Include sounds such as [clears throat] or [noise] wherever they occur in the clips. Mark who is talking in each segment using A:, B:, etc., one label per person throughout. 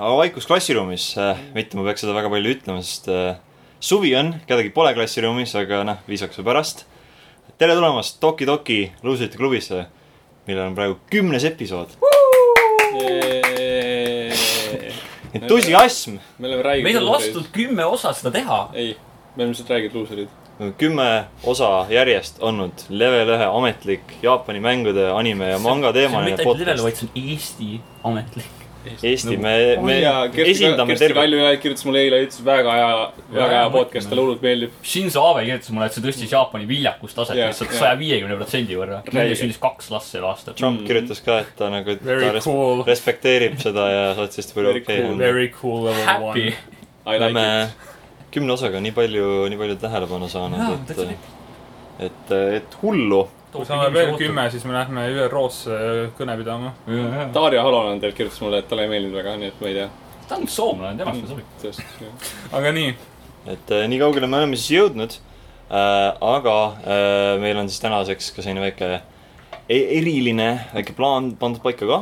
A: aga vaikus klassiruumis äh,, mitte ma peaks seda väga palju ütlema, sest äh, suvi on, kedagi pole klassiruumis, aga noh, viisakuse pärast. tere tulemast Toki Toki luusrite klubisse, millel on praegu kümnes episood . entusiasm ,
B: me oleme räägitud .
C: meil on lastud . kümme osa seda teha .
B: ei , me oleme lihtsalt räägitud luuserid .
A: kümme osa järjest olnud level ühe ametlik Jaapani mängude , anime ja manga teemaline
C: mitte ainult level ,
A: podcast .
C: vaid Nagu- see on Eesti ametlik .
A: Eesti , me , me
B: ja Oh Kersti,
A: esindame
B: Kersti
A: tervet .
B: Kaljulaid kirjutas mulle eile , ütles väga hea , väga hea
C: mõtlen.
B: podcast , talle hullult meeldib .
C: Shinzo Abe kirjutas mulle , et see tõstis Jaapani viljakustaset
B: Jah,
C: lihtsalt
B: jah.
C: saja viiekümne protsendi võrra . meil
B: Räige.
C: sündis kaks last sel aastal .
A: Trump kirjutas ka , et ta nagu , ta
D: Very
A: res-
D: cool.
A: respekteerib seda ja sotsist palju
B: Very
A: okei
B: cool.
A: on .
D: Very cool level
B: I
C: Happy
D: one ..
B: like
A: oleme
B: it .
A: kümne osaga nii palju , nii palju tähelepanu
C: Jaa,
A: saanud ,
C: täitsa
A: et , et , et hullu .
D: kui saame veel kümme , siis me lähme ÜRO-sse kõne pidama .
C: ta
B: Darja Halonen teil kirjutas mulle , et talle ei meeldinud väga , nii et ma ei tea .
C: ta on soomlane , temast me sobime .
B: just ,
D: aga nii ,
A: et eh, nii kaugele me oleme siis jõudnud äh, . aga äh, meil on siis tänaseks ka selline väike e eriline väike plaan pandud paika ka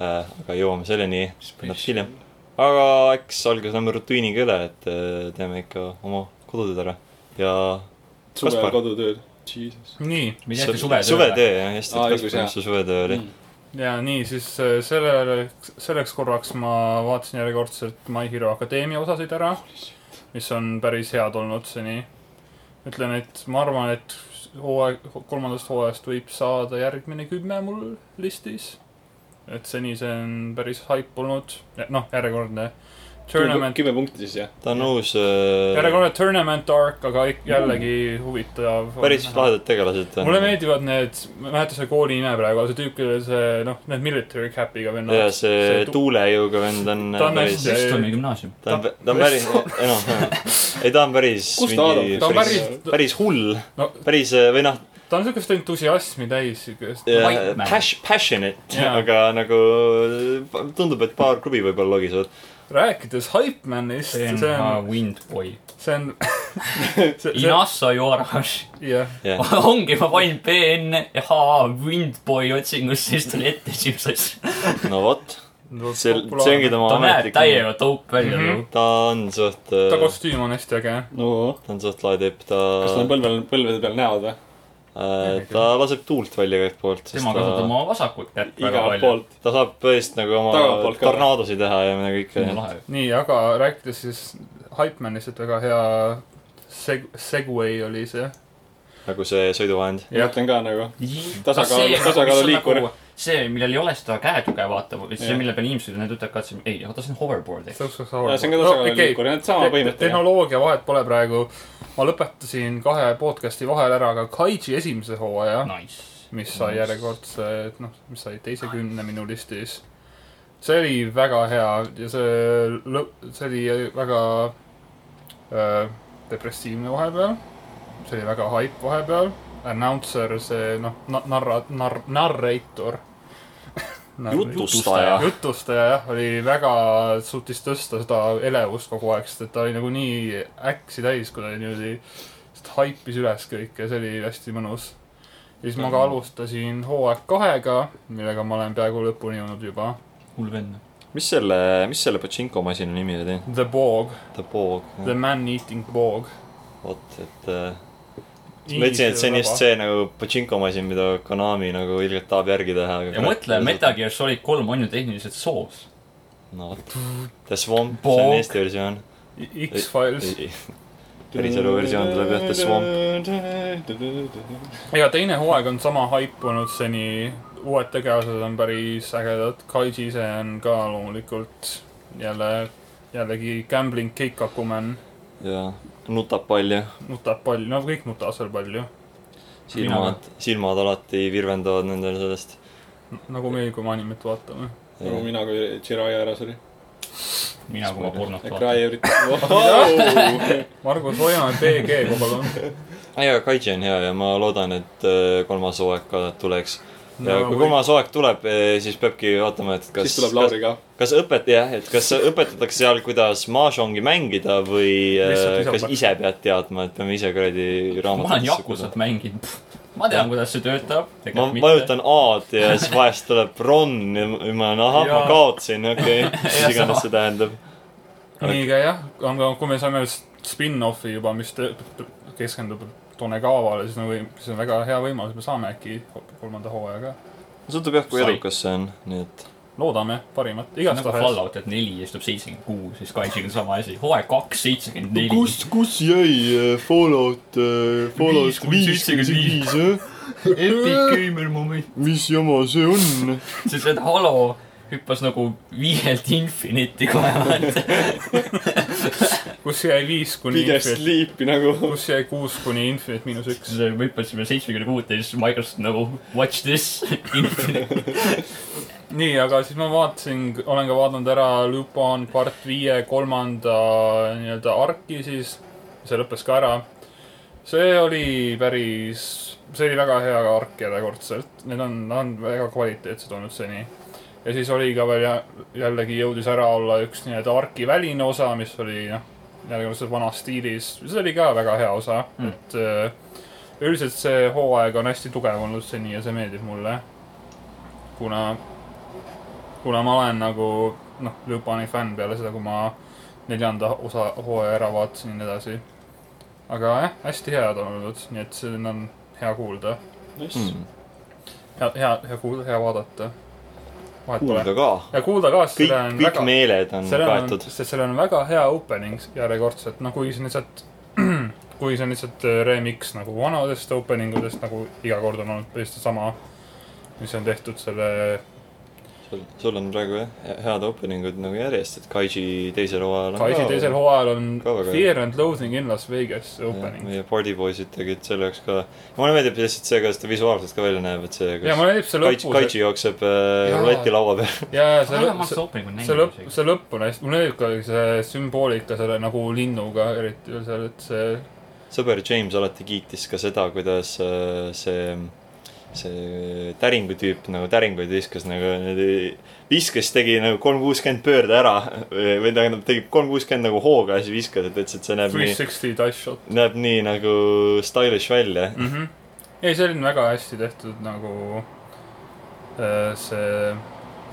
A: äh, . aga jõuame selleni natuke hiljem . aga eks alguses lähme rutiiniga üle , et äh, teeme ikka oma kodutööd ära ja .
B: suvel kodutööd . Jesus .
D: nii
C: me ei tea , et suve .
A: suvetöö jah , hästi ,
B: Aa,
A: et
B: õigus, Mm.
A: Kasparis see suvetöö
B: Hmm.
A: oli .
D: ja nii , siis äh, sellele , selleks korraks ma vaatasin järjekordselt My Hero Akadeemia osasid ära , mis on päris head olnud seni . ütlen , et ma arvan , et hooaeg , kolmandast hooajast võib saada järgmine kümme mul listis . et seni see on päris haip olnud , noh , järjekordne tournament ,
B: kümme punkti siis jah .
A: ta on uus äh, ,
D: järjekordne tournament arc , aga ik- jällegi huvitav .
A: päris lahedad tegelased on .
D: mulle meeldivad need , ma ei mäleta selle kooli nime praegu , see tüüp , kellel see noh , need military cap'iga vennad .
A: ja see tuulejõuga vend on äh,
D: Ta on
A: päris ,
D: hästi-
C: Estoni gümnaasium .
A: ta on , ta on päris , [laughs] ei noh , ei ta on päris .
B: Kus ta on?
D: ta on päris ,
A: päris hull
D: No- ,
A: päris äh, või noh ,
D: ta on siukest entusiasmi täis , siukest .
C: White man.
A: pas- , passionate
D: Jaa.
A: aga nagu äh, tundub , et paar klubi võib-olla logisevad .
D: rääkides Hypemanist ,
C: see on
D: see on ,
C: uh, Windboy .
A: [laughs]
D: see on , see , see ,
C: Inasa Joarash .
D: jah ,
A: jah ,
C: [laughs] ongi , ma panin BN ja Windboy otsingusse , siis tuli ette esimese asja .
A: no vot , see , see ongi tema
C: ta näeb
A: ametlik .
C: täiega dope välja
D: Mhm.
C: nagu .
A: ta on suht ,
D: ta
A: ta
D: kostüüm on hästi äge .
B: no .
A: on suht lae tüüp , ta äh,
B: kas nad , põlvel , põlvede peal näevad või ?
A: ta laseb tuult välja igalt poolt .
C: tema kasutab oma vasakut kätt väga
B: äh, igalt
C: palju .
B: poolt .
A: ta saab tõesti nagu oma
B: Tagantpoolt ka.
A: tornaadosid teha ja mida
C: see on
A: kõike .
C: lahe .
D: nii , aga rääkides siis Hypemanist , et väga hea seg- , segway oli see .
A: nagu see sõiduvahend .
B: ma mõtlen ka nagu . Tasakaal-
C: See,
B: tasakaalu
C: mis on
B: liikur.
C: nagu see , millel ei ole seda käetuge vaata , või see ,
B: Jah.
C: mille peal inimesed need ütlevad ka , et see , ei , oota , see on hoverboard , eks .
D: see
B: see on ka tasakaaluliikur , need sama põhimõttega .
D: tehnoloogia vahet pole praegu . ma lõpetasin kahe podcast'i vahel ära ka Kaiji esimese
B: ah,
D: hooaja ,
C: Nice .
D: mis sai järjekordse , noh , mis sai teise kümne minu listis . see oli väga hea ja see lõpp , see oli väga öö, depressiivne vahepeal . see oli väga haip vahepeal . Announcer , see noh , narra- , nar- , [laughs] narrator .
A: jutustaja .
D: jutustaja jah , oli väga , suutis tõsta seda elevust kogu aeg , sest et ta oli nagu nii äksi täis , kui ta oli niimoodi , sest haipis üles kõik ja see oli hästi mõnus . ja siis
A: Mhm.
D: ma ka alustasin hooaeg kahega , millega ma olen peaaegu lõpuni jõudnud juba .
C: hull vend .
A: mis selle , mis selle Pachinko masina nimi oli ?
D: The Bog ,
A: The Bog .
D: The Man Eating Bog .
A: vot , et äh, ma ütlesin , et see on just . see nagu Pachinko masin , mida Konami nagu ilgelt tahab järgi teha .
C: ja mõtle ,. Metal Gear Solid kolm on ju tehniliselt soos .
A: no vot . The Swamp , see
C: Bog.
A: on Eesti versioon .
D: X-Files .
B: [laughs]
A: päriselu versioon tuleb jah , The Swamp .
B: Swamp .
D: ja teine hooaeg on sama haipunud seni , uued tegelased on päris ägedad , Kaiji ise on ka loomulikult jälle , jällegi gambling keikakumen ,
A: ja nutab palju .
D: nutab palju , no kõik nutavad seal palju .
A: silmad , silmad alati virvendavad nendel sellest .
D: nagu meil , kui me animet vaatame .
B: nagu mina , kui Jiraiya ära suri .
C: mina , kui ma pornot vaatan .
B: Jiraiya
A: [laughs]
B: üritas .
D: Margus , hoiame BG-ga palun .
A: ei , aga Kaiji on hea ja ma loodan , et äh, kolmas hooaeg ka tuleks . ja
D: No
A: kui
D: või-
A: kolmas hooaeg tuleb , siis peabki vaatama , et kas
B: siis tuleb Lauri ka .
A: kas õpet- , jah , et kas õpetatakse seal , kuidas mahjongi mängida või äh,
D: Lihtsalt
A: kas
D: lisatakse.
A: ise pead teadma , et peame ise kuradi
C: ma olen
A: raamatutesse
C: Jakusat mänginud . ma tean , kuidas see töötab .
A: ma vajutan A-d ja siis vahest tuleb Ron ja ma- ja ma olen ahah , ma
C: Jaa.
A: kaotsin , okei okay. , mis
C: Jah,
A: iganes
C: sama.
A: see tähendab .
D: nii ka jah , aga kui me saime spin-offi juba , mis tõ- keskendub Tonegavale , siis me võime , see on väga hea võimalus , me saame äkki kolmanda hooaja ka .
A: sõltub jah , kui
C: Sai.
A: edukas see on , nii et
D: loodame parimat ,
C: nagu
D: igastahes .
C: Fallout , et neli istub seitsekümmend kuus , siis Kaisiga on sama asi , hooaeg kaks , seitsekümmend neli .
A: kus , kus jäi äh, Fallout ,
C: Fallout
A: Fallout
C: Viis kuni
A: viis kuni
C: seitsekümmend viis.
A: viis ,
C: Epic Gamer moment .
A: mis jama see on ?
C: sest et Halo hüppas nagu viielt Infinity kaevalt .
D: kus jäi viis kuni
B: Biggest
D: Infinite ,
B: Sleep'i nagu .
A: Hmm,
D: kus jäi kuus kuni Infinite miinus üks .
C: siis me hüppasime seitsmekümne kuute ja siis Microsoft nagu watch this Infinity .
D: nii , aga siis ma vaatasin , olen ka vaadanud ära Lupin part viie kolmanda nii-öelda arki siis . see lõppes ka ära . see oli päris , see oli väga hea ark järjekordselt . Need on , nad on väga kvaliteetsed olnud seni . ja siis oli ka veel jä- jällegi jõudis ära olla üks nii-öelda arki väline osa , mis oli noh , järjekordselt vanas stiilis . see oli ka väga hea osa mm. , et öö, üldiselt see hooaeg on hästi tugev olnud seni ja see meeldib mulle . kuna kuna ma olen nagu noh , Lupani fänn peale seda , kui ma neljanda osa hooaja ära vaatasin ja nii edasi . aga jah , hästi head on olnud , nii et see on hea kuulda , hea , hea , hea kuulda , hea vaadata . vahet pole .
A: kuulda ka ,
D: ja kuulda ka , sest
A: kõik
D: sellel , on
A: kõik
D: väga ,
A: meeled on
D: sellel on ,
A: kaetud .
D: sest sellel on väga hea opening järjekordselt , noh , kuigi see on lihtsalt [clears throat] kui see on lihtsalt remix nagu vanadest opening udest nagu iga kord on olnud põhimõtteliselt sama , mis on tehtud selle
A: sul , sul on praegu jah , head openingud nagu järjest , et Kaiji teisel hooajal on
D: Kaisi teisel hooajal on
A: Ka väga
D: Fear and Loathing in Las Vegas opening .
A: meie Party Boysid tegid selle jaoks ka , mulle meeldib lihtsalt see , kuidas ta visuaalselt ka välja näeb , et see ,
D: ja
A: kus
D: mulle meeldib see
A: Kaiji ,
D: lõpus ,
A: Kaiji jookseb äh,
D: Jaa.
A: ruleti laua peal . [laughs]
D: ja , ja see
C: aga ma
D: lõpp ,
C: seda opening'u
D: see
C: näinud
D: lõpp ,
C: isegi .
D: see lõpp on hästi , mulle meeldib ka see sümboolika selle nagu linnuga eriti veel seal , et see
A: sõber James alati kiitis ka seda , kuidas äh, see , see täringu tüüp nagu täringuid viskas nagu niimoodi , viskas , tegi nagu kolm kuuskümmend pöörde ära [laughs] või või tähendab , tegi kolm kuuskümmend nagu hooga ja siis viskas , et ütles , et see näeb
D: three
A: nii ,
D: sixty dice shot
A: näeb nii nagu stylish välja .
D: mm . -hmm. ei , see oli väga hästi tehtud nagu äh, see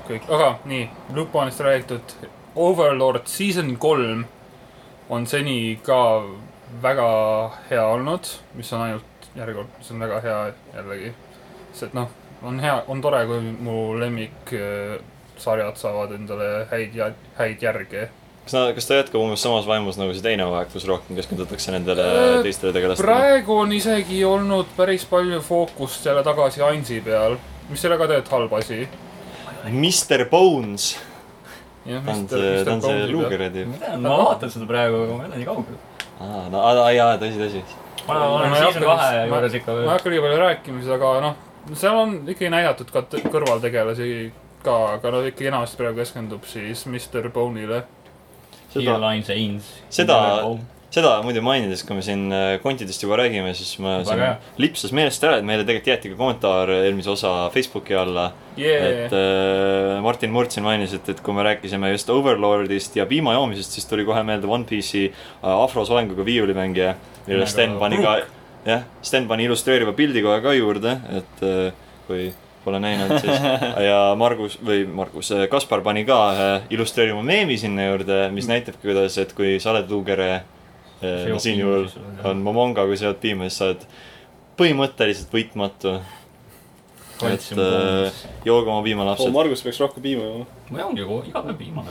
D: kõik , aga nii , Lupanist räägitud . Overlord season kolm on seni ka väga hea olnud , mis on ainult järjekord , see on väga hea jällegi . sest noh , on hea , on tore , kui mu lemmik äh, sarjad saavad endale häid ja häid järge .
A: kas nad , kas ta jätkab umbes samas vaimus nagu see teine hooaeg , kus rohkem keskendutakse nendele
D: Äh,
A: teistele tegelastele ?
D: praegu on isegi olnud päris palju fookust jälle tagasi Ainsi peal , mis ei ole ka tegelikult halb asi .
A: Mr Bones ,
D: jah ,
A: ta on see , ta on see luugerja tüüp .
C: ma vaatan seda praegu , ma ei ole nii kaugel .
A: aa , no aa , jaa , tõsi , tõsi .
C: ma olen
D: Ma ei
C: season
D: hakka
C: kahe
D: vist- ma-
C: juures ikka
D: ma ei
C: veel .
D: hakka liiga palju rääkima , siis aga noh , seal on ikkagi näidatud ka t- kõrvaltegelasi ka , aga no ikkagi enamasti praegu keskendub siis Mr Bone'ile .
A: seda ,
C: Airlines Ains .
A: seda- seda muide mainides , kui me siin äh, kontidest juba räägime , siis ma
C: Väga
A: siin
C: hea.
A: lipsas meelest ära , et meile tegelikult jäeti ka kommentaar eelmise osa Facebooki alla . et
D: Yeah.
A: äh, Martin Murtsin mainis , et , et kui me rääkisime just Overlordist ja piima joomisest , siis tuli kohe meelde One Piece'i äh, afrosoenguga viiulimängija , millele
D: Nimega
A: Sten pani ka , jah , Sten pani illustreeriva pildi kohe ka juurde , et äh, kui pole näinud , siis ja Margus või Margus , Kaspar pani ka ühe illustreeriva meemi sinna juurde , mis näitabki , kuidas , et kui sa oled luugere äh, , no siin juhul on Momonga , kui sa oled piima , siis sa oled põhimõtteliselt võitmatu . et äh, jooge oma piima
B: oo ,
A: lapsed .
B: Oh, Margus peaks rohkem piima jooma .
C: ma joongi kogu , iga päev viimane .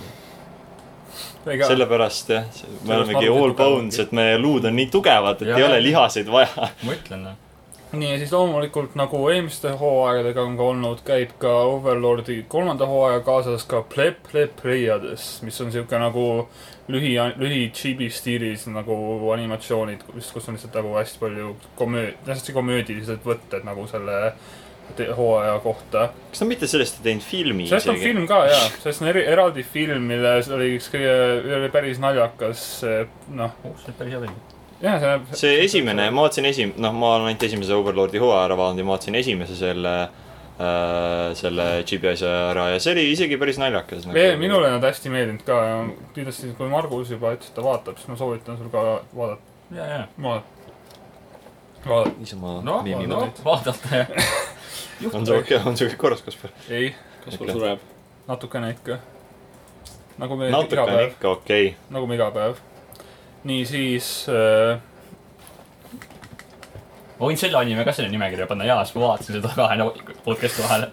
A: äh,
D: Selle...
A: sellepärast jah , me
D: Sellepärast
A: olemegi
D: arvutid
A: all
D: tugevadki.
A: bones , et meie luud on nii tugevad , et
C: Jah.
A: ei ole lihaseid vaja .
C: ma ütlen , eh,
D: nii , ja siis loomulikult nagu eelmiste hooaegadega on ka olnud , käib ka Overlordi kolmanda hooaja kaasas ka Pleb Pleb Pleiades , mis on siuke nagu lühi , lühi-chibi stiilis nagu animatsioonid , kus , kus on lihtsalt nagu hästi palju komööd- , hästi komöödilised võtted nagu selle te- hooaja kohta
A: kas nad mitte sellest ei teinud filmi
D: sellest on film ka jaa , sellest on eri , eraldi film , milles oli üks kõige , oli päris naljakas eh, noh ,
C: oh , see on päris hea film .
D: jah , see näeb
A: see esimene , ma vaatasin esim- , noh , ma olen ainult esimese Overlordi hooaja ära vaadanud ja ma vaatasin esimese selle äh, selle džiibi asja ära ja see oli isegi päris naljakas nagu.
D: ei , minule nad hästi meeldinud ka ja kindlasti , kui Margus juba ütles , et ta vaatab , siis ma soovitan sul ka vaadata ,
C: ja , ja .
D: ma vaadata .
A: niisama
D: Noh,
A: meemi
D: noh.
A: mõtteid .
C: vaadata jah .
A: on sul okei , on sul kõik korras , Kaspar ?
D: ei ,
B: kas mul sureb ?
D: natukene ikka . nagu meil
A: natuke
D: iga
A: on
D: päev ,
A: ikka okei okay. .
D: nagu me iga päev . niisiis äh, ,
C: ma võin selle anime ka selle nimekirja panna jaa , sest ma vaatasin seda kahe no- podcast'i vahele .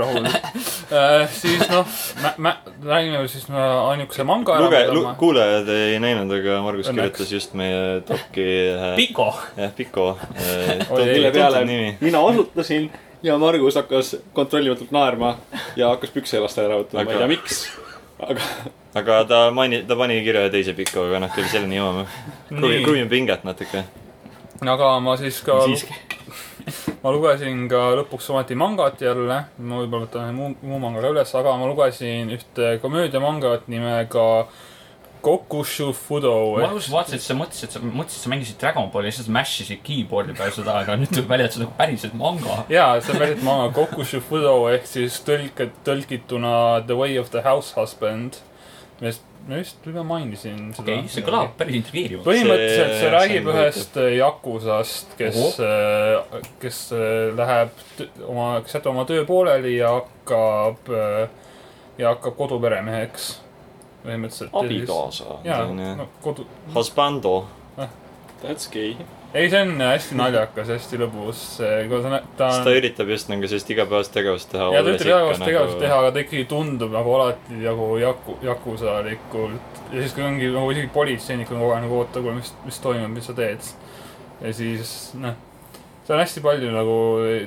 D: rahul [laughs] äh, . siis noh , mä- , mä- , räägime siis me ainukese manga
A: luge- ,
D: võtame.
A: kuulajad ei näinud , aga Margus
D: Õnneks.
A: kirjutas just meie dok'i äh,
C: Piko ,
A: jah , Piko .
D: Oi, ei,
B: mille
A: tuntud
B: peale
A: tuntud nimi .
B: mina osutasin ja Margus hakkas kontrollimatult naerma ja hakkas pükse jalast ära võtma , ma
A: Aga-
B: ei tea miks . aga
A: aga ta maini- , ta pani kirja ühe teise Piko , aga noh , küll selleni jõuame .
D: Nii.
A: kruvin pinget natuke .
D: aga ma siis ka ,
C: siiski .
D: [laughs] ma lugesin ka lõpuks ometi mangat jälle . ma võib-olla võtan muu , muu manga ka üles , aga ma lugesin ühte komöödiamangat nimega Kokushu Fudo .
C: ma alguses vaatasin , et sa mõtlesid , sa mõtlesid , sa mängisid Dragon Balli ja siis mässisid keyboard'i peal seda , aga nüüd tuleb välja , et see on nagu päriselt manga .
D: jaa , see on pärit manga Kokushu Fudo ehk siis tõlke , tõlgituna The Way of the House Husband . millest , ma vist juba mainisin seda .
C: okei , see kõlab . päris intrigeerivalt .
D: põhimõtteliselt see
A: see
D: räägib
A: on
D: ühest jakusast , kes , kes äh, läheb tö- oma , kes jätab oma töö pooleli ja hakkab , ja hakkab koduperemeheks . põhimõtteliselt .. jaa ,
A: abikaasa .
D: no kodu ,
A: Husbando .
B: that's gay .
D: ei , see on äh, hästi naljakas , hästi lõbus , kui ta , ta
A: siis ta üritab just nagu sellist igapäevast tegevust teha . nagu-
D: ja ta ütleb igapäevast tegevust teha , aga ta ikkagi tundub nagu alati nagu jaku , jakusalikult . ja siis , kui ongi nagu isegi politseinik on kogu aeg nagu oota , kuule , mis , mis toimub , mis sa teed . ja siis noh , seal on hästi palju nagu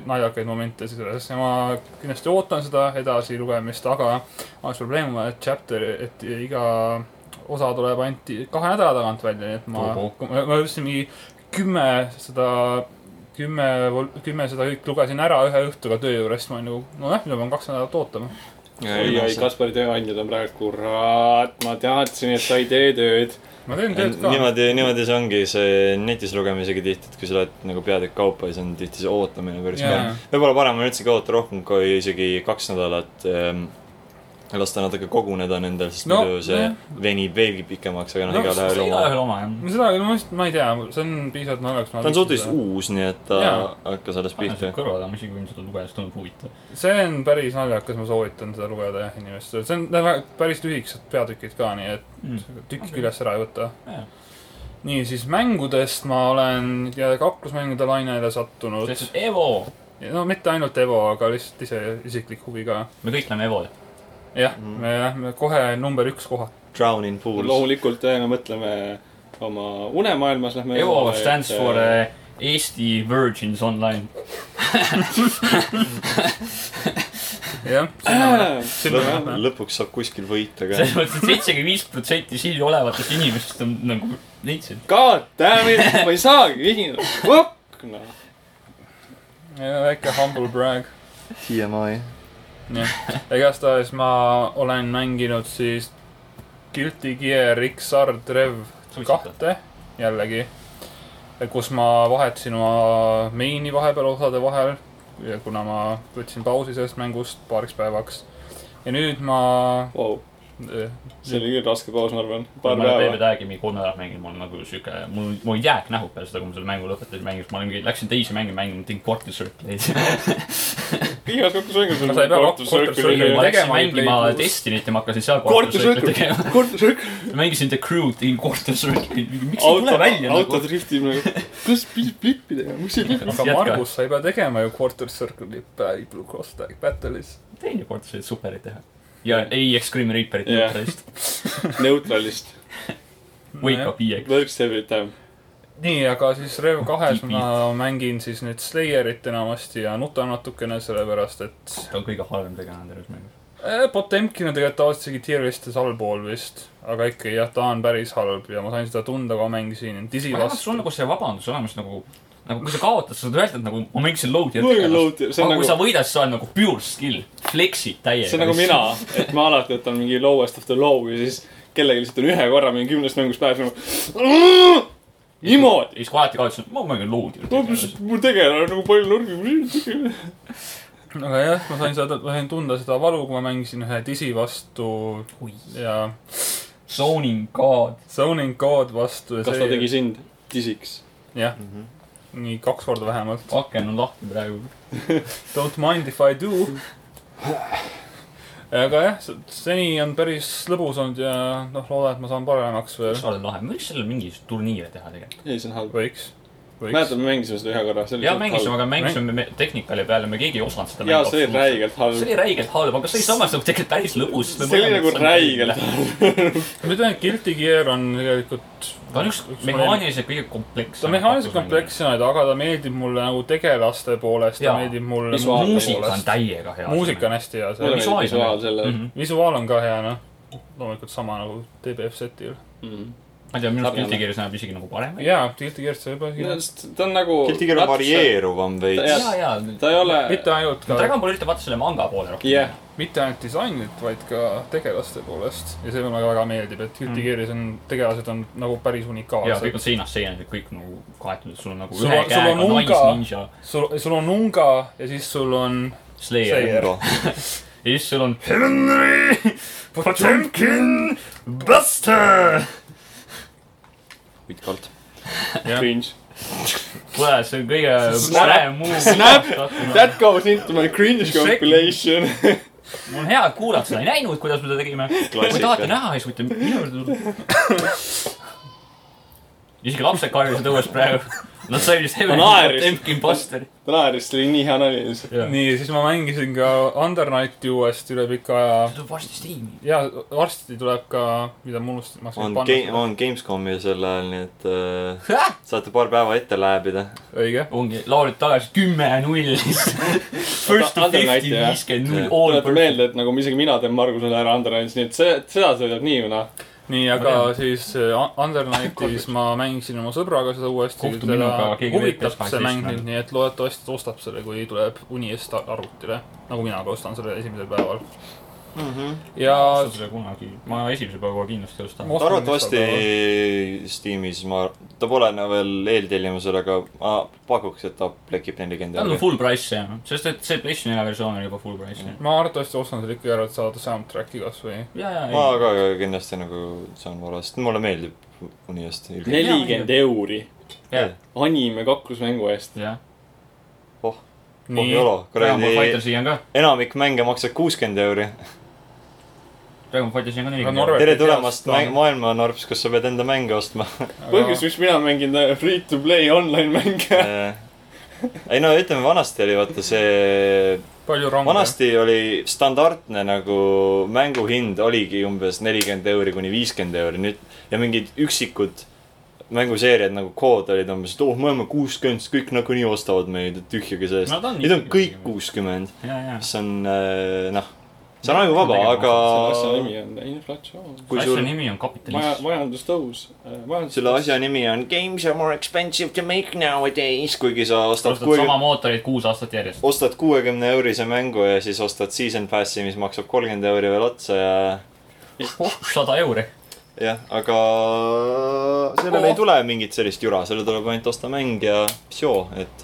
D: naljakaid momente selles ja ma kindlasti ootan seda edasi lugemist , aga ainus probleem on , et chapter , et iga osa tuleb ainult kahe nädala tagant välja , nii et ma ,
C: Ohoh.
D: ma, ma just mingi kümme seda kümme , kümme seda kõik lugesin ära ühe õhtuga töö juures , ma olin nagu , nojah , nüüd ma pean kaks nädalat ootama .
B: oi , oi , Kaspari tööandjad on praegu , kurat , ma teadsin , et sa ei tee tööd .
D: ma teen
A: Äh,
D: tööd ka .
A: niimoodi , niimoodi see ongi , see netis lugemisega tihti , et kui sa loed nagu peatükk kaupa , siis on tihti see ootamine päris
D: Jaa.
A: yeah. hea . võib-olla parem on üldsegi oota rohkem kui isegi kaks nädalat ähm, . lasta natuke koguneda nendel , sest
D: No,
A: no, muidu see
D: jah.
A: venib veelgi pikemaks , aga noh
D: No,
A: no, , igalühel oma .
C: igaühel oma jah .
D: no seda , ma just , ma ei tea , see on piisavalt naljakas .
A: ta on suhteliselt . uus , nii et ta yeah.
D: Jaa.
A: hakkas alles pihta .
C: kõrval Ah, on isegi ilmselt lugedes tundub huvitav .
D: see on päris naljakas , ma soovitan seda lugeda jah inimestele , see on need on väga- päris lühikesed peatükid ka , nii et
C: Hmm.
D: tükki
C: Okei.
D: küljest ära ei võta
C: Jaa. .
D: nii , siis mängudest ma olen jälle kaklusmängude lainele sattunud .
C: see on Evo ,
D: no mitte ainult Evo , aga lihtsalt ise isiklik huvi ka .
C: me kõik näeme Evo .
D: jah
A: Mm.
D: mm. , me lähme kohe number üks koha .
A: Drown in pools .
B: loomulikult äh, me mõtleme oma unemaailmas , lähme .
C: Evo stands for eh, Eesti Virgins Online .
D: jah ,
B: äh,
D: sinna me lähme .
A: lõpuks saab kuskil võita ka .
C: selles mõttes , et seitsekümmend viis protsenti siin olevatest inimestest on nagu leidsid .
B: God damn it , ma ei saagi vihinada , kokk noh .
D: väike humble brag .
A: TMI .
D: igastahes ma olen mänginud siis Guilty Gear XR Drev kahte jällegi , kus ma vahetasin oma main'i vahepeal osade vahel , kuna ma võtsin pausi sellest mängust paariks päevaks . ja nüüd ma , eh,
B: wow, . see oli küll raske paus , ma arvan , paar
C: ma olen Peep
B: päeva .
C: Tähegi mingi kolm nädalat mänginud , ma olen nagu siuke , mul , mul jääk nähub peale seda , kui ma selle mängu lõpetasin mängima , siis ma olin , läksin teise mängu mängima , ma tegin Quarter Circle'id . [laughs]
B: igas kokku sõngas
D: No sa ei pea kokku-
C: ma
D: Tegema
C: läksin
D: ei
C: mängima
D: played-
C: Destiny't ja ma hakkasin seal
B: Quarter
C: Quarter Circle'id tegema .
B: sõrgus .
C: mängisin The Crew'd , tegin Quarter Circle'id , miks ei
B: auto
C: tule , välja
B: auto
C: nagu .
B: driftib nagu , kus pidi flippida ja kus ei flippi .
D: aga Margus , sa ei pea tegema ju Quarter Circle'i Bad Blue Cross Tag Battle'is .
C: teine Quarter Circle'id superid teha . ja ei Extreme Reaperit
B: Jah.
C: neutralist .
B: neutralist ,
C: Wake up EX .
B: works every time .
D: nii , aga siis Rev kahes
C: Deep
D: ma mängin siis nüüd Slayerit enamasti ja nutan natukene , sellepärast et
C: see on kõige halvem tegelane terves mängus .
D: eh, Potemkin on tegelikult tavaliselt isegi tier list'is allpool vist , aga ikkagi jah , ta on päris halb ja ma sain seda tunda , kui ma mängisin Disi
C: ma arvan , et sul on
D: vastu .
C: nagu see vabandus olemas nagu , nagu kui sa kaotad , sa saad öelda , et nagu ma mängisin load'i ja
B: Mul oli
C: tegelast .
B: load'i-
C: aga
B: see on
C: kui
B: nagu-
C: sa võidad , siis sa oled nagu pure skill , flex'id täiega .
B: see on nagu mina ., et ma alati võtan mingi lowest of the low ja siis kellelgi lihtsalt on ühe korra mingi kümnest mängust päevas nagu . niimoodi ,
C: ja siis kui alati kaotasin , ma mängin load'i .
B: mu tegelane on nagu palju nõrgem .
D: aga jah , ma sain seda , ma sain tunda seda valu , kui ma mängisin ühe Disi vastu ja
C: Zoning god .
D: Zoning God vastu ja
B: kas ta tegi sind tisiks ?
C: Mhm.
D: jah , nii kaks korda vähemalt .
C: aken on lahti praegu .
D: Don't mind if I do . aga jah , seni on päris lõbus olnud ja noh , loodan , et ma saan paremaks veel
C: see . oleks lahe , me võiks selle mingi turniire teha tegelikult .
B: ei , see on halb .
D: võiks , võiks
B: mäletan ,. me mängisime seda ühe korra .
C: jah , mängisime , aga mängisime me- Technicali peale , me keegi ei osanud seda .
B: jaa , see oli . räigelt
C: see
B: halb .
C: oli räigelt halb , aga see oli samas nagu tegelikult päris lõbus .
B: see oli nagu räigelt .
D: ma ütlen , et Guilty Gear on tegelikult ,
C: ta on üks
D: Üks
C: mehaaniliselt kõige komplekssem .
D: ta on mehaaniliselt . komplekssõnaid , aga ta meeldib mulle nagu tegelaste poolest , ta
C: Jaa.
D: meeldib mulle
B: Visuaalne
D: muu
C: muusika on
D: poolest.
C: täiega hea .
D: muusika on hästi hea
B: mulle
D: seal .
C: Visuaalne.
B: meeldib visuaal selle
C: Mhm.
D: visuaal on ka hea , noh . loomulikult sama nagu DBF setil .
B: mm. .
C: ma ei tea , minu arust
B: Sarnane.
C: Guilty Gear saab isegi nagu parem .
D: jaa , Guilty Gear'st saab
B: minu
D: juba .
B: arust ta on nagu .
A: Guilty Gear on . varieeruvam veits .
C: ja , ja .
B: ta ei ole .
D: mitte ainult ka
C: Dragon Ball üritab vaata selle manga poole rohkem
B: jah .
D: mitte ainult disainilt , vaid ka tegelaste poolest ja see mulle väga- väga meeldib , et Guilty
C: Mm.
D: Gear'is on , tegelased on nagu päris
C: ja kõik
D: unikaalsed .
C: on seinast seina , kõik nagu kaetud , sul on nagu
D: Sul
C: ühe
D: on- sul
C: käega
D: on nunga.
C: naisninja ,
D: sul , sul on Unga ja siis sul on
C: Slayer
D: Slayer.
C: ja siis sul on Henry Potemkin Buster .
A: pikalt .
B: Cringe .
C: kuule , see on kõige
B: Snap.
C: parem muu .
B: Snap.
C: mul
B: That goes into my cringe
C: Shake.
B: compilation . [laughs]
C: on hea , et kuulajad seda ei näinud , kuidas me seda tegime . kui
A: Klassika.
C: tahate näha , siis võite minu juurde tulla . isegi lapsed karjusid õues praegu . Nad said vist Henry
B: naeris.
C: Potemkin Buster .
B: ta naeris , see oli nii hea nali lihtsalt .
D: nii , siis ma mängisin ka Undernighti uuesti üle pika aja
C: see tuleb varsti Steam'i .
D: ja varsti tuleb ka , mida ma unustasin , ma
A: on
D: hakkasin
A: game ,
D: panna .
A: on Gamescomi sel ajal , nii et äh, saate paar päeva ette lääbida .
D: õige .
C: ongi , lauljad tagasi kümme null .
A: [laughs]
C: First to
B: Under
C: fifty ,
B: Nighti, jah.
C: viiskümmend
A: Jah.
C: null ,
B: tuletan
C: all perfect .
B: meelde , et nagu isegi mina teen Margusele ära Underhands , nii et see , seda see teeb nii või naa .
D: nii , aga siis äh, Undernightis ma mängisin oma sõbraga seda uuesti .
C: Kohtu minuga, keegi
D: huvitab
C: veeb
D: see mäng
C: PS18
D: nüüd , nii et loodetavasti ta ostab selle , kui tuleb uni eest arvutile . nagu mina ka ostan selle esimesel päeval .
B: Mhm.
D: ja
C: seda kunagi , ma esimese päeva kindlasti ostan
D: Ma- .
A: arvatavasti Steamis ma , ta pole nagu veel eeltellimusel , aga ma pakuks , et ta plekib nelikümmend
C: ta on
A: euri .
C: full price jah , sest et see PlayStation nelja versioon on juba full price jah .
D: ma arvatavasti ostan selle ikkagi ära , et saada soundtrack'i kasvõi .
C: ja , ja ,
A: ma
C: ja .
A: ka ka kindlasti nagu saan varast , mulle meeldib uni eest .
B: nelikümmend euri
C: jah ,
B: anime kaklusmängu eest .
C: jah .
D: nii ,
A: Pohjolo ,
C: Dragon Ball
A: kuradi ,
C: Fightersi on ka ,
A: enamik mänge maksab kuuskümmend euri .
C: Dragon Ball Fightersi on ka
D: Aga Norra-
C: nelikümmend .
A: tere
D: tead,
A: tulemast
D: seda on-
A: mäng- maailma , Narps , kus sa pead enda mänge ostma .
B: põhjus , miks mina mängin free to play online mänge .
A: Äh, ei no ütleme , vanasti oli vaata see ,
D: palju range .
A: vanasti oli standardne nagu mänguhind oligi umbes nelikümmend euri kuni viiskümmend euri , nüüd ja mingid üksikud mänguseeriad nagu kood olid umbes , et oh , me oleme kuuskümmend , siis kõik nagunii ostavad meid , et tühjagi sellest . nüüd on kõik . kuuskümmend ,
C: ja , ja .
A: mis on äh, noh , see on ajuvaba , aga
B: selle asja nimi on inflatsioon .
A: kui
C: asja
A: sul ,
C: nimi
B: maja ,
C: on
B: äh,
C: kapitalism .
B: majandustõus .
A: selle asja nimi on Games are more expensive to make nowadays , kuigi sa ostad
C: ostad
A: kuuekümne
C: sama mootorit kuus aastat järjest .
A: ostad kuuekümne eurise mängu ja siis ostad season pass'i , mis maksab kolmkümmend euri veel otsa ja Oh.
C: sada euri .
A: jah , aga sellele oh. ei tule mingit sellist jura , sellele tuleb ainult osta mäng ja psoo , et .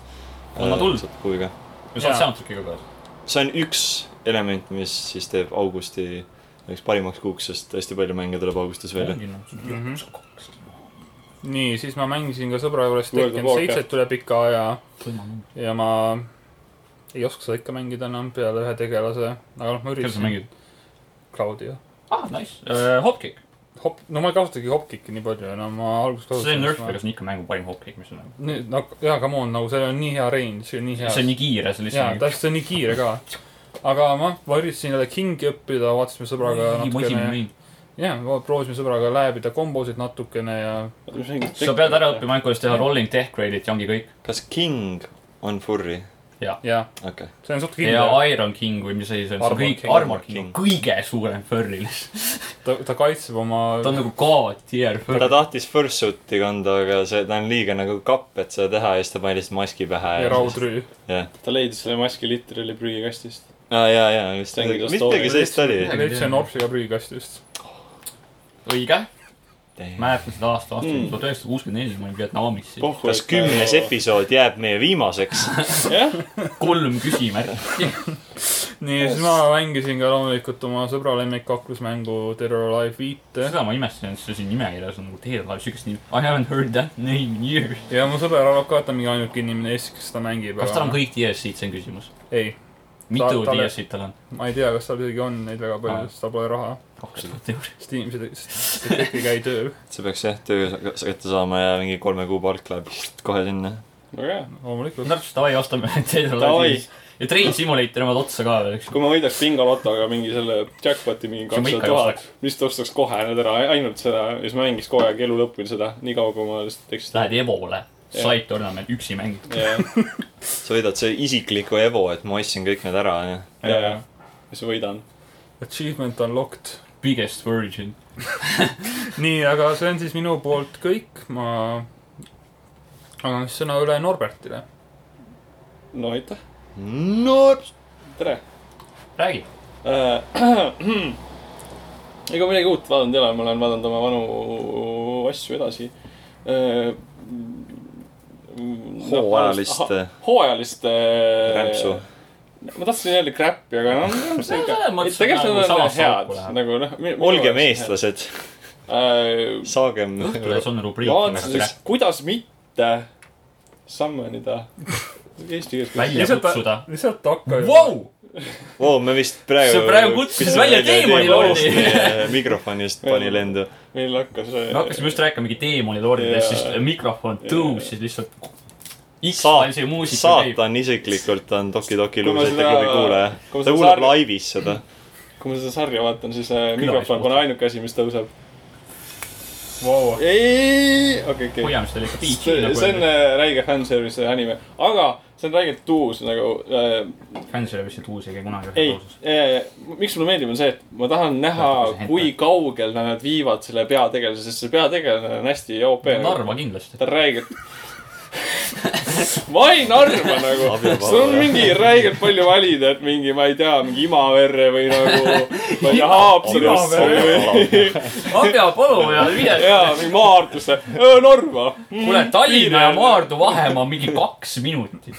C: Anna tuld.
A: kuuga .
C: ja saad
D: Jaa.
C: soundtrack'i ka kaasa .
A: see on üks element , mis siis teeb augusti üheks parimaks kuuks , sest hästi palju mänge tuleb augustis välja .
D: Mhm. nii , siis ma mängisin ka sõbra juures
B: World of
D: Tekken
B: Warcraft.
D: seitset üle pika aja ja ma ei oska seda ikka mängida enam peale ühe tegelase , aga noh , ma
C: kes sa
D: üritasin .
C: mängid ?
D: Claudia .
C: ah , nice uh, . Hopkick .
D: Hop- , no ma ei kasutagi hopkikki nii palju enam , ma alguses
C: see on Nerf , aga
D: kasutasin .
C: see on ikka mängu parim hopkick , mis on .
D: nüüd , no jaa , come on , nagu see on nii hea range , see on nii hea .
C: see on nii kiire , see on
D: jaa ,
C: lihtsalt .
D: täpselt , see on nii kiire ka . aga ma , ma üritasin jälle kingi õppida , vaatasime sõbraga natukene . jaa , proovisime sõbraga lääbida kombosid natukene ja
C: sa pead ära . õppima ainult , kuidas teha rolling death grade'it ja ongi kõik .
A: kas King on furry ?
D: jah ,
A: okei okay. ,
D: see on suht
C: ja
D: kindel ,
C: Iron King või mis asi see on , see on
D: Armor
C: kõik ,
D: King.
C: Armor King on kõige suurem furry
D: [laughs]
C: lihtsalt .
D: ta , ta kaitseb oma
C: ta on nagu god tier
A: ta
C: furry .
A: tahtis fursuit'i kanda , aga see , ta on liiga nagu kapp , et seda teha ja siis ta pani lihtsalt maski pähe .
D: ja raudrüü .
A: jah ,
B: ta leidis selle maski literally prügikastist .
A: aa jaa , jaa , just
B: See ongi
A: midagi
B: just
A: midagi
B: story.
A: sellist oli .
C: Midagi
D: leidsin Norpsiga prügikastist .
C: õige , mäletan seda aasta , aasta tuhat üheksasada kuuskümmend neli , ma olin Vietnamis .
A: kas kümnes episood jääb meie viimaseks ?
B: jah ,
C: kolm küsimärki .
D: nii , siis ma mängisin ka loomulikult oma sõbra lemmikaklusmängu Terror Alive viite
C: seda ma imestasin , et see siin nimekirjas on nagu Dead Alive , siukest nii , I haven't heard that name in years .
D: ja mu sõber arvab ka , et ta on mingi ainuke inimene Eestis , kes seda mängib .
C: kas tal on ? kõik DLC-d , see on küsimus .
D: ei ,
C: mitu
D: tal-
C: DLC-d tal on ?
D: ma ei tea , kas tal isegi on neid väga
C: Aa.
D: palju , sest tal pole raha .
C: kaks tuhat euri .
D: sest inimesed , sest kõik ei käi tööl .
A: see peaks jah , töö sa- kätte saama ja mingi kolme kuu palk läheb kohe sinna .
B: väga hea .
D: loomulikult .
C: Narts , davai , ostame [laughs] Dead
B: Davai.
C: Alive'i . ja Train Simulator omad otsa ka veel , eks .
B: kui ma võidaks bingolotoga mingi selle jackpot'i mingi
C: Siis
B: kakssada
C: ma ikka ei
B: tuhat
C: ostaks. ,
B: siis ta ostaks kohe need ära , ainult seda ja siis ma mängiks kogu aeg elu lõpuni seda , niikaua kui ma lihtsalt
C: siis
B: teeks .
C: lähed Evole ,
B: Jah.
C: Slide Tournament üksi mängid .
B: ja ,
A: sa võidad see isikliku Evo , et ma ostsin kõik need ära , onju .
B: ja , ja siis võidan .
D: Achievement unlocked .
C: Biggest Virgin .
D: nii , aga see on siis minu poolt kõik , ma annan siis sõna üle Norbertile .
B: no aitäh ,
A: no
B: tere
C: räägi .
B: äh, . [clears throat] ega midagi uut vaadanud ei ole , ma olen vaadanud oma vanu asju edasi äh, .
A: Hooajalist, äh,
B: hooajalist .
A: rämpsu .
B: ma tahtsin öelda crap'i , aga noh , see on
C: selles
B: ikka
C: mõttes ,
B: tegelikult need
C: nagu
B: on
C: samas
B: head
C: auku läheb. ,
B: nagu noh .
A: olgem . eestlased , saagem .
C: Õhtulehes on rubriik
B: Äh, vaatasin , kuidas mitte sammonida eesti keeles .
C: välja kutsuda .
D: lihtsalt hakka .
C: Vau ,
A: oo , Oh, me vist praegu .
C: Sa praegu kutsusid välja teemani lordi. .
A: mikrofonist pani lendu .
B: meil hakkas . äh,
C: me hakkasime just rääkima mingi teemoni lordidest ,
B: Jaa.
C: siis mikrofon tõusis lihtsalt .
A: Saat-
C: X-Filesi muusika käib .
A: saatan isiklikult on Toki Toki
B: Kui ma
A: luusete
B: seda-
A: klubi kuulaja .
B: kui ma
A: ta
B: seda
A: kuulab
B: sarja-
A: laivis
B: [laughs]
A: seda .
B: kui ma seda sarja vaatan , siis äh,
C: Küla
B: mikrofon
C: ei
B: pole ainuke asi , mis tõuseb .
D: Vau ,
B: ei , okei , okei .
C: hoiame seda ikka
B: see
C: piitsi nagu
B: see on . äh, räige fanservice anime , aga see on räigelt uus nagu äh,
C: fanservice'it uus ei käi kunagi ühes
B: ei
C: lauses .,
B: miks mulle meeldib , on see , et ma tahan näha
C: Vaata, kui see ,
B: kui
C: hentai.
B: kaugel nad viivad selle peategelase , sest see peategelane on hästi OP .
C: Narva kindlasti .
B: ta on räigelt [laughs] ma ei narva nagu ,
A: Abivabaja.
B: sul on mingi räigelt palju valida , et mingi , ma ei tea , mingi Imaverre või nagu , ma ei tea , Haapsalust või
C: Abja Palu
B: [laughs]
C: ja Vilja .
B: jaa , mingi Maarduse , Narva .
C: kuule , Tallinna ja Maardu vahemaa on mingi kaks minutit .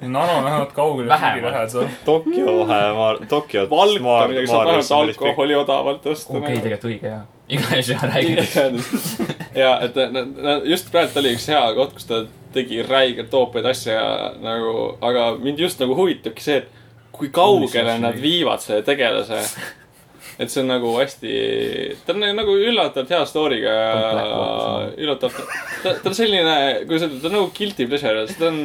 D: Narva lähevad kaugele , kuigi
C: Vähemalt.
D: lähed seal .
A: Tokyo vahe , Tokyo .
B: Valka , midagi saab ainult alkoholi odavalt osta . nagu.
C: okei , tegelikult õige jaa . igatahes jah , räägi .
B: [laughs] igatahes ja , et nad- nad- just praegu oli üks hea koht , kus ta tegi räigelt toopeid asju ja nagu , aga mind just nagu huvitabki see , et kui kaugele
C: Unisesse
B: nad
C: viib.
B: viivad selle tegelase . et see on nagu hästi , ta on nagu üllatavalt hea story'ga
C: Ta on Black
B: ja
C: Ops.
B: üllatavalt , ta , ta on selline , kuidas öelda , ta on nagu guilty pleasure , ta on ,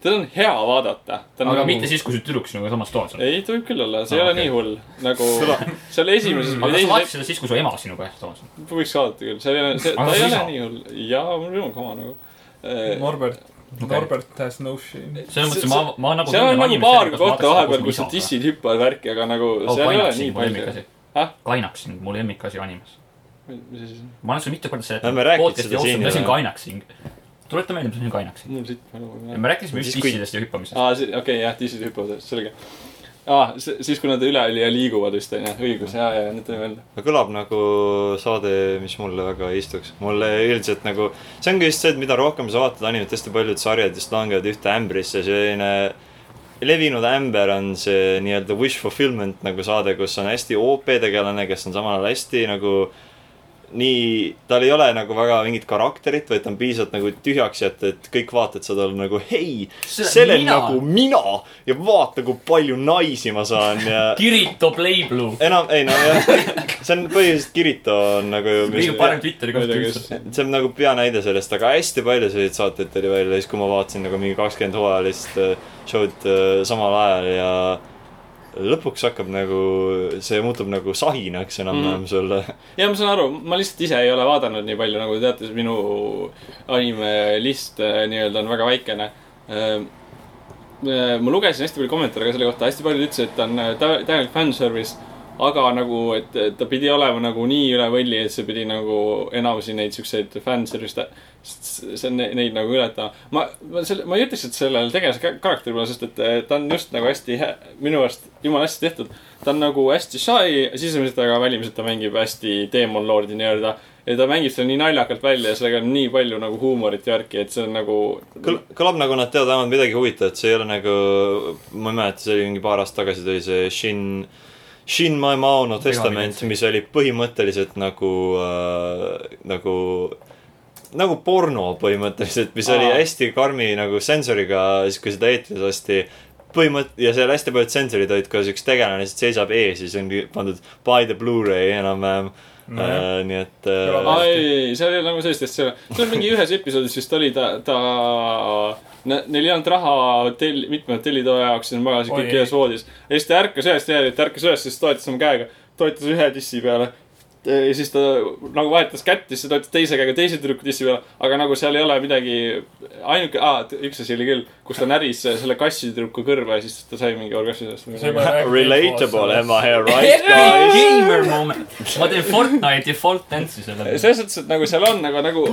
B: ta on hea vaadata .
C: aga mitte siis , kui see tüdruk sinuga samas toas on .
B: nagu- ei , ta võib küll olla , see ei
C: Aa,
B: ole
C: okei.
B: nii hull nagu , see oli esimeses või
C: aga kas sa
B: teises
C: vaatasid seda siis , kui su ema sinuga ühes toas on ?
B: võiks vaadata küll , see ei ole , see ,
C: Aga
B: ta ei
C: su
B: ole
C: isa?
B: nii hull . jaa , mul on kama nagu .
D: Norbert , Norbert has no shame .
C: selles mõttes
B: See-
C: ma , ma nagu .
B: seal on nagu paar kohta vahepeal , kus sa . dissid hüppavad värki , aga nagu
C: Oh,
B: seal ei ole nii palju . Ah?
C: Kainaksing , mu lemmikasi animes .
B: mis asi see on ?
C: ma olen sulle mitu korda
A: No me
C: seletanud
A: rääkisime
C: podcast'i
A: seda
C: jooksul ,
A: siin
C: mis on
A: juba.
C: kainaksing . tuleta meelde , mis on kainaksing .
B: mul siit palju ei
C: ja
B: ole .
C: me rääkisime just
A: Siis, kui-
C: dissidest ja hüppamisest .
B: aa , see , okei , jah , dissid hüppavad , selge . aa , siis kui nad üle oli ja liiguvad vist onju , õigus , jaa , jaa , nüüd tuli meelde .
A: ta kõlab nagu saade , mis mulle väga ei istuks . mulle üldiselt nagu , see ongi just see , et mida rohkem sa vaatad animet , hästi paljud sarjad just langevad ühte ämbrisse , selline levinud ämber on see nii-öelda wish fulfillment nagu saade , kus on hästi OP tegelane , kes on samal ajal hästi nagu nii , tal ei ole nagu väga mingit karakterit , vaid ta on piisavalt nagu tühjaks jätta , et kõik vaatavad seda on nagu hei ,
C: See olen
A: see olen
C: mina.
A: nagu mina ja vaata , kui palju naisi ma saan ja
C: Kirito Playblue .
A: enam , ei no jah , see on põhiliselt Kirito on nagu ju .
C: kõige parem Twitteri koht
B: Muidugi,
C: üldse .
A: see on nagu peanäide sellest , aga hästi palju selliseid saateid tuli välja , siis kui ma vaatasin nagu mingi kakskümmend hooajalist äh, show'd äh, samal ajal ja lõpuks hakkab nagu , see muutub nagu sahinaks
C: Mhm.
A: enam-vähem mm. sulle .
B: ja ma saan aru , ma lihtsalt ise ei ole vaadanud nii palju , nagu te teate , siis minu animelist äh, nii-öelda on väga väikene . Ehm, ma lugesin hästi palju kommentaare ka selle kohta , hästi paljud ütlesid , et ta on äh, tä- täielik fanservice . aga nagu , et et ta pidi olema nagu nii üle võlli , et see pidi nagu enamusi neid siukseid fanservice , see on ne- neid nagu ületama . ma , ma selle , ma ei ütleks , et sellel tegelase ka- karakteri peale , sest et äh, ta on just nagu hästi , minu arust jumala hästi tehtud ta on nagu hästi shy sisemiselt , aga välimiselt ta mängib hästi Demon Lordi nii-öelda . ja ta mängib seda nii naljakalt välja ja sellega on nii palju nagu huumorit ja värki , et see on nagu .
A: kõl- , kõlab nagu nad teavad ainult midagi huvitavat , see ei ole nagu , ma ei mäleta , see oli mingi paar aastat tagasi tuli see Shin , Shin Maimao no testament , mis oli põhimõtteliselt nagu äh, , nagu , nagu porno põhimõtteliselt , mis Aa. oli
B: Aa.
A: hästi karmi nagu sensoriga , siis kui seda eetris lasti põhimõtt- ja seal hästi paljud sensorid olid ka siukse tegelane lihtsalt seisab ees ja siis on pandud by the Blu-ray enam-vähem no, .
D: Nojah.
A: Äh, nii et
D: Kõlab
A: äh,
B: aa , ei , ei , ei , seal ei ole nagu sellist asja , seal on , seal on mingi ühes episoodis vist oli ta , ta , neil ei olnud raha hotell , mitme hotellitoa jaoks , siis nad magasid
D: Oi,
B: kõik
D: ei.
B: ühes voodis . ja siis ta ärkas ühest järgi , ta ärkas üles , siis toetas oma käega , toetas ühe dissi peale . ja siis ta nagu vahetas kätt , siis ta toetas teise käega teise tüdruku dissi peale , aga nagu seal ei ole midagi , ainuke , aa , üks asi oli küll , kus ta näris selle kassitüdruku kõrva ja siis ta sai mingi orgasmi sellest .
A: [laughs] relatable , am I right
C: [laughs]
A: guys ?
C: Gamer moment . ma teen Fortnite'i default dance'i selle peale .
B: selles mõttes , et nagu seal on , aga nagu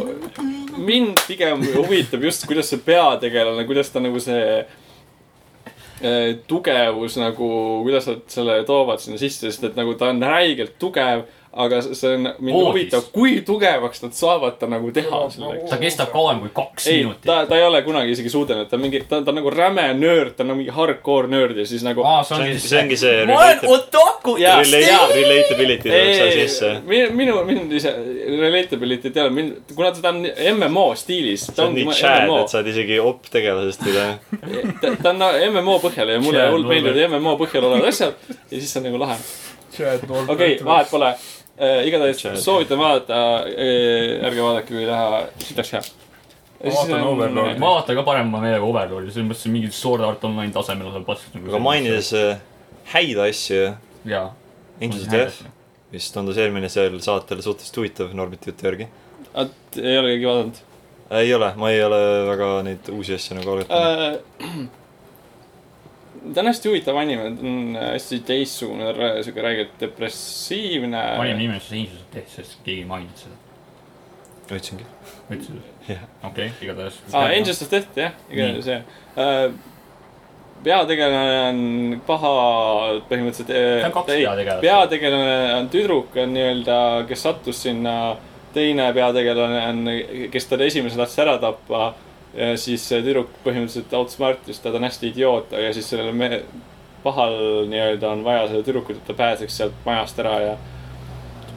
B: mind pigem huvitab just , kuidas see peategelane , kuidas ta nagu see eh, tugevus nagu , kuidas nad selle toovad sinna sisse , sest et nagu ta on räigelt tugev , aga s- see on , mind
C: Voodis.
B: huvitab , kui tugevaks nad saavad ta nagu teha selleks .
C: ta kestab kauem kui kaks
B: ei ,
C: minutit .
B: ta , ta ei ole kunagi isegi suudelnud , ta on mingi , ta on , ta on nagu räme nöörd , ta on nagu mingi hardcore nöörd ja siis nagu .
C: aa ,
A: see
C: see ongi
A: ongi , see ongi see
C: ma olen
A: relate-
C: otaku
B: Jaa.
C: teiste
A: relate- relatability tuleb seal
B: Ei,
A: sisse .
B: minu , minu , mind ise , relatability't ei ole , mind , kuna ta on MMO stiilis .
A: sa oled nii chad , et sa oled isegi op tegelasest üle .
B: ta, ta on nagu MMO põhjal ja mulle
C: Chad
B: hullult
C: Norbert.
B: meeldivad MMO põhjal olevad asjad ja siis see on nagu lahe .
D: okei
B: okei okay, , vahet pole äh, . igatahes
A: Chad.
B: soovitan vaadata äh, , ärge vaadake , kui ei taha , sitaks hea .
D: Ma vaatan Overlordi.
C: ma vaatan ka parema meelega Overlordi , selles mõttes see mingi Sword Art Online tasemel osa patsust .
A: aga . mainides äh, häid asju ,
C: nagu jaa .
A: Angels Death , mis tundus eelmine sel saatel suhteliselt huvitav Norbiti jutu järgi .
B: ei ole keegi vaadanud
A: ei ole , ma ei ole väga neid uusi asju nagu algatanud .
B: äh, . [clears throat] ta on hästi huvitav anime , ta on äh, hästi teistsugune , siuke räigelt depressiivne .
C: panime nimeks Angels of Death , sest keegi ei maininud seda .
A: otsingi .
C: ütlesid
A: Jah. ?
C: okei , igatahes .
B: aa , Ah, Angels of Death , jah , igatahes jah . peategelane on paha , põhimõtteliselt . äh,
C: ta on kaks peategelast .
B: peategelane on tüdruk , on nii-öelda , kes sattus sinna . teine peategelane on , kes teda esimesena tahtis ära tappa . siis see tüdruk põhimõtteliselt outsmartis ta , ta on hästi idioot , aga siis sellele me- , pahal nii-öelda on vaja seda tüdrukut , et ta pääseks sealt majast ära ja .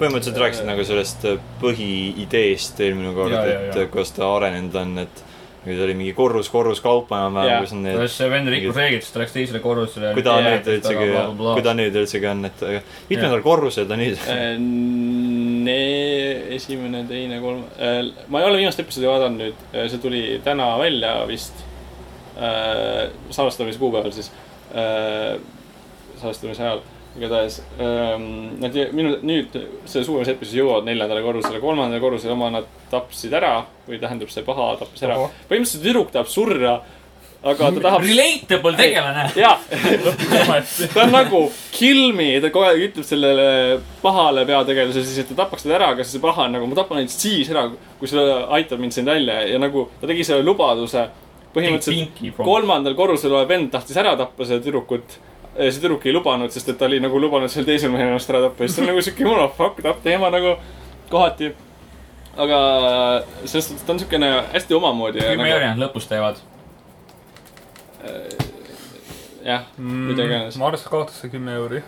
A: põhimõtteliselt rääkisid nagu sellest põhiideest eelmine kord ,
C: Jaa, jaa,
A: et äh,
C: jaa.
A: kuidas ta arenenud on , et nüüd oli mingi korrus , korrus kaupa
B: Jaa.
A: enam-vähem , kus on need
C: kuidas see vend rikkus reeglit , siis ta läks teisele korrusele .
A: kui ta
B: Jaa,
A: nüüd üldsegi , kui ta nüüd üldsegi on , et aga mitmendal korrusel ta nüüd [laughs]
B: Nee, Äh, esimene , teine , kolm , ma ei ole viimast episoodi vaadanud nüüd , see tuli täna välja vist . salvestamise kuupäeval siis , salvestamise ajal , igatahes . Nad jõ- minu nüüd selle suvemise episoodi jõuavad neljandale korrusele , kolmandale korrusele oma nad tapsid ära või tähendab , see paha tappis ära . põhimõtteliselt tüdruk tahab surra , aga
C: [laughs]
B: ta tahab .
C: Relatable tegelane . [laughs]
B: jaa ,
D: vaata .
B: ta on nagu kill me , ta kogu aeg ütleb sellele pahale peategelasele siis , et ta tapaks teda ära , aga siis see paha on nagu , ma tapan neid siis ära , kui see aitab mind siin välja ja nagu ta tegi selle lubaduse . põhimõtteliselt kolmandal korrusel olev vend tahtis ära tappa seda tüdrukut . see tüdruk ei lubanud , sest et ta oli nagu lubanud sel teisel mehel ennast ära tappa ja siis see on nagu siuke monofuck tap teema nagu kohati . aga selles suhtes ta on siukene hästi omamoodi . nagu,
C: kümme erinevat lõpus teevad .
B: äh, jah ,
D: Mm,
B: mida iganes .
D: Mars kaotas see kümme euri .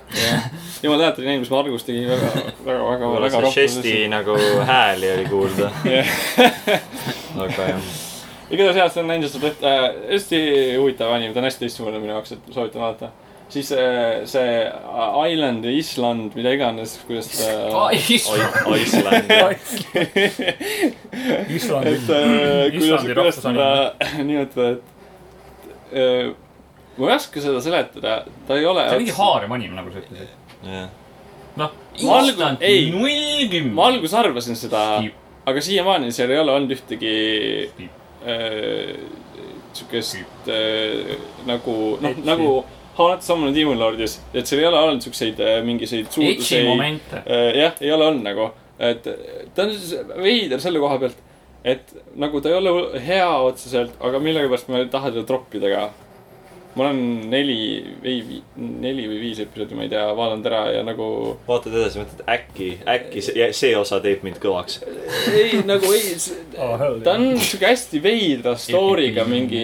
B: jumal tänatud , neid , mis Margus tegi väga , väga , väga , väga
A: see žesti nagu hääli oli kuulda ,
B: [laughs] Jah.
A: aga jah .
B: igatahes jah , see on Angels of Death äh, , hästi huvitav anim , ta on hästi teistsugune minu jaoks , et soovitan vaadata . siis äh, see Island ja Island , mida iganes , kuidas ta äh, .
A: Iceland ,
D: Islandil
B: [laughs] et äh, kuidas ,
D: Islandi
B: kuidas
D: rahvusanim .
B: ta [laughs] nimetada , et äh, ma ei oska seda seletada , ta ei ole .
C: see on mingi haarem anim , nagu sa ütlesid .
A: jah .
C: noh ,
B: Ma alg-
C: instant
B: ei.
C: nullkümm .
B: ma alguses arvasin seda , aga siiamaani seal ei ole olnud ühtegi
C: Tiip.
B: äh, siukest äh, nagu , noh , nagu Haunted Summon Demon Lordis , et seal ei ole olnud siukseid äh, mingisuguseid
C: etsi
B: suudluseid .
C: momente .
B: Äh, jah , ei ole olnud nagu , et ta on siis veider selle koha pealt , et nagu ta ei ole hea otseselt , aga millegipärast ma ei taha teda troppida ka . ma olen neli või vi- neli või viis episoodi , ma ei tea , vaadanud ära ja nagu
A: vaatad edasi , mõtled äkki , äkki see, see osa teeb mind kõvaks .
B: ei , nagu ei ,
D: Oh, hell
B: ta
D: yeah.
B: on siuke hästi veidra story'ga mingi ,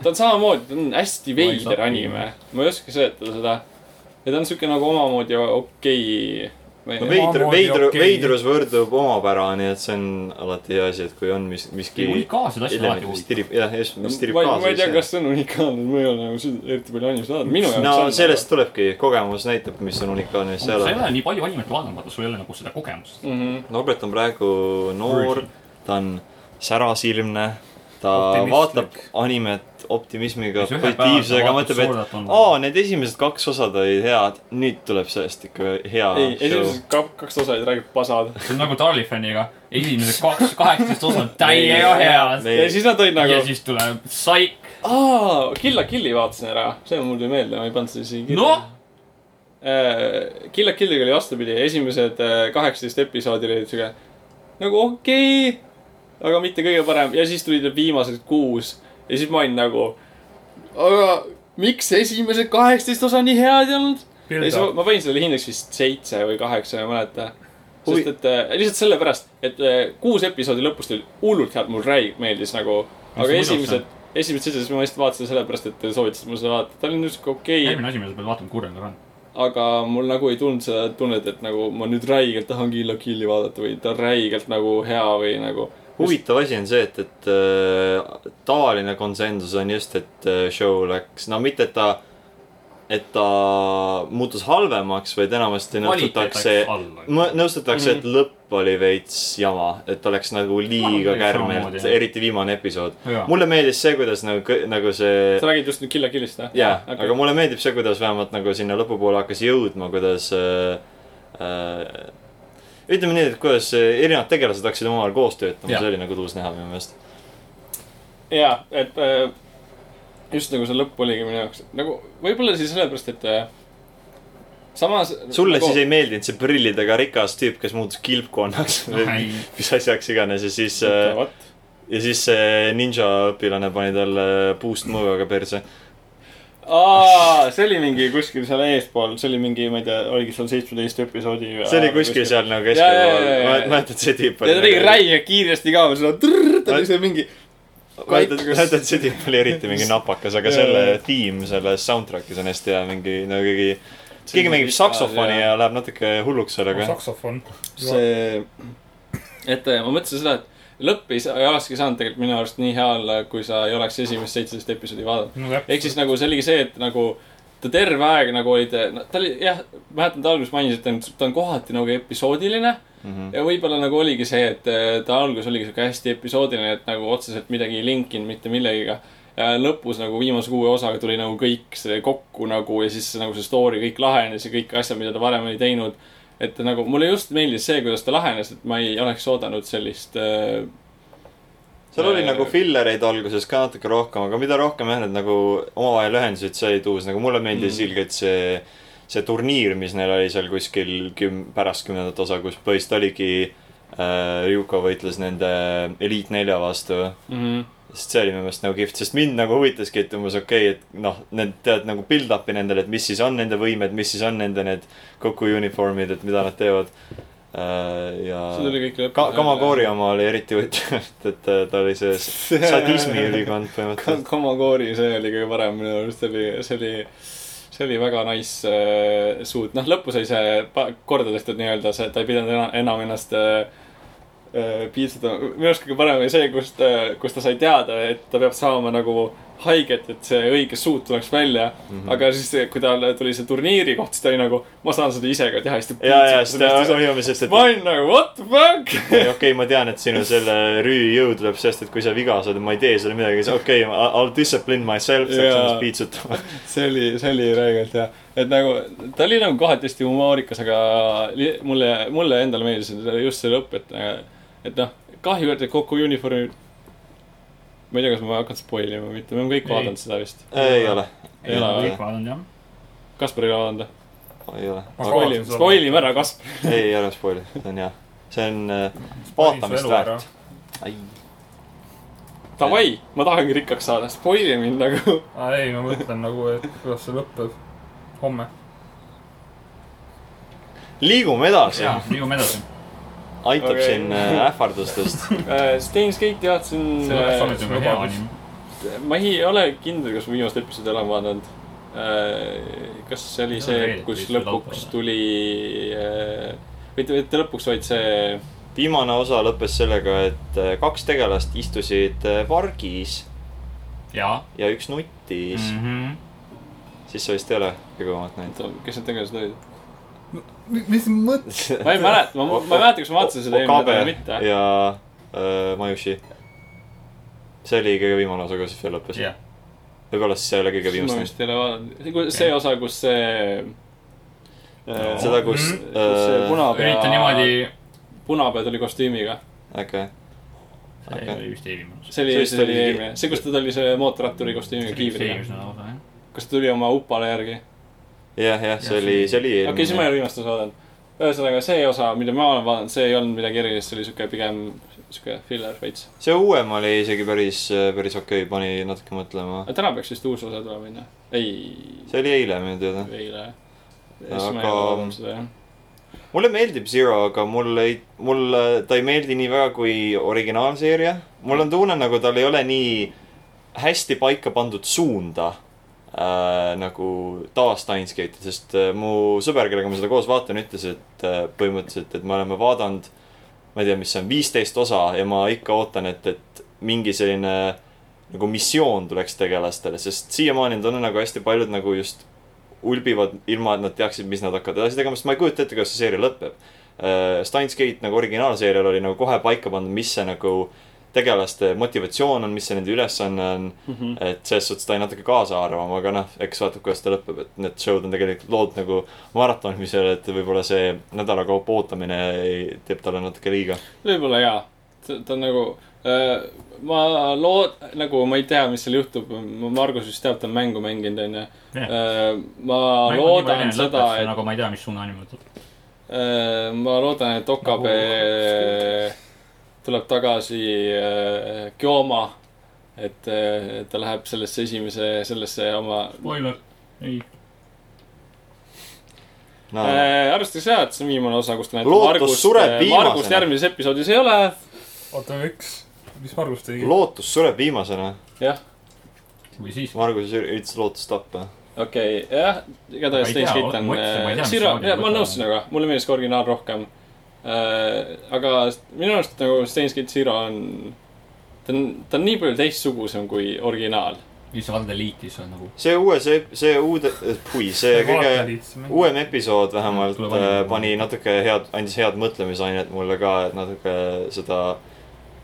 B: ta on samamoodi , ta on hästi
C: ei
B: veider
C: saa-
B: anime , ma ei oska seletada seda . ja ta on siuke nagu omamoodi
A: no
B: okei okay. .
A: veidru ,
D: Omamoodi
A: veidru
D: okei.
A: okay. , veidrus võrdub omapära , nii et see on alati hea asi , et kui on mis , miski .
C: unikaalsed asjad on alati
A: element , mis
C: huvitavad .
A: tirib , jah , just , mis tirib
B: ma ei , ma ei tea ,
A: kaasa .
B: kas see on unikaalne , ma ei ole nagu seda eriti palju animest vaadanud , minu jaoks
A: no sellest tulebki , kogemus näitab , mis on unikaalne , mis
C: sa
A: ei
C: ei
A: ole .
C: ole nii palju animet vaadanud , vaata , sul ei ole nagu seda kogemust .
B: mm . -hmm.
A: Norbert on praegu noor
C: Virgin. ,
A: ta on särasilmne , ta
D: Optimistlik.
A: vaatab animet optimismiga , positiivsusega , mõtleb , et aa , need esimesed kaks osa olid head , nüüd tuleb sellest ikka hea
B: ei ,
A: show .
B: esimesed ka- kaks osa olid räägib pasad .
C: see on nagu Tarlifaniga , esimesed
A: [laughs]
C: kaks , kaheksateist osa on täiega head .
A: Ei.
B: ja siis nad olid nagu
C: ja , siis tuleb Saik ,
B: aa , Kill la Killi vaatasin ära , see mul tuli meelde , ma ei pannud seda isegi kirja
C: noh ,
B: Kill la Äh, Killiga oli vastupidi , esimesed äh, kaheksateist episoodi olid siuke nagu okei okay, , aga mitte kõige parem ja siis tulid need viimased kuus ja siis ma olin nagu , aga miks esimesed kaheksateist osa nii head ei olnud ? ja siis ma, ma panin sellele hindeks vist seitse või kaheksa , ma ei mäleta .
A: Huvi-
B: sest et äh, lihtsalt sellepärast , et äh, kuus episoodi lõpus tuli hullult head , mul räig meeldis nagu , aga
C: muidugi.
B: esimesed , esimesed seitse , siis ma lihtsalt vaatasin sellepärast , et te soovitasite mul seda vaadata , ta oli niisugune okei okay, .
C: järgmine asi , mida sa pead vaatama , kurjandab on .
B: aga mul nagu ei tulnud seda tunnet , et nagu ma nüüd räigelt tahan Kill la Killi vaadata või ta on räigelt nagu hea või nagu .
A: huvitav asi on see , et , et äh, tavaline konsensus on just , et äh, show läks , no mitte , et ta , et ta muutus halvemaks , vaid enamasti nõustutakse , nõustutakse ,
C: Mhm.
A: et lõpp oli veits jama , et ta läks nagu liiga
C: Arvan, et
A: kärmelt
C: samamoodi, , jah.
A: eriti viimane episood .
C: Jaa.
A: mulle meeldis see , kuidas nagu , nagu see
B: sa räägid just nüüd Kill la Killist või ?
A: jaa ,
B: Okei.
A: aga mulle meeldib see , kuidas vähemalt nagu sinna lõpupoole hakkas jõudma , kuidas äh, äh, ütleme nii , et kuidas äh, erinevad tegelased hakkasid omavahel koos töötama ,
C: Jah.
A: see oli nagu tuus näha minu meelest .
B: jaa , et äh, just nagu see lõpp oligi minu jaoks nagu võib-olla siis sellepärast , et äh, samas .
A: sulle nagu... siis ei meeldinud see prillidega rikas tüüp , kes muutus kilpkonnaks või
C: ei.
A: mis asjaks iganes ja siis äh, ,
B: vot ,
A: ja siis see ninja õpilane pani talle puust mõõgaga perse .
B: aa , see oli mingi kuskil seal eespool , see oli mingi , ma ei tea , oligi seal seitsmeteist episoodi . äh,
A: see oli kuskil . seal nagu
B: Jaa, jaa, jaa, jaa,
A: keskel
B: jaa. ,
A: mäletad see nagu- tüüp
B: ja ta tegi räige kiiresti ka , seal trrrr , ta oli seal mingi .
A: mäletad , mäletad , see tüüp oli eriti mingi napakas , aga [laughs]
B: Jaa.
A: selle tiim selles soundtrack'is on hästi hea mingi , no keegi , keegi mängib saksofoni ja läheb natuke hulluks sellega .
D: saksofon .
B: see , et äh, ma mõtlesin seda , et lõpp ei saa , ei olekski saanud tegelikult minu arust nii hea olla , kui sa ei oleks esimest seitseteist episoodi vaadanud . ehk siis nagu see oligi see , et nagu ta terve aeg nagu oli , ta oli jah , mäletan , ta alguses mainis , et ta on- ta on kohati nagu episoodiline
A: Mhm.
B: ja võib-olla nagu oligi see , et äh, ta alguses oligi sihuke hästi episoodiline , et nagu otseselt midagi ei linkinud mitte millegagi . lõpus nagu viimase kuue osaga tuli nagu kõik see kokku nagu ja siis nagu see story kõik lahenes ja kõik asjad , mida ta varem oli teinud . et nagu mulle just meeldis see , kuidas ta lahenes , et ma ei oleks oodanud sellist äh,
A: seal oli nagu fillereid alguses ka natuke rohkem , aga mida rohkem jah , need nagu omavahel ühendasid , see oli tuus , nagu mulle meeldis
B: Mm.
A: ilgelt see , see turniir , mis neil oli seal kuskil küm- , pärast kümnendat osa , kus põhiliselt oligi äh, Ryuko võitles nende Elite nelja vastu
B: mm .
A: Mhm.
B: -hmm.
A: sest see oli minu meelest nagu kihvt , sest mind nagu huvitaski , et umbes okei okay, , et noh , need tead nagu build-up'i nendele , et mis siis on nende võimed , mis siis on nende need kokku uniformid , et mida nad teevad . ja
B: see tuli kõik
A: ka Kamagoori . oma oli eriti huvitav , [laughs] et , et äh, ta oli see
B: [laughs]
A: sadismi ülikond põhimõtteliselt .
B: Kamagoori , see oli kõige parem minu arust , see oli , see oli , see oli väga nice äh, suut , noh , lõpus oli see pa- korda tehtud nii-öelda see , ta ei pidanud enam, enam ennast äh, äh, piitseda , minu arust kõige parem oli see , kus ta , kus ta sai teada , et ta peab saama nagu haiget , et see õige suut tuleks välja mm . -hmm. aga siis , kui tal tuli see turniiri koht , siis ta oli nagu , ma saan seda ise ka teha , siis ta
A: ja , ja , sest ta oli umbes , sest et
B: ma
A: okei
B: olin nagu what the
A: [laughs]
B: fuck .
A: okay, , ma tean , et sinu selle rüü jõud tuleb sellest , et kui sa viga saad ja ma ei tee sulle midagi , siis okei okay, , I will discipline myself , saaks
B: Jaa.
A: ennast piitsutama .
B: see oli , see oli räigelt hea , et nagu ta oli nagu kohati hästi humoorikas , aga li- mulle , mulle endale meeldis et just see lõpp , et , et noh , kahju , et kokku uniformi . ma ei tea , kas ma hakkan spoil ima või mitte , me oleme kõik
C: Ei.
B: vaadanud seda vist .
A: ei ole ,
B: Ei ole või?
C: kõik vaadanud jah .
B: Kaspar ei ole vaadanud või ?
A: ei ole .
D: Ma
B: spoil
D: kavatsen
B: ime ,
D: seda
B: spoil ime ära , Kaspar .
A: ei , ei ole spoil , see on hea . see on äh, vaatamist väärt . ai ,
B: davai , ma tahangi rikkaks saada , spoil'i mind nagu .
D: aa ei , ma mõtlen nagu , et kuidas see lõpeb homme .
A: liigume edasi ,
C: jaa , liigume edasi .
A: aitab
B: Okei.
A: okay. siin äh, ähvardustest .
B: Steins Gate jah , see
C: see oleks olnud
B: on
C: juba hea . anim .
B: ma ei ole kindel , kas ma viimast episoodi olen vaadanud . kas see oli
C: See on
B: see ,
C: reedeti
B: kus
C: vist
B: lõpuks
C: laupäeval.
B: tuli , mitte , mitte lõpuks , vaid see ,
A: viimane osa lõppes sellega , et äh, kaks tegelast istusid äh, pargis
C: jaa . Mhm.
A: ja üks nuttis mm. . siis sa vist ei ole kõigepealt näinud .
B: kes need tegelased olid ?
D: mis mõttes ?
B: [laughs] ma ei mäleta , ma , ma ei mäleta , kas ma vaatasin seda eelmine nädal või mitte .
A: ja äh, Majushi . see oli kõige viimane osa , kuidas see lõppes
C: jah
A: yeah. .. võib-olla siis see ei ole kõige
B: ma
A: viimast näinud .
B: vist ei ole vaadanud . see osa , kus see .
A: Äh, seda , kus
D: Mhm.
B: kus see
A: äh, ,
B: punapea .
C: ürita niimoodi .
B: punapea tuli kostüümiga .
A: äkki
C: see oli vist eelmine osa .
B: see
A: See
B: oli ,
A: vist
B: see oli
A: oli-
B: eelmine , see , kus ta tuli see mootorratturi kostüümiga kiivriga .
C: eelmine nagu osa jah .
B: kas ta tuli oma upale järgi ?
A: jah , jah ,
C: Jah,
A: see oli , see oli
B: okei okay, , siis ma ei ole viimast osa vaadanud . ühesõnaga see osa , mida ma olen vaadanud , see ei olnud midagi erilist , see oli siuke pigem siuke filler veits .
A: see uuem oli isegi päris , päris okei okay, , pani natuke mõtlema .
B: aga täna peaks vist uus osa tulema , onju ? ei ,
A: see oli eile minu teada .
B: eile . siis ma ei ole vaadanud
A: aga
B: seda jah .
A: mulle meeldib Zero , aga mulle ei , mulle ta ei meeldi nii väga kui originaalseeria . mul on tunne , nagu tal ei ole nii hästi paika pandud suunda äh, nagu taas Steinsgate'il , sest äh, mu sõber , kellega ma seda koos vaatan , ütles , et äh, põhimõtteliselt , et me oleme vaadanud , ma ei tea , mis see on , viisteist osa ja ma ikka ootan , et , et mingi selline nagu missioon tuleks tegelastele , sest siiamaani on tunne nagu hästi paljud nagu just ulbivad ilma , et nad teaksid , mis nad hakkavad edasi tegema , sest ma ei kujuta ette , kuidas see seeria lõpeb . Steins Gate nagu originaalseerial oli nagu kohe paika pandud , mis see nagu tegelaste motivatsioon on , mis see nende ülesanne on . et selles suhtes ta jäi natuke kaasa arvama , aga noh , eks vaatab , kuidas ta lõpeb , et need show'd on tegelikult lood nagu maratonimisel , et võib-olla see nädala kaupa ootamine ei- teeb talle natuke liiga .
B: võib-olla jaa , ta on nagu äh, , ma lood- , nagu ma ei tea , mis seal juhtub , Margus vist teab , ta on mängu mänginud , onju . ma loodan seda , et
C: nagu ma ei tea , mis suuna anim võtab .
B: äh, ma loodan , et Okabe
C: Nagu
B: äh, tuleb tagasi äh, Kioma , et äh, ta läheb sellesse esimese , sellesse oma
C: Spoiler . ei .
A: no
B: äh, arvestades seda , et see on viimane osa , kus ta näitab
A: Lootus
B: Margust ,
A: sureb
B: Margust
A: viimasena.
B: järgmises episoodis ei ole ,
D: oota , miks ? mis Margus tegi ?
A: lootus sureb viimasena .
B: jah
C: või siis .
A: Margus üritas lootust tappa .
B: okei okay, , jah , igatahes
C: Ma ei tea,
B: Steins Gate on
C: ma ütlesin, ma ei
B: äh,
C: tea, mis
B: Zero ,
C: saadi
B: ma olen
C: võtta.
B: nõus sinuga , mulle meeldis ka originaal rohkem äh, . aga minu arust nagu Steins Gate Zero on , ta on , ta on nii palju teistsugusem kui originaal .
C: mis valde liiki see on nagu .
A: see uue , see , see uude , kui see kõige uuem episood vähemalt
C: Tuleb
A: äh,
C: ainult-
A: pani natuke head , andis head mõtlemisainet mulle ka , et natuke seda ,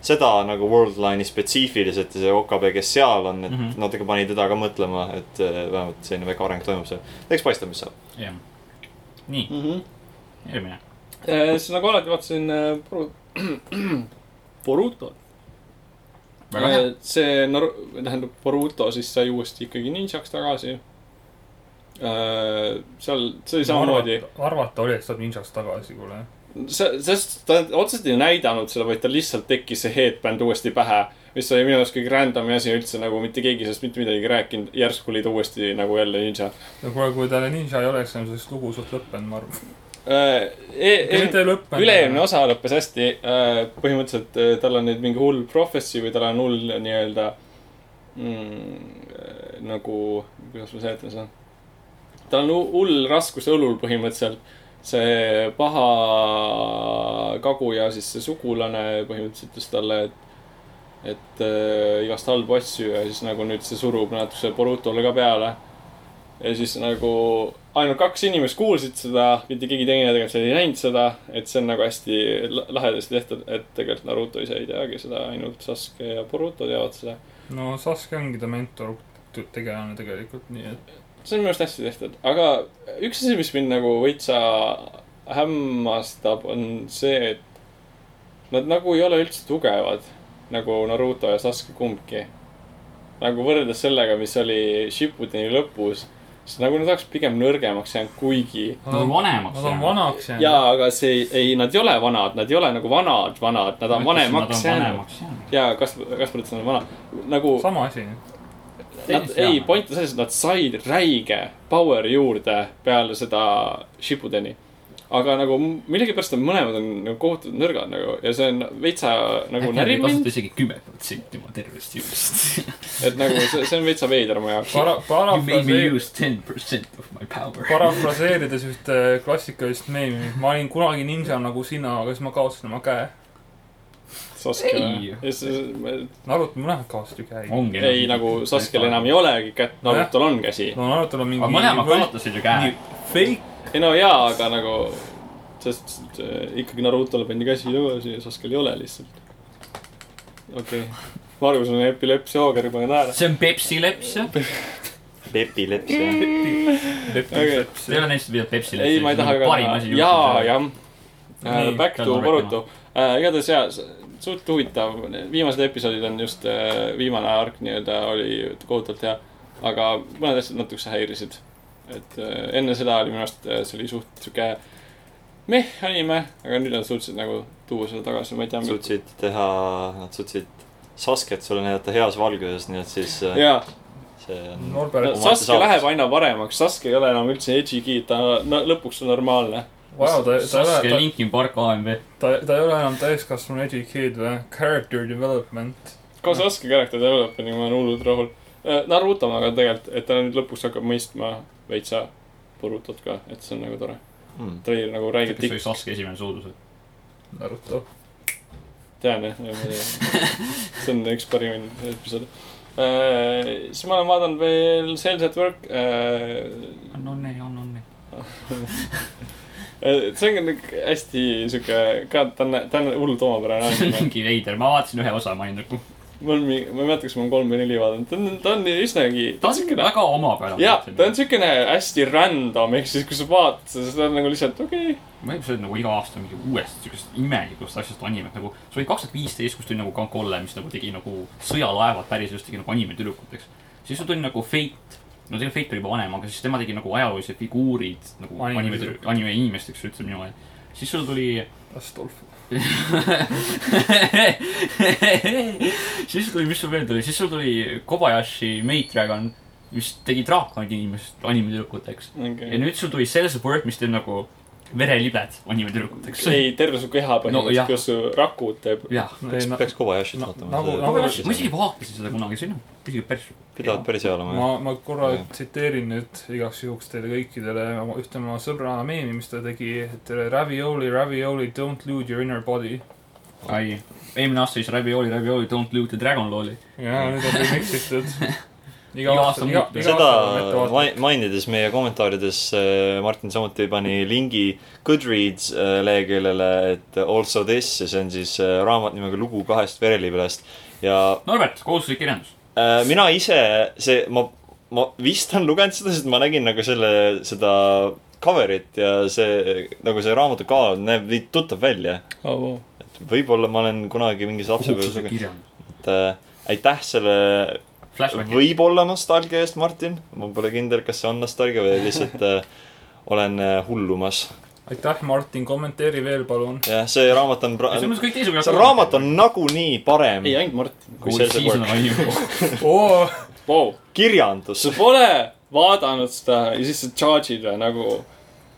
A: seda nagu Worldline'i spetsiifiliselt ja see OKB , kes seal on , et mm
C: Mhm.
A: -hmm. natuke pani teda ka mõtlema , et äh, vähemalt selline väike areng toimub seal . eks paista , mis saab .
C: jah . nii ,
B: mm . -hmm.
C: järgmine .
B: siis nagu alati vaatasin äh, Boru- , [clears throat] Borutot .
C: väga hea .
B: Äh, see Nor- , tähendab Boruto siis sai uuesti ikkagi ninjaks tagasi . seal , see oli samamoodi ..
D: arvata oli , et saab ninjast tagasi , kuule .
B: see , sest ta otseselt ei näidanud seda , vaid tal lihtsalt tekkis see headband uuesti pähe . mis oli minu arust kõige random'i asi üldse nagu mitte keegi sellest mitte midagi ei rääkinud , järsku oli ta uuesti nagu jälle ninja .
D: no kuule , kui tal ninja ei oleks , siis oleks lugu suht lõppenud , ma arvan .
B: üle-eelmine
D: mitte lõppenud .
B: osa lõppes hästi , põhimõtteliselt eh, tal on nüüd mingi hull prophecy või tal on hull nii-öelda mm, eh, nagu , kuidas ma seletan seda . tal on hu- hull raskuse õlul põhimõtteliselt see paha kaguja , siis see sugulane põhimõtteliselt ütles talle , et et äh, igast halbu asju ja siis nagu nüüd see surub natukese Borutole ka peale . ja siis nagu ainult kaks inimest kuulsid seda , mitte keegi teine tegelikult ei näinud seda , et see on nagu hästi la- lahedasti tehtud , et tegelikult Naruto ise ei teagi seda , ainult Sasuke ja Boruto teavad seda .
D: no Sasuke ongi ta mentor t- tegelane tegelikult , nii et
B: see on minu arust hästi tehtud , aga üks asi , mis mind nagu veitsa hämmastab , on see , et nad nagu ei ole üldse tugevad , nagu Naruto ja Sasuke kumbki . nagu võrreldes sellega , mis oli Shippudeni lõpus , siis nagu nad oleks pigem nõrgemaks jäänud , kuigi .
C: Nad on vanemaks
D: Nad on
C: jäänud .
D: vanaks jäänud .
B: jaa , aga see ei, ei , nad ei ole vanad , nad ei ole nagu vanad , vanad , nad on vanemaks jäänud .
C: jäänud .
B: jaa , kas , kas ma ütlesin , et nad on vanad ? nagu
D: sama asi .
B: Nad , ei , point on selles , et nad said räige power'i juurde peale seda Shippudeni . aga nagu m- millegipärast nad mõlemad on nagu kohutavalt nõrgad nagu ja see on veitsa nagu närib mind ,
C: kasuta isegi kümme protsenti oma tervest jõust .
B: et nagu see , see on veitsa veider mu jaoks .
D: para- ,
C: You made me
D: parafraseerides
C: use ten percent of my power .
D: parafraseerides ühte klassikalist meemi , ma olin kunagi ninja nagu sina , aga siis ma kaotasin oma käe .
B: Saskele
C: Ei.
B: ja siis
D: Naruto , mõlemad kaotasid käe .
C: ongi .
B: ei nagu Saskele enam ei olegi kätt , Narutal on käsi .
D: no Naruto on mingi .
C: aga mõlemad kaotasid ju käe .
D: fake .
B: Äh. ei no jaa , aga nagu , sest äh, ikkagi Narutole pandi käsi tagasi ja Saskel ei ole lihtsalt . okei okay. , Margus on epilepsia ooger , pange tähele .
C: see on Pepsi leps , jah ?
A: Pepi leps ja
C: Mm.
B: Okei.
C: ei ole neist pidanud Pepsi leps .
B: ei , ma ei taha ka
C: parim , asi .
B: jaa ,. jah .
D: Nii,
B: Back
C: pean
B: to
C: korraldama.
B: Boruto . igatahes jaa , suht huvitav , viimased episoodid on just , viimane arg nii-öelda oli kohutavalt hea . aga mõned asjad natukese häirisid . et äh, enne seda oli minu arust , see oli suht sihuke meh anime , aga nüüd nad suutsid nagu tuua selle tagasi , ma ei tea .
A: suutsid teha , nad suutsid Sasket sulle näidata heas valguses , nii et siis äh,
B: jaa ,
A: see on .
D: Norbert
A: No-
B: Saske
A: saavutus.
B: läheb aina paremaks , Saske ei ole enam üldse edgy , ta no, lõpuks on normaalne .
D: vau , ta , ta ei
C: Saske
D: ole ,
C: Linkin Park AMV .
D: ta , ta ei ole enam täiskasvanu edgy kid või ? Character development .
B: koos Aske character development'iga ma olen hullult rahul . Naruto ma ka tegelikult , et ta nüüd lõpuks hakkab mõistma veitsa Borutot ka , et see on nagu tore .
A: Hmm.
B: treiler nagu räägib
C: kas see oli
B: tikk ,
C: Saske esimene suudus ?
D: Naruto .
B: tean jah , [laughs] see on üks parimaid episoode . siis ma olen vaadanud veel Sales at Work . äh,
C: on onne , on onne .
B: see on nagu hästi sihuke , ka ta on , ta on hullult omapärane
C: [laughs] see on [laughs]
B: anime .
C: mingi veider , ma vaatasin ühe osa , ma olin nagu .
B: mul on mingi , ma ei mäleta , kas ma olen kolm või neli vaadanud , ta on , ta on üsnagi .
C: ta on väga omapärane .
B: jaa , ta on siukene hästi random , ehk siis kui sa vaatad seda , siis ta on nagu lihtsalt okei okay. .
C: ma ei tea , see on nagu iga aasta mingi uuest siukest imelikust asjast animet nagu . see oli kaks tuhat viisteist , kus tuli nagu Kankolle , mis nagu tegi nagu sõjalaevad päris just tegi nagu animetüdrukuteks . siis tuli nagu Fate , no tegelikult Fate oli juba vanem , aga siis tema tegi nagu ajaloolised figuurid nagu
D: Anime-
C: animetüdru- , animeinimesteks üldse minu ajal . siis sul tuli
D: Astolfo .
C: [laughs] siis tuli , mis sul veel tuli , siis sul tuli Kobayashi Maid Dragon , mis tegi draakoni inimest animetüdrukuteks . ja
B: Okay.
C: nüüd sul tuli Cells of Work , mis teeb nagu verelibed animetüdrukuteks .
B: ei , terve su keha põhimõtteliselt
C: jah.
B: no, , kuidas su rakud teeb .
C: jah .
D: ei ,
A: peaks Kobayashit
D: na-
A: vaatama
D: nagu-
A: see-
D: nagu-
C: ma isegi vaatasin seda kunagi , see on isegi päris .
A: pidavad päris hea olema jah .
D: ma , ma korra
A: Jah.
D: tsiteerin nüüd igaks juhuks teile kõikidele oma- ühte oma sõbra meemi , mis ta tegi , et äh, ravioli , ravioli , don't lose your inner body .
C: ai , eelmine aasta siis Ravioli , Ravioli , Don't loot the dragon lolli .
D: ja nüüd on remix
C: [laughs]
D: itud . iga
C: Iga
D: aasta
C: aasta ,
D: iga ,
C: muutub.
D: iga
A: seda
D: aasta on
A: mai- mainides meie kommentaarides äh, Martin samuti pani lingi Goodreads äh, leheküljele , et also this ja see on siis äh, raamat nimega Lugu kahest verelibelast ja
C: Norbert , kohustuslik kirjandus .
A: äh, mina ise , see , ma , ma vist olen lugenud seda , sest ma nägin nagu selle , seda cover'it ja see , nagu see raamatu kaal näeb nii tuttav välja .
B: Oh,
A: et võib-olla ma olen kunagi mingis lapsepõlves
C: kohustuslik
A: lugenud , et
C: kirjandus .
A: äh, aitäh selle
C: Flashback .
A: võib-olla nostalgia eest , Martin . ma pole kindel , kas see on nostalgia või lihtsalt äh, olen äh, hullumas .
D: aitäh , Martin , kommenteeri veel , palun .
A: jah , see raamat on pra- ,
C: selles mõttes kõik teised .
A: see raamat on nagunii parem
B: ei , ainult Martin .
A: kui see , see work .
D: oo ,
B: Wow.
A: kirjandus [laughs]
B: sa . pole vaadanud seda ja siis sa charge'id või nagu ,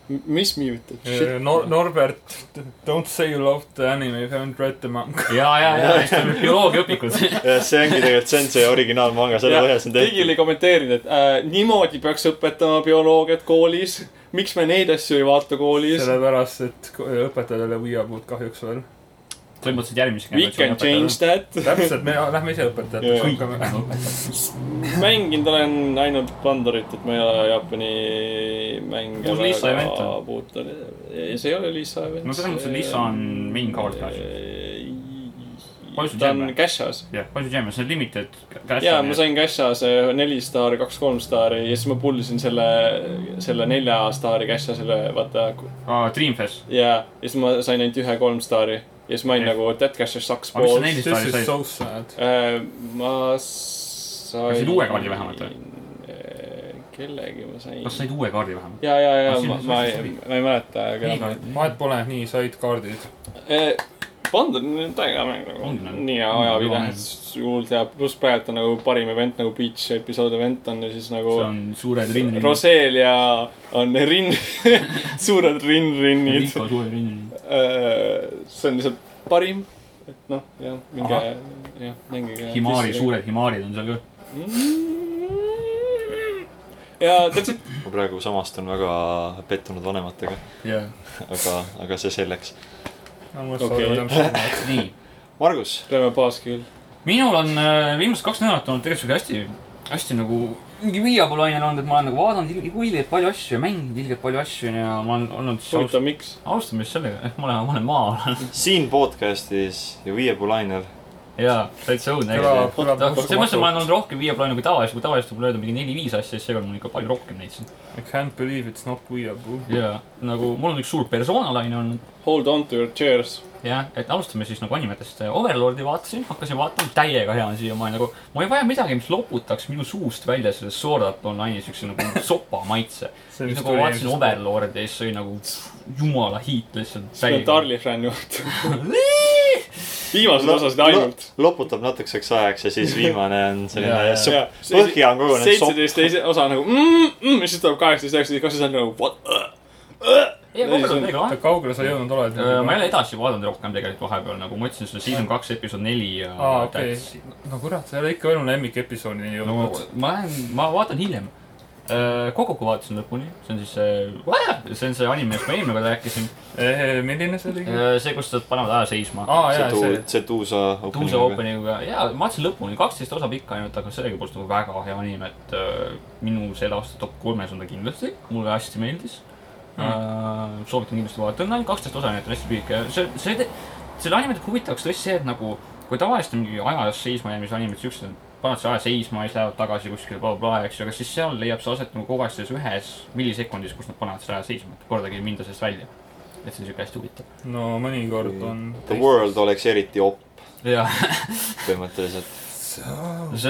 B: mis miivitab ?
D: eh, Nor- , Norbert , don't say you love the anime if you haven't read the manga .
C: ja , ja , ja , siis tuleb bioloogiaõpikud . [laughs]
A: see ongi tegelikult , see on see originaalmanga , selle põhjal see on
B: kõigil
A: tehtud .
B: ei kommenteerinud , et äh, niimoodi peaks õpetama bioloogiat koolis . miks me neid asju ei vaata koolis ?
D: sellepärast , et ko- õpetajad ei ole viiabud kahjuks veel .
C: põhimõtteliselt järgmise
B: We can change . that .
D: täpselt , me lähme ise õpetajateks
B: Jaa.
D: hakkame .
B: mänginud olen ainult Pandorit , et ma ei ole Jaapani mänge
C: Uus Liisa event on.
B: puutunud . see ei ole Liisa event .
C: no selles mõttes , et Lisa on main card ka . Palju sul
B: ta
C: jam'i
B: on
C: on?
B: Cashas .
C: jah , Bungie Jam , see on limited .
B: jaa , ma . sain Cashas eh, neli staari , kaks kolm staari ja siis ma pullisin selle , selle nelja staari Cashasele , vaata .
C: Dreamfest .
B: ja , ja siis ma sain ainult ühe kolm staari ja siis ma olin
C: Jah.
B: nagu , that Cashas sucks
C: Aga mis sa
B: balls .
C: neil-
D: This is so sad .
B: Äh, ma sain .
C: Läksid uue kaardi vähemalt või? ?
B: Äh, kellegi ma sain .
C: kas said uue kaardi vähemalt ?
B: ja , ja , ja
C: Ah, siin
B: ma ,
C: on
B: ma
C: see
B: ei
C: vastupidi. ,
B: ma ei mäleta , aga
C: Nii, .
D: vahet pole , nii said kaardid .
B: Bond on nüüd täiega mäng nagu
C: On, on.
B: nii hea
C: On,
B: ajapide
C: on. ,
B: juhul teab , pluss praegu on nagu parim event nagu Beach episood event on ja siis nagu
C: see on suured rinni .
B: Roselia on rinn , [laughs] suured rinn-rinnid .
C: Linko suure rinni .
B: see on lihtsalt parim , et noh , jah , minge
C: Ahah. ,
B: jah , mängige .
C: Himari ,. suured himaarid on seal ka .
B: ja täpselt ,
A: ma praegu samastun väga pettunud vanematega ,
C: jah .
A: aga , aga see selleks .
B: Okei.
C: [laughs]
D: okei .
C: nii ,
A: Margus ,
B: lööme paaski küll .
C: minul on äh, viimased kaks nädalat olnud tegelikult sihuke hästi , hästi nagu mingi viiapolaine olnud , et ma olen nagu vaadanud il- nagu ilgelt palju asju ja mänginud ilgelt palju asju ja ma olen olnud siis alust-
B: huvitav , miks ?
C: alustame just sellega , ehk ma olen , ma olen
B: [laughs]
C: maa-alal
A: siin podcast'is ja Viie Pulainer .
C: jaa , täitsa õudne . Noh, selles
D: Kõlab- kõlab
C: mõttes ma
D: uskumatult.
C: olen olnud rohkem viieplaane kui tavaliselt , kui tavaliselt mul öeldi mingi neli-viis asja , siis seekord mul ikka palju rohkem neid siin .
D: I can't believe it's not viable .
C: jaa , nagu mul on üks suur persoonalaine olnud .
B: Hold on to your chairs .
C: jah , et alustame siis nagu animetest . Overlordi vaatasin , hakkasin vaatama , täiega hea on siiamaani nagu , ma ei vaja midagi , mis loputaks minu suust välja selle Sword Art Online'i siukse nagu sopa maitse .
D: [laughs] see
C: siis nagu vaatasin . Overlordi ja siis oli nagu jumala hiit lihtsalt .
B: see on Darli fänn juht .
C: [laughs]
B: viimased osasid ainult .
A: loputab natukeseks ajaks ja
C: [laughs]
A: siis viimane on
C: Jaa, jaa.
A: selline sopp , põhja on kogunenud sopp .
B: seitseteist teise osa nagu mm, mm, ja siis tuleb kaheksateist , üheksateist , kaksteist on nagu what uh, .
C: ei , Overlord oli ka
D: oota , kaugele sa jõudnud oled ?
C: Äh, ma ei ole edasi vaadanud rohkem tegelikult vahepeal , nagu ma ütlesin , see season kaks episood neli ja
D: Aa, okei.
C: that's it.
D: no kurat , sa ei ole ikka veel mu lemmikepisoodini
C: no
D: jõudnud .
C: ma lähen , ma vaatan hiljem . Koguku vaatasin lõpuni , see on siis see , see on see anime , millest ma eelmine kord rääkisin .
D: Eh, milline see oli ?
C: see , kus nad panevad aja seisma .
D: aa ,
A: see
D: jaa ,
A: tuu-
D: see .,
A: see Tuusa
C: Tuusa . opening'uga ja ma vaatasin lõpuni , kaksteist osa pikk ainult , aga sellegipoolest nagu väga hea anime , et äh, minu selle aasta top kolmes on ta kindlasti , mulle hästi meeldis mm. . Äh, soovitan kindlasti vaadata , on ainult kaksteist osa , nii et on hästi lühike , see , see , selle animet huvitavaks tõesti see , et nagu kui tavaliselt on mingi ajas seisma jäämise animed siuksed , paned selle aja seisma ja siis lähevad tagasi kuskile blablabla , eks ju , aga siis seal leiab see aset nagu kogu aeg selles ühes millisekundis , kus nad panevad selle aja seisma , et kordagi ei minda sellest välja . et see on siuke hästi huvitav .
D: no mõnikord on .
A: The World oleks eriti op
C: jaa .
A: põhimõtteliselt .
C: see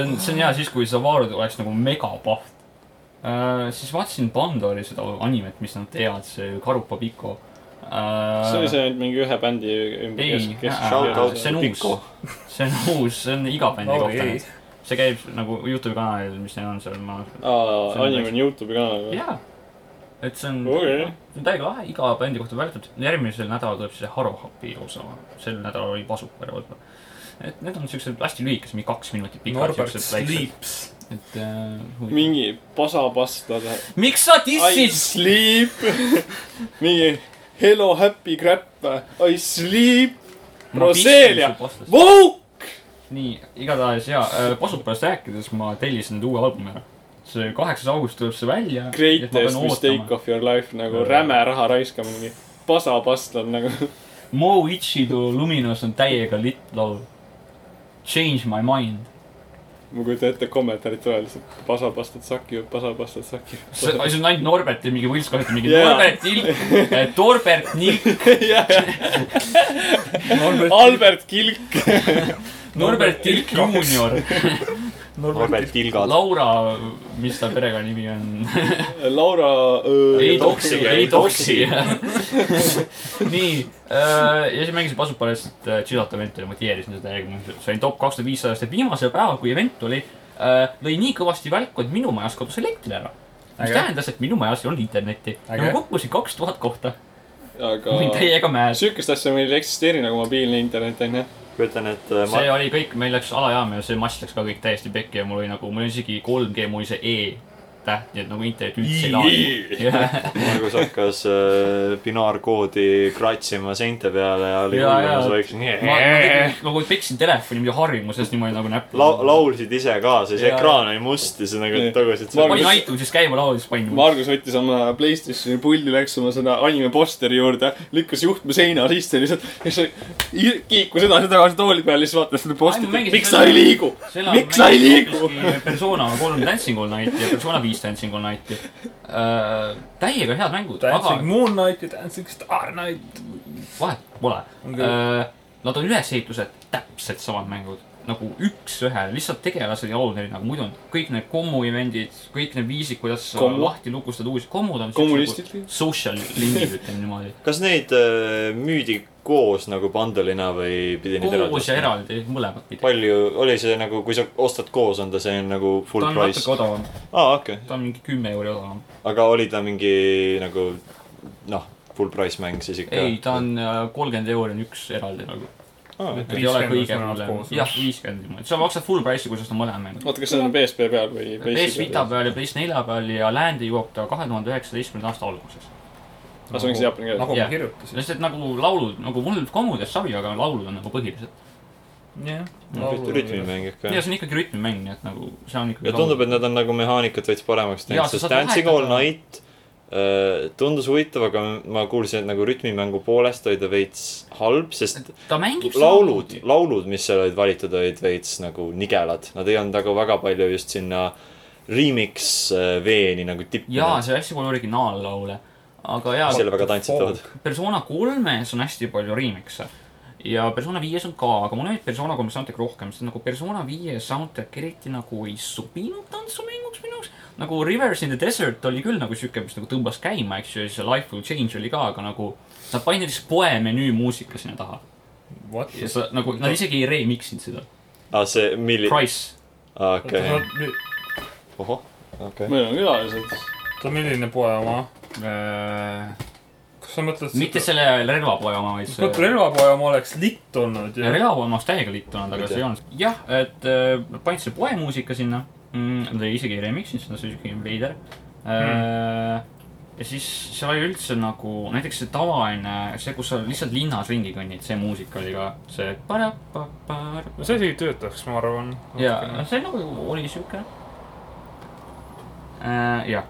C: on , see on hea siis , kui Savarud oleks nagu megapaht uh, . siis vaatasin Pandori seda animet , mis nad teevad , see Karupa Piko uh, .
B: see oli see ainult mingi ühe bändi ümber ,
C: Ei,
B: kes , kes
C: Ah, jaa,
A: Shout out
C: see on uus.
A: Piko .
C: see on uus , see on iga bändi
D: Lauri
C: kohta
D: ei.
C: nüüd . see käib nagu Youtube'i kanalil , mis neil on seal , ma .
B: aa ,
C: See on
B: anime
C: päris-
B: on Youtube'i kanal või ?
C: jaa , et see on
B: Okei.
C: see on täiega lahe , iga bändi kohta väljatud . järgmisel nädalal tuleb siis see Haruhapi osa , sel nädalal oli Pasukar , võib-olla . et need on siuksed hästi lühikesed , mingi kaks minutit pikad ,
D: Norbert
C: siuksed väiksed .
D: Sleeps .
C: et uh, .
B: mingi pasapasta .
C: miks sa
B: I
C: tissid ?
B: sleep . [laughs] mingi hello happy crap . I sleep . Roselia. . Vau .
C: nii , igatahes ja Pasupalast rääkides ma tellisin nüüd uue albumi ära . see kaheksas august tuleb see välja .
B: Greatest mistake . of your life nagu
C: Jaa.
B: räme raha raiskamine . mingi pasapasta on nagu .
C: Mo Ichido Luminos on täiega litt laul . Change my mind .
B: ma kujutan ette kommentaarid tulevad lihtsalt pasapastat saki , pasapastat saki .
C: see see on ainult Norberti mingi võlts kasutab mingi
B: Jaa.
C: yeah. Norbert Ilk ,
B: [laughs]
C: Torbert Nilk ,
B: [laughs] Albert Kilk .
C: Norbert Ilk juunior ,
A: Robert Ilgad .
C: Laura , mis ta perekonnanimi on [laughs]
B: Laura . äh,
C: ei toksi , ei
A: toksi.
C: toksi . [laughs] nii , ja siis mängisin Pasupalest äh, Chillot event'i ja motiveerisin seda ja sain top kakssada viissajast , et viimasel päeval , kui event oli , lõi nii kõvasti välku , et minu majas kadus elekter ära . mis
D: Äge.
C: tähendas , et minu majas ei olnud internetti . ja ma
D: Äge.
C: kukkusin kaks tuhat kohta . ma olin
B: aga
C: täiega määs .
B: sihukest asja meil ei eksisteeri nagu mobiilne internet onju .
A: ütlen , et äh, ma
C: see oli kõik , meil läks alajaama ja see mass läks ka kõik täiesti pekki ja mul oli nagu , mul oli isegi 3G , mul oli see E täht , nii et nagu internet üldse ei [laughs] laadinud .
A: Margus hakkas äh, binaarkoodi kratsima seinte peale ja oli
C: Jaa, jaa.
A: hullumas vaikselt
C: ma
A: nii .
C: nagu peksin telefoni mingi harjumusest niimoodi nagu näppu .
A: Lau- , laulsid ise ka , siis
C: Jaa.
A: ekraan oli must ja sa nagu
B: Nii.
A: tagusid
B: Ma
A: selle
C: panin . iTunesis käima laulu , siis panin .
B: Margus võttis oma Playstationi puldi , läks oma seda anime posteri juurde , lükkas juhtme seina sisse lihtsalt ja siis i- kiikus edasi-tagasi tooli peale , siis vaatas seda postit ,
C: Ai, ma mängisin
B: miks
C: seda-
B: sa ei liigu , miks sa ei liigu .
C: persona kolm Dancing All Night ja Persona viis Dancing All Nighti uh, . täiega head mängud , aga
D: Dancing Moon Knight ja Dancing Star Knight .
C: vahet pole Äh,
D: On
C: okay.
D: küll. .
C: Nad on ülesehituselt täpselt samad mängud . nagu üks-ühele , lihtsalt tegelased ja oluline nagu muidu on . kõik need kommu-event'id , kõik need viisid , kuidas sa
B: Kommu.
C: lahti lukustad uusi , kommud on .
B: Kommunistid.
C: social lingid , ütleme niimoodi .
A: kas neid äh, müüdi koos nagu bundle'ina või pidi neid eraldi
C: koos ja ? eraldi , mõlemat pidi .
A: palju , oli see nagu , kui sa ostad koos , on ta see nagu
C: ta
A: full
C: on
A: price
C: natuke ? odavam ,
A: aa , okei .
C: ta on mingi kümme euri odavam .
A: aga oli ta mingi nagu noh , full price mäng siis ikka ?
C: ei , ta on äh, kolmkümmend euri on üks eraldi nagu .
A: ah, .
C: ei ole
D: 50
C: kõige
D: on nad
C: hullem
D: koos. .
C: jah , viiskümmend niimoodi . sa maksad full price'i , kui sa seda mõlema mängid .
B: oota , kas see on PSP peal või ?
C: PS Vita . peal ja PS nelja peal ja läände jõuab ta kahe tuhande üheksateistkümnenda aasta alguses .
B: see ongi see jaapani keel.
D: nagu ma
C: Jah.
D: kirjutasin .
C: sest et nagu laulud , nagu mul kommudes savi , aga laulud on nagu põhilised .
D: jah . Nagu-
A: rütmimäng ikka
C: ja . see on ikkagi rütmimäng , nii et nagu see on ikkagi .
A: ja tundub , et nad on nagu mehaanikat veits paremaks teinud
C: Jaa, , sa
A: sest
C: saad
A: Dancing all
C: vahetada.
A: night äh, tundus huvitav , aga ma kuulsin , et nagu rütmimängu poolest oli ta veits halb , sest
C: ta mängib .
A: laulud ,. laulud , mis seal olid valitud , olid veits nagu nigelad . Nad ei olnud nagu väga palju just sinna remix äh, veeni nagu
C: jaa ,
A: tippinud .
C: seal on hästi palju originaallaule , aga jaa .
A: mis jälle väga tantsitavad .
C: persona kolmes on hästi palju remix'e ja persona viies on ka , aga mulle meeldib persona kolme soundtrack rohkem , sest nagu persona viie soundtrack eriti nagu ei sobinud tantsumänguks minu jaoks . nagu Rivers in the Desert oli küll nagu siuke , mis nagu tõmbas käima , eks ju , ja siis see Life will change oli ka , aga nagu nad panid näiteks poe menüü muusika sinna taha
D: What ?
C: ja sa nagu , nad isegi ei remix inud seda .
A: aa , Ah, see , milli- ,
C: Price ,
A: okei , ohoh , okei .
B: meil on külalised .
D: oota , milline poe oma ? kas sa mõtled ?
C: mitte . selle relvapoe oma , vaid see
D: mõtle , relvapoe oma oleks litt olnud
C: Ja
D: ju .
C: relv on omast täiega littunud , aga see ei olnud . jah , et äh, panid selle poemuusika sinna mm, . Nad ei isegi ei remixinud seda , see oli siuke veider äh, . ja siis seal oli üldse nagu näiteks see tavaline , see , kus sa lihtsalt linnas ringi kõnnid , see muusika oli ka see .
D: no see isegi töötaks , ma arvan .
C: ja see nagu oli siuke äh, . jah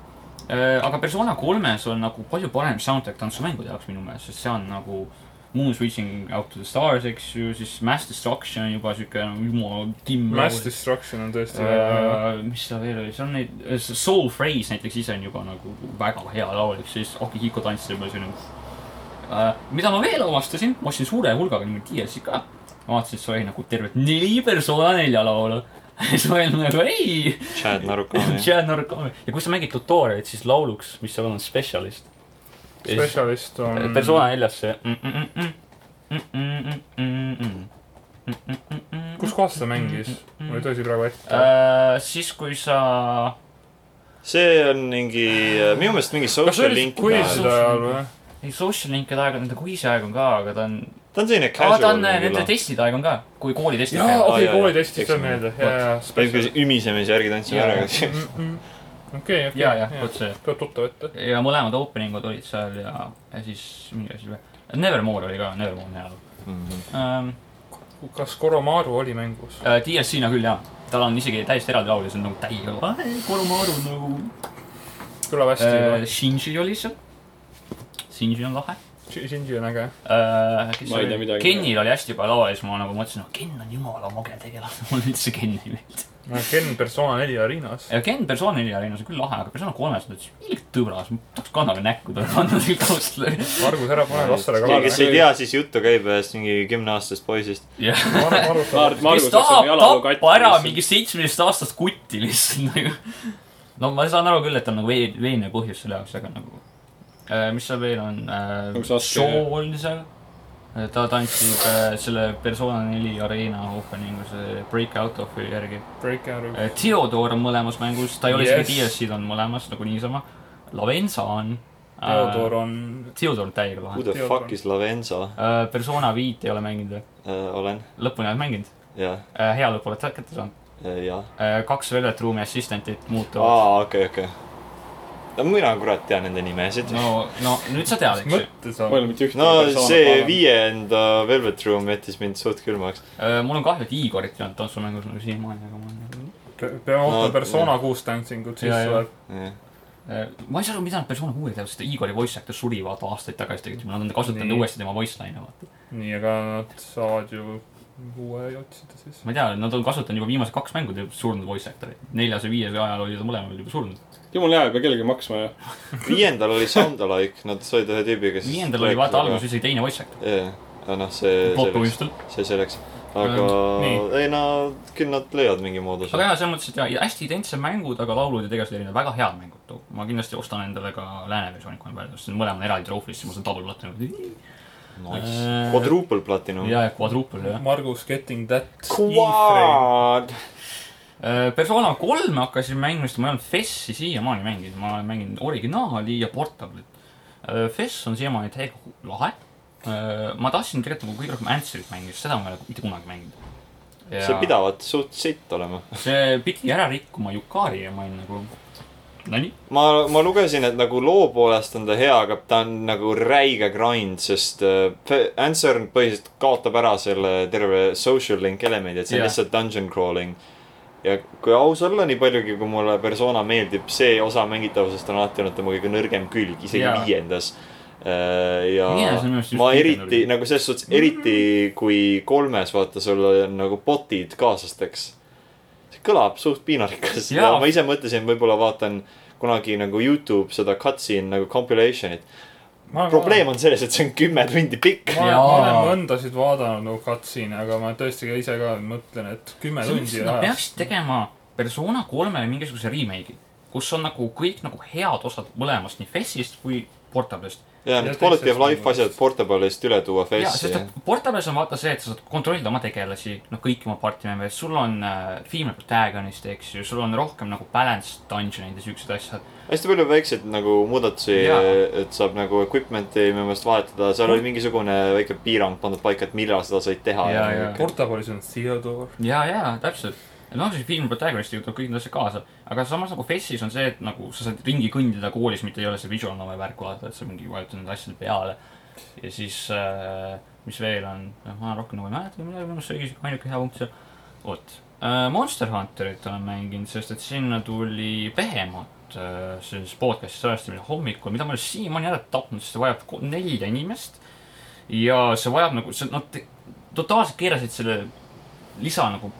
C: äh, , aga Persona kolmes on nagu palju parem soundtrack tantsumängude jaoks minu meelest , sest see on nagu Moon Switching Out to the Stars , eks ju , siis Mass Destruction on juba siuke nagu jumala timm .
D: Mass Destruction on tõesti väga hea .
C: Äh, mis seal veel oli , seal on neid , Soul Phrase näiteks ise on juba nagu väga hea laul , eks ju , siis Akihiko tantsis juba selline uh, . mida ma veel avastasin , ma ostsin suure hulgaga niimoodi DLC-d ka . ma vaatasin , et see oli nagu tervelt neli persona nelja laulu . [laughs] siis ma olin nagu ei ,
A: Chad
C: [laughs]
A: Narukami .
C: Jan Narukami . ja kui sa mängid tutorial'it , siis lauluks , mis seal on , Specialist .
D: spetsialist on .
C: persona neljas see mm, . Mm, mm, mm, mm, mm, mm, mm, mm, mm.
D: kus kohas ta mängis ? mul ei tõsi praegu ette .
C: Äh, siis , kui sa
A: see on mingi , minu meelest mingi
D: kas see
A: social
D: oli
A: link .
D: Quiz'ide
A: ta
D: ajal või ?
C: ei , Social Linkide aeg on nende quiz'i aeg on ka , aga ta on ,
A: on selline
C: ta on äh,
A: casual .
C: nende testide aeg on ka , kui kooli testid
D: jaa ,
A: Aa,
D: okei
A: jaa, , jaa.
D: koolitestis tuleb
A: Eks
D: meelde ,
C: ma-
D: jaa , jaa ,
A: ikka
D: spetsialist .
A: ümisemise järgi tantsime
C: Jaa.
A: ära , [laughs] aga
D: okei ,
C: ja , ja
D: okei ,
C: vot see
D: tuleb tuttav ette .
C: ja mõlemad opening'ud olid seal ja , ja siis mingi asi veel . Nevermore oli ka , Nevermore on hea laul ähm, .
D: kas Koromaru oli mängus ?
C: äh, DLC-na küll jah , tal on isegi täiesti eraldi laul ja see on nagu täiega . Koromaru nagu
D: kõlab
C: äh, .
D: hästi .
C: Shinji oli seal . Shinji on lahe
D: Shinji on äge .
C: äh, .
B: Ma ei tea midagi.
C: Kenil oli hästi palju laule , siis ma nagu mõtlesin , et Ken on jumala mage tegelane , [laughs] mulle üldse Ken ei meeldi .
D: Ken Persona neli arenas .
C: ja Ken Persona neli arenas on küll lahe , aga Persona kolmes on täitsa ilgelt tõbras , ma tahaks kannaga näkku talle panna selle kaustele .
D: Margus , ära pane lastele
A: keegi , kes
D: kallale .
A: ei tea , siis juttu käib ühest mingi kümneaastasest poisist .
C: jah ,
B: Maart ,
C: kes
B: Margus
C: tahab
B: on jalaluu
C: tappa ära
B: katki .
C: mingi seitsmeteist aastast kutti lihtsalt nagu . no ma saan aru küll , et on nagu vee- , veenev põhjus selle jaoks , aga nagu äh, mis seal veel on
B: Nagu
C: äh,
B: Sasuke- ?
C: Show oli seal , ta tantsib äh, selle Persona neli areena opening'u , see Break Out of äh, järgi .
D: Breakout .
C: Äh, Theodor on mõlemas mängus , ta ei ole yes. isegi
D: Yes.
C: DLC-d on mõlemas nagu niisama . Lavensa on . Äh,
D: Theodor on .
C: Ah, Theodor on täiega
A: Who
C: lahe .
A: the
D: Teodor.
A: fuck is Lavenza ?
C: Persona viit ei ole mänginud veel ,
A: olen ,
C: lõpuni oled mänginud .
A: jah ,
C: hea lõpp oled kätte saanud .
A: jah .
C: Äh, kaks Velvet Room'i assistentit muutuvad .
A: äh, aa , okei , okei . no mina kurat tean nende nimesid .
C: no , no nüüd sa tead , eks ju .
D: mõttes
B: ma ei ole
D: on .
B: mitte ühtegi
A: no see
B: panen.
A: viienda Velvet Room jättis mind suht külmaks .
C: Äh, mul on kahju , et Igorit ei olnud tantsumängus nagu siiamaani , aga ma olen . nagu-
D: peame
A: No,
D: ootama Persona kuus dancing ut , siis
C: Jaa, jaa.
D: tuleb .
C: Äh, ma ei saa aru , mida nad Persona kuue teevad , sest Igori voice actor suri vaata aastaid tagasi tegelikult , nad on kasutanud
D: Nii.
C: uuesti tema voice line'i vaata .
D: nii , aga nad saavad ju uue otsida siis .
C: ma ei tea , nad on kasutanud juba viimased kaks mängu teinud surnud voice actor'it . neljas ja viies ajal olid nad mõlemad juba surnud .
B: jumala hea , ei pea kellelegi maksma ju .
A: viiendal oli Sound Alike , nad said ühe tüübi , kes .
C: viiendal oli vaata alguses isegi teine voice actor .
A: jah , noh , see .
C: plot põhjustel .
A: see selleks , aga
D: Nii.
A: ei no , küll nad leiavad mingi mooduse
C: aga . jaa , selles mõttes , et jaa , hästi identsed mängud , aga laulud ja tegelased erinevad , väga head mängud . ma kindlasti ostan endale ka lääne versiooni , kui ma pean , sest need mõlemad on eraldi troofis , siis ma saan double platinum .
A: Nice . Quadruple platinum .
C: ja , ja quadruple jah .
D: Margus getting that .
A: Quad .
C: Äh, Persona kolme hakkasin mängima , sest ma ei olnud FES-i siiamaani mänginud , ma olen mänginud originaali ja portablit . FES on siiamaani täiega hu- lahe . ma tahtsin tegelikult nagu kõige rohkem Answerit mängida , seda ma ei ole mitte kunagi mänginud .
A: see pidavat suht sitt olema .
C: see pidi ära rikkuma Yukari ja ma olin nagu , nonii .
A: ma , ma lugesin , et nagu loo poolest on ta hea , aga ta on nagu räige grind , sest äh, Fe- Answer põhiliselt kaotab ära selle terve social link elemendi , et see on
C: Jah.
A: yeah. lihtsalt dungeon crawling . ja kui aus olla , nii paljugi , kui mulle persona meeldib , see osa mängitavusest on alati olnud tema kõige nõrgem külg , isegi yeah.
C: Jaa.
A: viiendas . ja
C: Mina saan minu arust just
A: ma
C: viiendal
A: eriti
C: oli.
A: nagu selles suhtes , eriti kui kolmes vaata , sul on nagu bot'id kaaslasteks . see kõlab suht piinarikas ja
C: Jaa.
A: ma ise mõtlesin , võib-olla vaatan kunagi nagu Youtube seda cutscene nagu compilation'it . probleem on selles , et see on kümme tundi pikk .
D: ma olen ,
C: Jaa.
D: ma olen mõndasid vaadanud nagu cutscene'e , aga ma tõesti ka ise ka mõtlen , et kümme tundi
C: Nad
D: ajast .
C: peaksid tegema persona kolmele mingisuguse remake'i , kus on nagu kõik nagu head osad mõlemast , nii FES-ist kui Portable'ist .
A: ja
D: Ja
A: need quality of
D: teisest
A: life asjad portable'ist üle tuua
C: jaa ,
A: Face'i
C: sest . et Portable'is on vaata see , et sa saad kontrollida oma tegelasi , noh kõiki oma party member'id , sul on äh, female protagonist , eks ju , sul on rohkem nagu balanced dungeon'id ja siuksed asjad .
A: hästi palju väikseid nagu muudatusi
C: Jaa. ,
A: et saab nagu equipment'i minu meelest vahetada , seal oli mingisugune väike piirang pandud paika , et millal seda said teha .
C: Jaa, jaa.
D: Portabolis on Theodore .
C: ja , ja täpselt . noh , siis female protagonist juhtub kõik need asjad kaasa , aga samas nagu FES-is on see , et nagu sa saad ringi kõndida koolis , mitte ei ole see visual novel värk , vaata , et sa mingi vajutad nende asjade peale . ja siis äh, , mis veel on , noh , ma rohkem nagu ei mäleta , minu meelest see oli isegi ainuke hea punkt seal . vot äh, , Monster Hunterit olen mänginud , sest et sinna tuli Behemoth äh, selles podcast'is salvestamine hommikul , mida ma ei ole siiamaani ära tapnud , sest see vajab ko- nelja inimest . ja see vajab nagu , see , nad te- totaalselt keerasid selle lisa nagu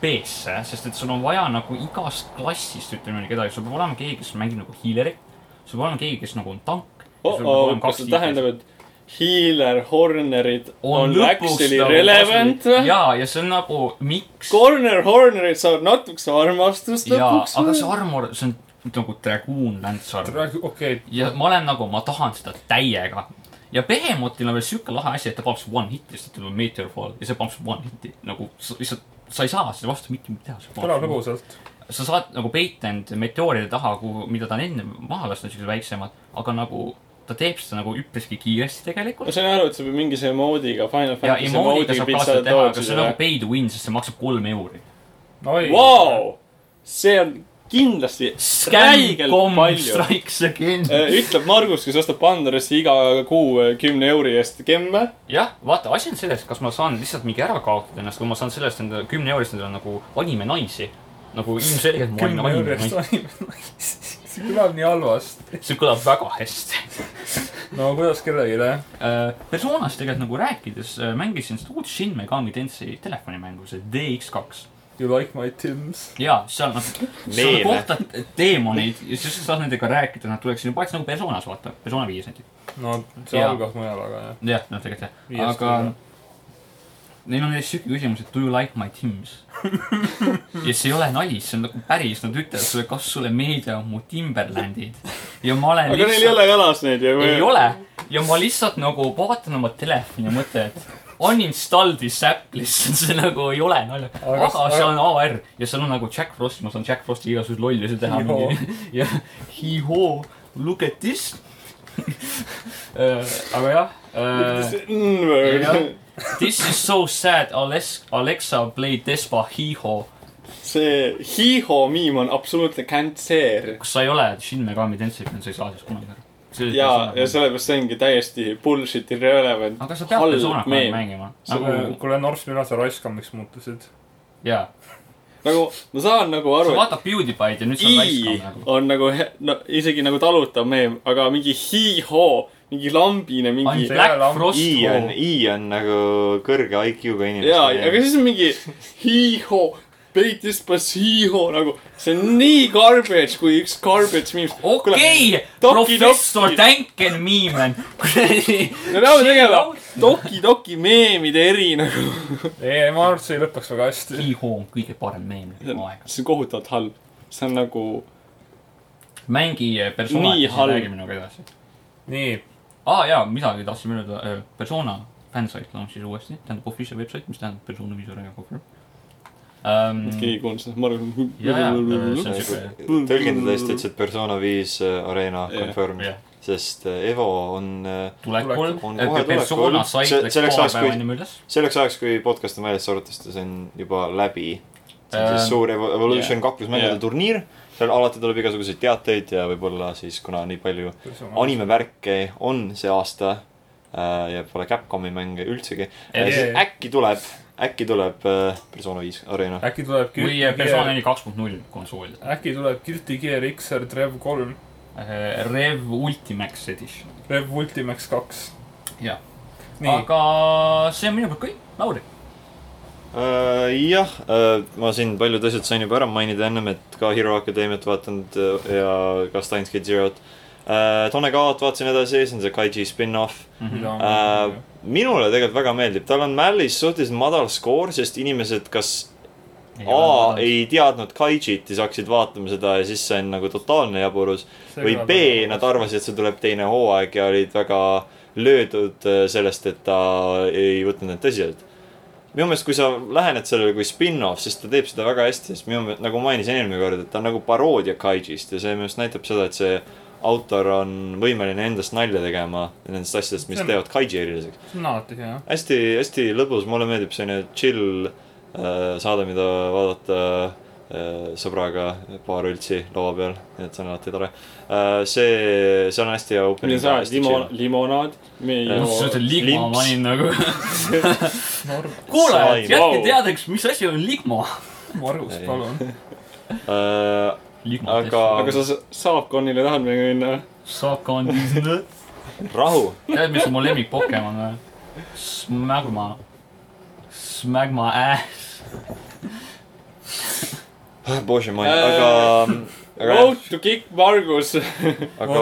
C: B-sse , sest et sul on vaja nagu igast klassist , ütleme nii , kedagi , sul peab olema keegi , kes mängib nagu hiilerit , sul peab olema keegi , kes nagu on tank .
B: Oh, kas see tähendab , et healer corner'id on, on actually relevant või ?
C: nagu jaa , ja see on nagu , miks .
B: Corner corner'id saavad natukese armastust
C: jaa ,
B: lõpuks
C: aga see
B: või ?
C: armor , see on nagu dragoon landsarm .
D: okei ,
C: ja ma olen nagu , ma tahan seda täiega . ja Behemothil on veel siuke lahe asi , et ta pumps one hit'i , sest ta tuleb Meteor Fall ja see pumps one hit'i nagu sa- lihtsalt , sa ei saa selle vastu mitte midagi teha .
D: kõlab . lõbusalt .
C: sa saad nagu peita end meteooride taha , kuhu , mida ta on enne maha lasknud , siuksed väiksemad , aga nagu ta teeb seda nagu üpriski kiiresti
B: ma
C: tegelikult .
B: sain aru , et sa pead mingi see emoodiga , Final
C: ja
B: Fantasy
C: emoodiga
B: emoodiga
C: saab ka
B: pitsa
C: seda teha , aga
B: tootsid
C: see on
B: ära
C: nagu . pay to win , sest see maksab kolm euri .
D: oi
B: Vau , see on kindlasti räigelt palju .
C: strikes again .
B: Äh, ütleb Margus , kes ostab Pandorasse iga kuu äh, kümne euri eest gemme .
C: jah , vaata , asi on selles , kas ma saan lihtsalt mingi ära kaotada ennast või ma saan sellest enda kümne eurist endale nagu anime naisi . nagu ilmselgelt ma olin
D: kümne
C: anime
D: eurist
C: naisi .
D: anime . [laughs] see kõlab nii halvasti .
C: see kõlab väga hästi .
D: no kuidas kellelegi , eh? jah ?
C: Personast tegelikult nagu rääkides , mängisin seda uut Shin Megami Tensei telefonimängu , see DX2
D: You like my Tims ?
C: jaa , seal nad ,
A: Meeme.
C: seal kohtad teemoneid ja siis sa saad nendega rääkida , nad tuleksid juba , nagu Personas , vaata , Persona viies näiteks .
D: no see
C: Jaa.
D: algas mujal , aga jah .
C: jah , no tegelikult jah ,
D: Viiest
C: aga neil on näiteks siuke küsimus , et do you like my
B: [laughs]
C: Tims ? ja see ei ole nali , see on nagu päris , nad ütlevad sulle , kas sulle meeldivad mu Timberlandid ja ma olen
B: aga neil ei ole jalas neid ju .
C: ei . ole ja ma lihtsalt nagu vaatan oma telefoni ja mõtlen , et uninstall this app lihtsalt , see nagu ei ole naljakas .
D: Aga-
C: aga seal on AR ja seal on nagu Jack Frost , ma saan Jack Frosti igasuguseid lollusi teha .
D: Hee-hoo.
C: [laughs] jah , hee-hoo , look at this . [laughs] aga jah , äh,
B: mm,
C: Jah. this is so sad , Alex , Alexa play Despacito .
B: see hiho miim on absoluutne kantseer .
C: kas sa ei ole Shin Megami Tensei fänn , sa ei saa sellest kunagi aru .
B: ja , ja . sellepärast see ongi täiesti bullshit irrelevant .
C: aga sa pead persoonaga mängima . nagu ,
D: kuule , Norsk Minas raiskamiks muutusid .
C: jaa .
B: nagu ma saan nagu
C: sa
B: aru , et
C: vaatad PewDiePie'd ja nüüd sa
B: i
C: raiskad nagu .
B: on nagu he- no, isegi nagu talutav meem , aga mingi hiho , mingi lambine , mingi
C: ainult
D: see
C: Black
D: ei ole
C: Frost
A: I on ,
C: Hall .
A: I on nagu kõrge IQ-ga
B: jaa , aga
A: inimestele .
B: siis on mingi hiho , Bait Despacito nagu , see on nii garbage kui üks garbage memes .
C: okei ,
B: Doki
C: professor
B: Doki.
C: Tänken
B: [laughs]
C: Miimen .
B: me peame tegema Doki Doki meemide eri nagu .
D: ei , ma arvan , et see ei lõpeks väga hästi .
C: He-Ho on kõige parem meem
B: see
C: läbi
B: on-
C: aegade .
B: see on kohutavalt halb . see on nagu ,
C: mängi eh, persona ,
B: Nii
C: siis
B: halb.
C: räägi minuga edasi .
D: nii ,
C: aa ah, jaa , midagi tahtsin öelda , persona fansite launch'is uuesti , tähendab official website , mis tähendab persona visuaalne cover um, .
B: keegi ei kuulnud seda , ma arvan .
C: Jaa, jaa,
B: nagu-
C: see on siuke-
A: tõlgendada hästi , ütles , et Persona viis äh, Arena
B: Jah,
A: confirmed
C: jah. ,
A: sest äh, Evo on äh,
C: tulekul
A: On , kohe
C: persona
A: tulekul.
C: sait
A: See-
C: läks
A: selleks
C: paar
A: ajaks,
C: päeva
A: kui-
C: ennem üles .
A: selleks ajaks , kui podcast on väljas , arvatavasti see on juba läbi . see on
C: Ähm,
A: siis suur Evo- Evolution kaklusmängude
B: jah.
A: turniir , seal alati tuleb igasuguseid teateid ja võib-olla siis , kuna nii palju animevärke on see aasta äh, ja pole Capcomi mänge üldsegi ,
C: Jah.
A: siis äkki tuleb , äkki tuleb äh, Persona viis Arena .
D: äkki tuleb
C: või
D: Guilty
C: äh, persona
D: Gear-
C: neli kaks punkt null Äh, konsoolidel .
D: äkki tuleb Guilty Gear XR Rev kolm ,
C: Rev Ultimax Edition .
D: Rev Ultimax kaks .
C: jah ,
D: nii ,
C: aga see on minu poolt kõik , Lauri .
A: Äh, jah , ma siin paljud asjad sain juba ära mainida ennem , et ka Hero Academiat vaatanud äh, ja ka Steins Gate Zero't . Tone Kaot vaatasin edasi , see on see Kaiji spin-off .
D: mida on
A: Äh, minule tegelikult väga meeldib , tal on Mallis suhteliselt madal skoor , sest inimesed , kas A ei teadnud Kaijit ja siis hakkasid vaatama seda ja siis see on nagu totaalne jaburus . või B , nad arvasid , et see tuleb teine hooaeg ja olid väga löödud äh, sellest , et ta ei võtnud neid tõsiselt . minu meelest , kui sa lähened sellele kui spin-off , siis ta teeb seda väga hästi , sest minu meelest , nagu mainisin eelmine kord , et ta on nagu paroodia Kaijist ja see minu meelest näitab seda , et see autor on võimeline endast nalja tegema nendest asjadest , mis
D: See on-
A: teevad Kaiji eriliseks .
D: see on alati hea .
A: hästi , hästi lõbus , mulle meeldib selline chill äh, saade , mida vaadata äh, sõbraga paar õltsi laua peal , nii et see on alati tore äh, . see , seal on hästi hea
B: oli
A: opening
B: see ,
A: hästi
B: limo- ,
A: chill.
B: limonaad , me ei
A: Jah.
B: joo .
C: see on see Ligma ,
A: limps.
C: ma olin nagu .
A: Sain,
C: kuulajad , jätke
B: vau.
C: teadeks , mis asi on Ligma .
D: Margus ,
A: Ei.
D: palun .
A: Äh, Aga-
B: aga sa sa- Saakonile tahad meiega minna ?
C: Sakon .
A: rahu ,
C: tead , mis on mu lemmik Pokemon või ? Smagma . Smagma ass .
A: Bože moj ,
B: Äh,
A: aga , aga ,
B: Road to kick Margus .
A: aga ,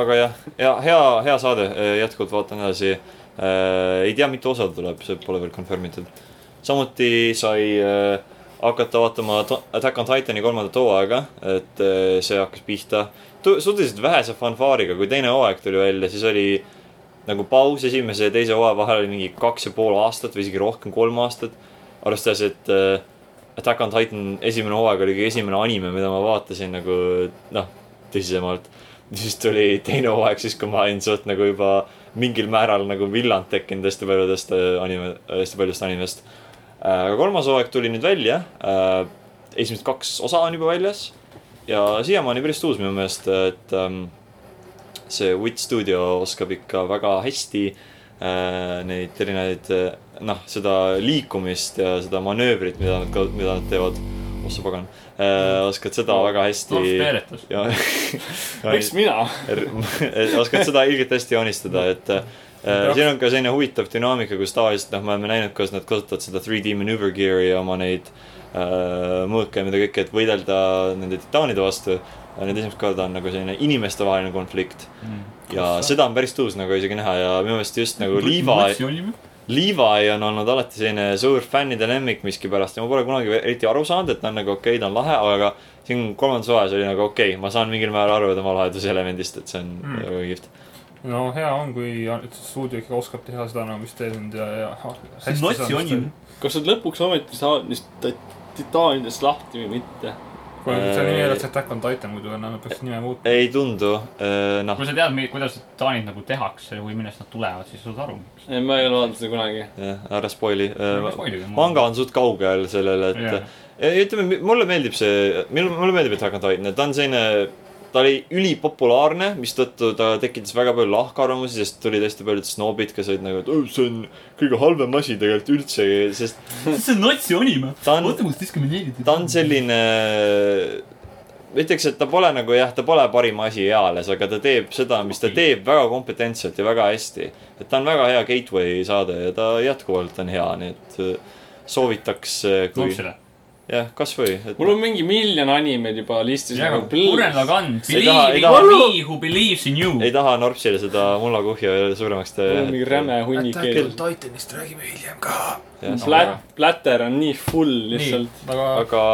A: aga jah , ja hea , hea saade , jätkuvalt vaatan edasi äh, . ei tea , mitu osa tuleb , see pole veel confirm itud . samuti sai äh, hakata vaatama To- Attack on Titani kolmandat hooaega , et äh, see hakkas pihta . suhteliselt vähese fanfaariga , kui teine hooaeg tuli välja , siis oli nagu paus esimese ja teise hooaja vahel oli mingi kaks ja pool aastat või isegi rohkem , kolm aastat . arvestades , et äh, Attack on Titan esimene hooaeg oli kõige esimene anime , mida ma vaatasin nagu noh , tõsisemalt . siis tuli teine hooaeg , siis kui ma olin suht nagu juba mingil määral nagu villand tekkinud hästi paljudest äh, anime , hästi paljudest animest . aga kolmas hooaeg tuli nüüd välja . esimesed kaks osa on juba väljas ja siiamaani päris uus minu meelest , et ähm, see Wit Studio oskab ikka väga hästi äh, neid erinevaid äh, noh , seda liikumist ja seda manöövrit , mida nad , mida nad teevad . ossa pagan äh, , oskad seda väga hästi .
C: peeletus .
A: ja [laughs]
B: miks mina ?
A: R- [laughs] oskad seda ilgelt hästi joonistada , et äh, siin on ka selline huvitav dünaamika , kus tavaliselt noh , me oleme näinud , kuidas nad kasutavad seda 3D maneuver gear'i ja oma neid äh, mõõke ja mida kõike , et võidelda nende titaanide vastu . Nüüd esimest korda on nagu selline inimestevaheline konflikt
C: Mm.
A: ja seda on päris tuus nagu isegi näha ja minu meelest just nagu liiva , Levi on olnud alati selline suur fännide lemmik miskipärast ja ma pole kunagi eriti aru saanud , et ta on nagu okei okay, , ta on lahe , aga siin kolmandas hooajas oli nagu okei okay, , ma saan mingil määral aru tema laheduselemendist , et see on
D: Mm.
A: väga mm. kihvt .
D: no hea on , kui stuudio ikka oskab teha seda nagu , mis teeb nüüd ja , ja .
C: see on notsi on .
B: kas sa lõpuks ometi saad neist ti- titaanidest lahti või mitte ?
D: kuule , see nimi ei ole Attack on Titan , muidu enam peaks nime muutma .
A: Äh, ei tundu , noh ,
C: kui sa tead , kuidas taanid nagu tehakse või millest nad tulevad , siis saad aru .
B: ei , ma ei ole vaadanud seda kunagi .
A: jah , Hmm. äh, ära spoil'i . manga on suht kaugel sellele , et yeah. Ei, ütleme , mulle meeldib see , mulle meeldib , et Attack on Titan , ta on selline , ta oli ülipopulaarne , mistõttu ta tekitas väga palju lahkarvamusi , sest tulid hästi paljud snoobid , kes olid nagu , et "Öö, see on kõige halvem asi tegelikult üldse , sest
C: [laughs] see on natsi anime .
A: ta on ,
C: oota , kus diskrimineeriti .
A: ta on selline , ma ütleks , et ta pole nagu jah , ta pole parim asi eales , aga ta teeb seda , mis ta teeb väga kompetentselt ja väga hästi . et ta on väga hea gateway saade ja ta jätkuvalt on hea , nii et äh, soovitaks , kui
C: lapsele .
A: jah , kasvõi , et
B: mul on mingi miljon animeid juba listis nagu
C: Gurren Lagann ,
A: Ei taha- ei
C: Believe
A: taha-
C: in me who believes in you .
A: ei taha norpsile seda mullakuhja veel suuremaks
B: mul on mingi
A: teha .
B: räme hunnik ees .
D: Titanist räägime hiljem ka .
B: Plat- , Platter on nii full
D: nii
B: lihtsalt .,
D: aga
A: aga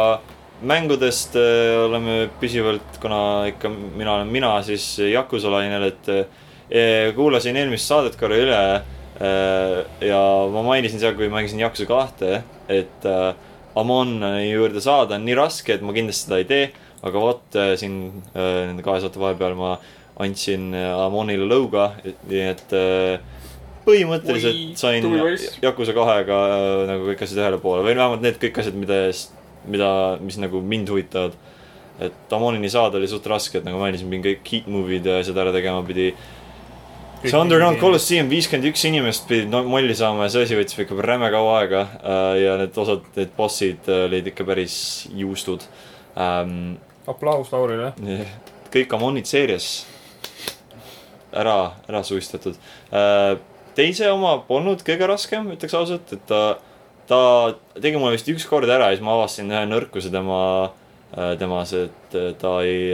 A: mängudest äh, oleme püsivalt , kuna ikka mina olen mina , siis Yakuza lainel , et äh, kuulasin eelmist saadet korra üle äh, ja ma mainisin seal , kui mängisin Yakuza kahte , et äh, Amoni juurde saada on nii raske , et ma kindlasti seda ei tee , aga vot äh, siin äh, nende kahe saate vahepeal ma andsin äh, Amonile lõuga , nii et äh,
B: Oi,
A: põhimõtteliselt sain
B: tubli poiss.
A: Yakuza kahega äh, nagu kõik asjad ühele poole või no vähemalt need kõik asjad , mida , mida , mis nagu mind huvitavad . et Amonini saada oli suht raske , et nagu mainisin , pidin kõik heat move'id ja asjad ära tegema , pidi . see Underground . Colosseum , viiskümmend üks inimest pidid no- molli saama ja see asi võttis ikka räme kaua aega äh, ja need osad , need bossid äh, olid ikka päris juustud ähm, .
D: aplaus Laurile .
A: kõik Amonid seerias ära , ära suistatud äh, . teise oma polnud kõige raskem , ütleks ausalt , et ta , ta tegi mulle vist üks kord ära ja siis ma avastasin ühe nõrkuse tema äh, temas , et äh, ta ei ,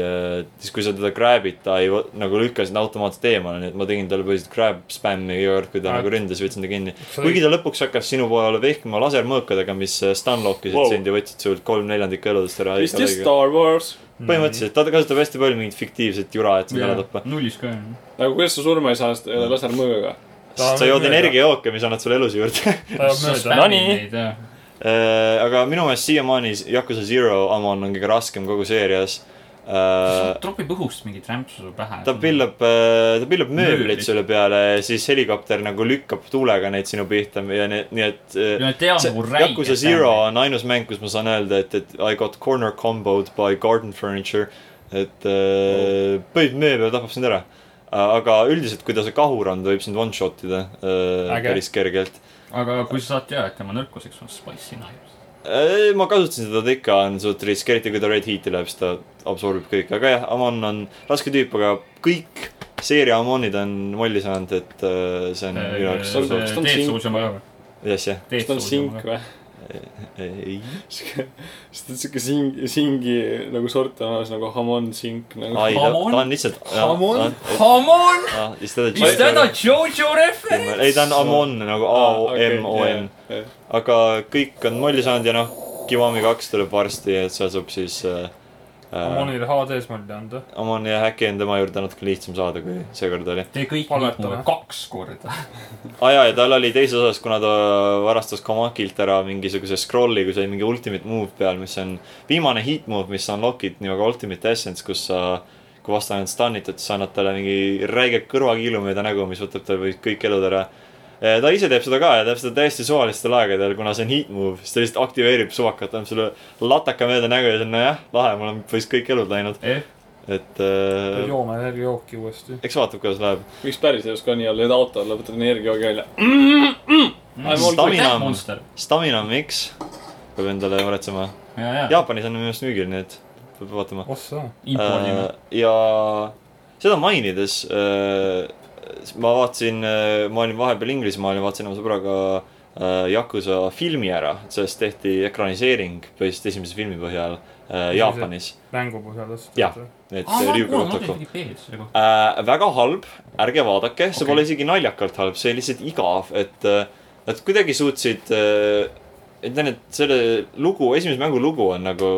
A: siis kui sa teda grab'id , ta ei võ- nagu lükka sind automaatselt eemale , nii et ma tegin talle põhiliselt grab spam'i iga kord , kui ta
D: Ah.
A: nagu ründas , võtsin ta kinni .
D: Sa
A: kuigi ta lõpuks hakkas sinu poole vehkima lasermõõkadega , mis äh, stunlockisid
B: Wow.
A: wow. sind ja võtsid sult kolm neljandikku eludest ära .
B: vist just Star Wars .
A: põhimõtteliselt , ta kasutab hästi palju mingit fiktiivset jura , et sind ära tappa .
C: nullis ka .
B: aga Nagu, kuidas sa surma ei saa , sest äh, ei ole lasermõõgaga .
A: sa jood energiajooke , mis annad sulle elus juurde . [laughs]
D: ta jääb mööda .
B: Nonii.
A: Äh, aga minu meelest siiamaani Yakuza Zero Amon on kõige raskem kogu seerias . ta
C: tropib õhust mingit rämpsu su pähe .
A: pillab , ta pillab mööblit
C: Mööblit.
A: sulle peale ja siis helikopter nagu lükkab tuulega neid sinu pihta ja nii , nii et äh,
C: ja need teavad
A: see
C: nagu räige .
A: Yakuza Zero . on ainus mäng , kus ma saan öelda , et , et I got corner combo'd by garden furniture . et äh, põhimõtteliselt mööbel tapab sind ära . aga üldiselt , kui ta see kahur on , ta võib sind one shot ida äh,
D: Äge.
A: päris kergelt .
C: aga kui sa saad teada , et tema nõrkuseks on spicy knives .
A: Ei, Äh, ma kasutasin seda , ta ikka on suht risk , eriti kui ta red heat'i läheb , siis ta absorbib kõik , aga jah , Amon on raske tüüp , aga kõik seeria Amonid on molli saanud , et äh, see on minu jaoks
B: see-
A: suht-
B: kas ta on siin-
C: teed-suus on vaja või ?
A: jah , jah ,
B: kas ta on sink ? või ? [laughs]
A: ei ,
B: sest et siuke sing , singi nagu sort on olemas nagu Hamon sink nagu .
A: ai , ta
C: Amon?
A: ta on lihtsalt .
D: Amon?
C: Come on , is that a
A: ei ,
C: Jojo reference ?
A: ta on Amon nagu A O M O N , aga kõik on molli saanud ja noh , Kiwami kaks tuleb varsti , et seal saab siis äh, äh,
D: Amonile HD-s molli anda .
A: Amon ja Häkki on tema juurde natuke lihtsam saada , kui seekord oli .
C: Te kõik
D: Palvetame.
C: liigume kaks korda .
A: aa ah, jaa , ja tal oli teises osas , kuna ta varastas Komakilt ära mingisuguse scroll'i , kui sai mingi ultimate move peal , mis on viimane hit move , mis unlock'id nimega ultimate essence , kus sa , kui vastane on stunnitud , siis sa annad talle mingi räige kõrvakiilu mööda nägu , mis võtab tal võib- kõik elud ära . ta ise teeb seda ka ja teeb seda täiesti suvalistel aegadel , kuna see on hit move , siis ta lihtsalt aktiveerib suvakat , annab sulle lataka mööda nägu ja siis on nojah , lahe , mul on põhimõtteliselt kõik elud läinud ,
C: Eh?
A: et äh,
D: joome energiajooki uuesti .
A: eks vaatab , kuidas läheb .
B: võiks päris elus ka nii olla , et auto alla võtad energiaga välja .
A: Stamina on-
C: monster .
A: Stamina on miks , peab endale muretsema
C: ja , ja, ja. ,
A: [laughs] Jaapanis on minu arust müügil , nii et peab vaatama .
D: ossa .
A: äh,
C: impordime .
A: ja seda mainides , ma vaatasin , ma olin vahepeal Inglismaal ja vaatasin oma sõbraga äh, Yakuza filmi ära , sellest tehti ekraniseering põhiliselt esimese filmi põhjal äh,
D: Esimese-
A: Jaapanis .
D: mängu põhjal tõstad .
A: Jah. et
C: aa , Ah, ma olen
A: Ryuga
C: kuulnud
A: Kotaku .
C: Wikipeedias selle kohta .
A: Äh, väga halb , ärge vaadake , see
C: Okei.
A: pole isegi naljakalt halb , see lihtsalt igav , et , et kuidagi suutsid , ütlen , et selle lugu , esimese mängu lugu on nagu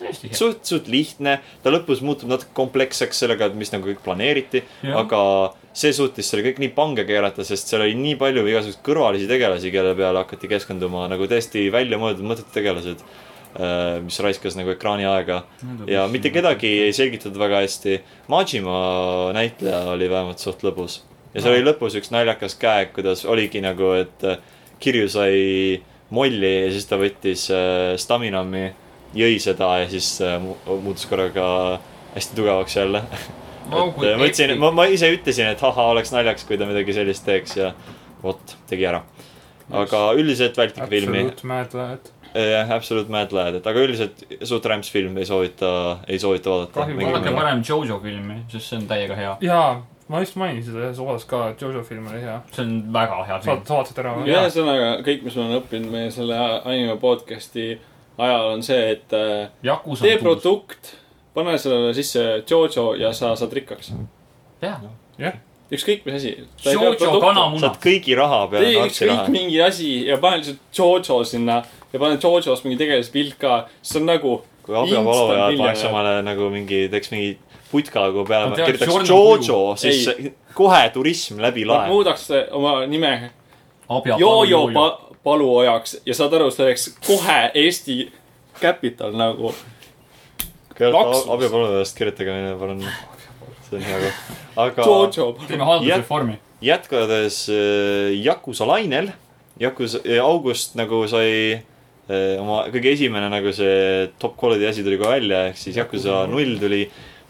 C: tõesti hea .
A: suht , suht lihtne . ta lõpus muutub natuke kompleksseks sellega , et mis nagu kõik planeeriti . aga see suutis selle kõik nii pange keerata , sest seal oli nii palju igasuguseid kõrvalisi tegelasi , kelle peale hakati keskenduma nagu täiesti väljamõeldud mõttetud tegelased . mis raiskas nagu ekraani aega ja mitte . kedagi ei selgitatud väga hästi . Majima näitleja oli vähemalt suht lõbus ja seal
D: No.
A: oli lõpus üks naljakas käe , kuidas oligi nagu , et äh, Kirju sai molli ja siis ta võttis äh, staminami , jõi seda ja siis äh, mu- muutus korraga hästi tugevaks jälle . et äh, ma ütlesin , ma , ma ise ütlesin , et ahah , oleks naljakas , kui ta midagi sellist teeks ja vot , tegi ära . aga üldiselt vältige filmi
D: Absolute Mad Lad .
A: jah , Absolute Mad Lad , et aga üldiselt suht rämps film ei soovita , ei soovita vaadata
D: Kahju, .
C: vaadake parem Jojo filmi , sest see on täiega hea .
D: jaa , ma just mainisin seda ühes osas ka , et Jojo film oli hea .
C: see on väga hea
D: saad ,
C: film .
D: saad seda ära või ?
B: ühesõnaga kõik , mis ma olen õppinud meie selle anime podcast'i ajal on see , et äh,
C: Jakus
B: tee
C: on tulus .
B: produkt , pane sellele sisse Jojo ja sa saad rikkaks .
C: jah , noh.
B: ükskõik mis asi .
C: Jojo kanamuna
A: saad . kõigi raha peale
B: tee
A: kartsi
B: ükskõik
A: raha .
B: mingi asi ja pane lihtsalt Jojo sinna ja pane Jojost mingi tegelase pilt ka , see on nagu .
A: kui abivalu ajal paneks omale nagu mingi , teeks mingi putka , kuhu peale
C: Ma tean,
A: kirjutaks
C: Jordan
A: Jojo , siis kohe turism läbi
B: Nad
A: lae .
B: muudaks oma nime Jojo pa, Paluojaks ja saad aru , see oleks kohe Eesti capital nagu . Laksus.
A: abipalvelast kirjutage meile palun . see on hea koht . aga
B: Jojo Palu-
C: teeme
A: Jah.
C: haldusreformi .
A: jätkades äh, Yakuza lainel , Yakuza , August nagu sai äh, oma kõige esimene nagu see top quality asi tuli kohe välja , ehk siis Yakuza null tuli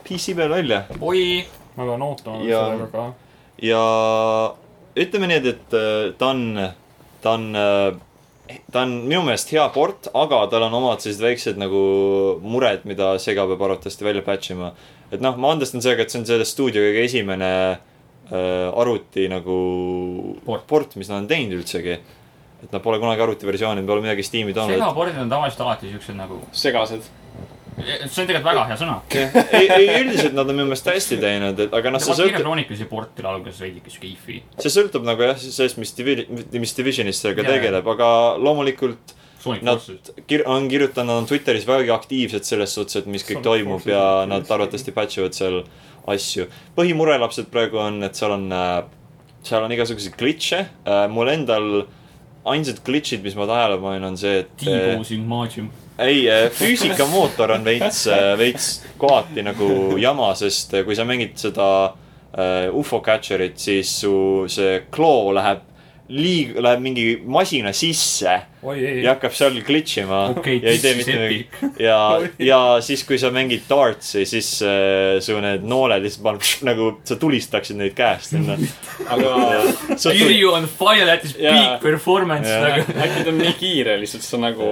A: PC peal välja
C: oi ,
D: ma pean ootama veel
A: Jaa.
D: sellega ka .
A: ja ütleme nii , et , et äh, ta on , ta on , ta on minu meelest hea port , aga tal on omad sellised väiksed nagu mured , mida Sega peab arvatavasti välja patch ima . et noh , ma andestan sellega , et see on selle stuudio kõige esimene äh, arvuti nagu
C: Port.
A: port , mis nad on teinud üldsegi . et nad pole kunagi arvutiversiooni , pole midagi Steam'i toonud .
C: segapordid on tavaliselt alati siuksed nagu ,
B: segased .
C: see on tegelikult väga hea sõna .
A: ei , ei üldiselt nad on minu meelest hästi teinud , et aga noh , see sõltub .
C: kirjakroonikas ja portil alguses veidike siuke ifi .
A: see sõltub nagu jah , sellest , mis divi- , mis divisionis sellega
C: Jaa, jaa.
A: tegeleb , aga loomulikult
C: Sonic
A: nad
C: Forces .
A: kir- , on kirjutanud , nad on Twitteris vägagi aktiivsed selles suhtes , et mis kõik
D: Sonic
A: toimub
D: Forces
A: ja
D: on
A: nad
D: kindlasti.
A: arvatavasti patch ivad seal asju . põhimure lapsed praegu on , et seal on , seal on igasuguseid glitch'e , mul endal ainsad glitch'id , mis ma tähele panin , on see , et äh,
C: T-posing margin .
A: ei , füüsikamootor on veits , veits kohati nagu jama , sest kui sa mängid seda äh, ufo catcher'it , siis su see kloo läheb liig- , läheb mingi masina sisse
D: oi ei ,
A: ja hakkab seal glitch ima
C: okei ,
A: ja ei
C: this
A: tee
C: is
A: mitte midagi .
C: epic . [laughs]
A: ja , ja siis , kui sa mängid dartsi , siis äh, su need nooled lihtsalt paneb [laughs] nagu sa tulistaksid neid käest
C: [laughs]
A: onju . [laughs]
B: aga
A: see
C: Kirju on fire at his
B: Jaa.
C: peak performance
A: Jaa.
C: nagu .
B: äkki ta on nii kiire lihtsalt , see on nagu .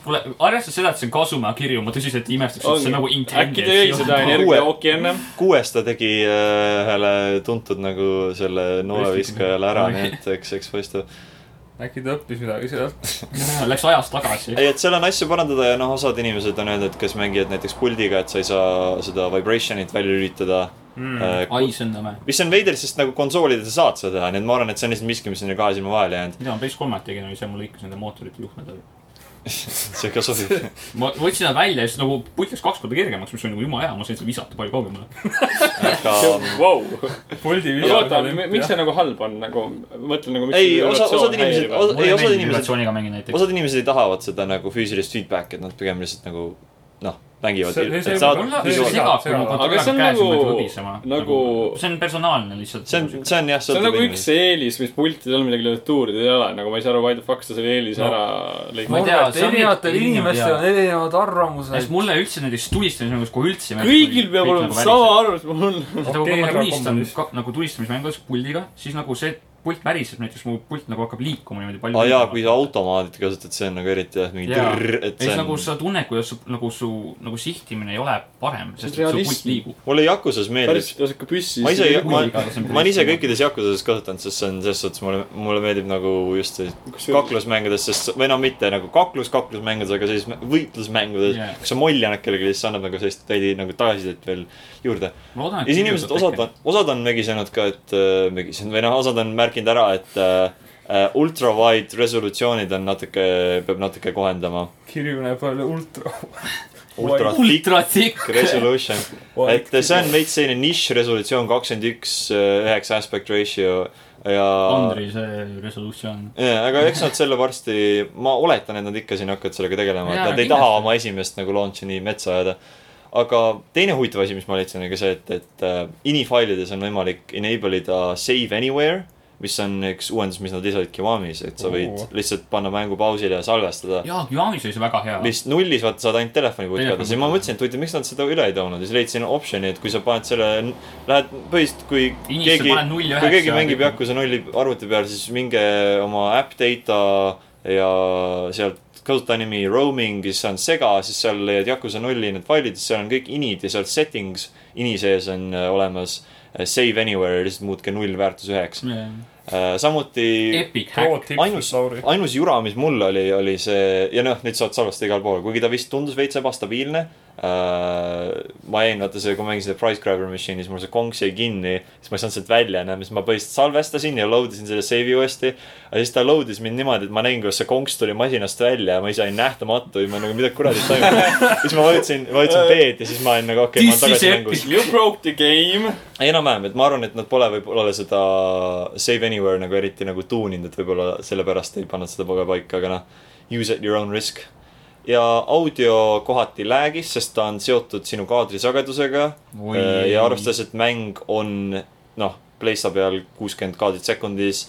C: kuule , arvestades seda , et see on Kasuma kirju , ma tõsiselt imestaks , et see on nagu
B: äkki ta jõi
A: energi-
B: seda
C: intended .
B: energiajooki ennem .
A: kuues ta tegi äh, ühele tuntud nagu selle nooleviskajale ära , nii et eks , eks paistab .
D: äkki ta õppis midagi sealt .
C: Läks ajas tagasi .
A: ei , et seal on asju parandada ja noh , osad inimesed on öelnud , et kes mängivad näiteks puldiga , et sa ei saa seda vibration'it välja lülitada
C: Hmm.
A: mm. .
C: ai , see on nõme .
A: mis on veider , sest nagu konsoolidel sa saad seda teha , nii et ma arvan , et see on lihtsalt miski , mis on ju kahe silma vahele jäänud .
C: mida ma päris kolmelt tegin , oli see , mul lõikas nende mootorite juhtmed ära .
A: see ka sobib .
C: ma võtsin nad välja ja siis nagu puit läks kaks korda kergemaks , mis oli nagu jumala hea , ma sain seda visata palju kaugemale .
A: aga
B: Vau .
D: puldi
B: no oota , miks see nagu halb on nagu , mõtlen nagu .
A: ei , osa , osad inimesed , ei , osad inimesed ,
C: vibratsiooniga mängin näiteks .
A: osad inimesed ei tahavad seda nagu füüsilist feedback'i , et nad pigem lihtsalt nagu noh , mängivad .
D: See- see- see-
C: mul
D: see-
C: läheb see
D: see-
C: segab , kui
D: see-
C: ma
B: aga see
C: kontrolliga
B: on
C: käes
B: nagu-
C: nagu, võbisema .
B: nagu-
C: see on personaalne lihtsalt .
A: see on , see on jah ,
B: see on
A: sõltub
B: nagu üks
A: inimesest .
B: eelis , mis pultidel on , millega klaviatuuridel ei ole , nagu ma ei saa aru , why the fuck sa selle eelise
C: No.
B: ära
C: Ma ei
B: lõikad .
C: tea, see on
D: erinevatel
C: erinev-
D: inimestel
C: jaa.
D: on erinevad arvamused
C: sest . mulle üldse näiteks tulistamismängus , kui üldse .
B: kõigil peab olema sama . arvamus , mul on .
C: nagu kui
D: Okei,
C: ma
D: härra
C: tulistan
D: kommunist.
C: ka- nagu tulistamismängus puldiga , siis nagu see pult väriseb näiteks , mu pult nagu hakkab liikuma niimoodi palju .
A: aa Ah, jaa , kui sa automaadit kasutad , see on nagu eriti jah , mingi
C: Jaa.
A: trrr , et
C: ja siis
A: see
C: nagu
A: on
C: sa tunned , kuidas su- nagu su nagu sihtimine ei ole parem , sest
B: See on
C: et su pult
B: realism.
C: liigub .
A: mulle Yakuza's meeldib
B: päris sihuke püssi .
A: ma ise , ma
C: kuigi kaasa ,
A: ma olen ise kõikides Yakuzas kasutanud , sest see on selles suhtes mulle , mulle meeldib nagu just see kaklusmängudes , sest või no mitte nagu kaklus , kaklusmängudes , aga sellises mä- võitlusmängudes
C: Jaa.
A: yeah. , kus sa molli annad kellelegi , siis see annab nagu sellist veidi nagu tagasisidet veel juurde .
C: ma loodan ,
A: ja
C: et .
A: siis inimesed , osad on , osad on mögisenud ka , et äh, mögisenud või noh , osad on märkinud ära , et äh, äh, ultra-wide resolutsioonid on natuke , peab natuke kohendama .
D: kirju näeb välja ultra .
A: ultra thick
C: ultratikk .
A: resolution , et see on veits selline nišš resolutsioon kakskümmend üks , üheksa aspect ratio ja .
C: Andrei , see resolutsioon .
A: jaa , aga eks nad selle varsti , ma oletan , et nad ikka siin hakkavad sellega tegelema , et
C: Jaa,
A: nad ei
C: kindlasti.
A: taha oma esimest nagu launch'i nii metsa ajada . aga teine huvitav asi , mis ma leidsin , oli ka see , et , et äh, inifailides on võimalik enable ida save anywhere , mis on üks uuendus , mis nad lisasid Kiwamis , et sa võid
D: Oo.
A: lihtsalt panna mängu pausile ja salvestada .
C: jaa , Jaanis oli see väga hea .
A: mis nullis , vaata , saad ainult telefoni putkada ,
C: Telefoni
A: siis ma mõtlesin , et huvitav , miks nad seda üle ei toonud ja siis leidsin optsiooni , et kui sa paned selle , lähed põhiliselt , kui
C: Inimesed
A: keegi
C: paned null ja
A: kui
C: üheksa
A: keegi
C: ja
A: mängib
C: kõik-
A: Yakuza nulli arvuti peal , siis minge oma äpp data ja sealt kasuta nimi roaming , siis see on sega , siis seal leiad Yakuza nulli need failid , siis seal on kõik inid ja seal
C: Mm.
A: settings , ini sees on äh, olemas äh, save anywhere , lihtsalt muutke null väärtus üheks . samuti
C: Epic
D: too
C: hack .
A: ainus
D: tipp , Lauri ,
A: ainus jura , mis mul oli , oli see ja noh , nüüd saad salvestada igal pool , kuigi ta vist tundus veits ebastabiilne äh, . ma jäin , vaata see , kui ma mängin seda Price Grabber Machine'is , mul see konks jäi kinni , siis ma ei saanud sealt välja enam , siis ma põhimõtteliselt salvestasin ja load isin selle save'i uuesti . aga siis ta load is mind niimoodi , et ma nägin , kuidas see konks tuli masinast välja ja ma ise olin nähtamatu ja ma nagu , mida kuradi
C: [laughs]
A: toimub . siis ma vajutasin , vajutasin B-d ja siis ma olin nagu okei okay, , ma
C: This
A: olen
C: is
A: tagasi mängus
C: epic .
B: You broke the game .
A: enam-vähem , et ma arvan , et nad pole võib-olla seda Save Anywhere nagu eriti nagu tuuninud , et võib-olla sellepärast ei pannud seda kohe paika , aga noh . Use at your own risk . ja audio kohati lag'is , sest ta on seotud sinu kaadrisagedusega . Äh, ja arvestades , et mäng on noh , Playsta peal kuuskümmend kaadrit sekundis .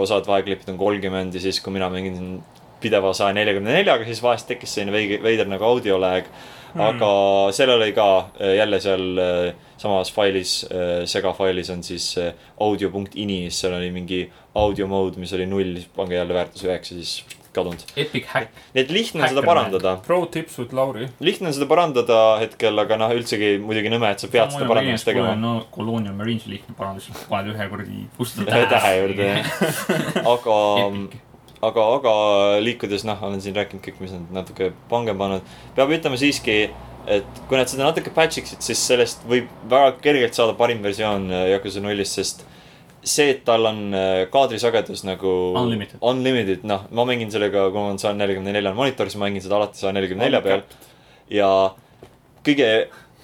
A: osad vaheklipid on kolmkümmend ja siis , kui mina mängin pideva saja neljakümne neljaga , siis vahest tekkis selline veidi , veider nagu audio lag . aga seal oli ka äh, jälle seal äh, samas failis , segafailis on siis äh, audio.ini , seal oli mingi audio mode , mis oli null , siis pange jälle väärtus üheksa , siis kadunud .
C: Epic hack .
A: nii et lihtne on seda
C: Häkkermäng.
A: parandada ,
D: pro tips with Lauri .
A: lihtne on seda parandada hetkel , aga noh , üldsegi muidugi nõme , et sa pead seda parandamist tegema .
C: no Colonial Marines on lihtne parandus , paned ühe kuradi
A: ühe
C: kustutada
A: tähe juurde ,
C: [laughs]
A: aga
C: Epic. ,
A: aga , aga liikudes noh , olen siin rääkinud kõik , mis nad natuke pange pannud . peab ütlema siiski , et kui nad seda natuke patch iksid , siis sellest võib väga kergelt saada parim versioon äh, Yakuza nullist , sest see , et tal on äh, kaadrisagedus nagu
C: Unlimited.
A: unlimited , noh , ma mängin sellega , kui mul on saja neljakümne neljal monitoris , ma mängin seda alati saja neljakümne nelja peal . ja kõige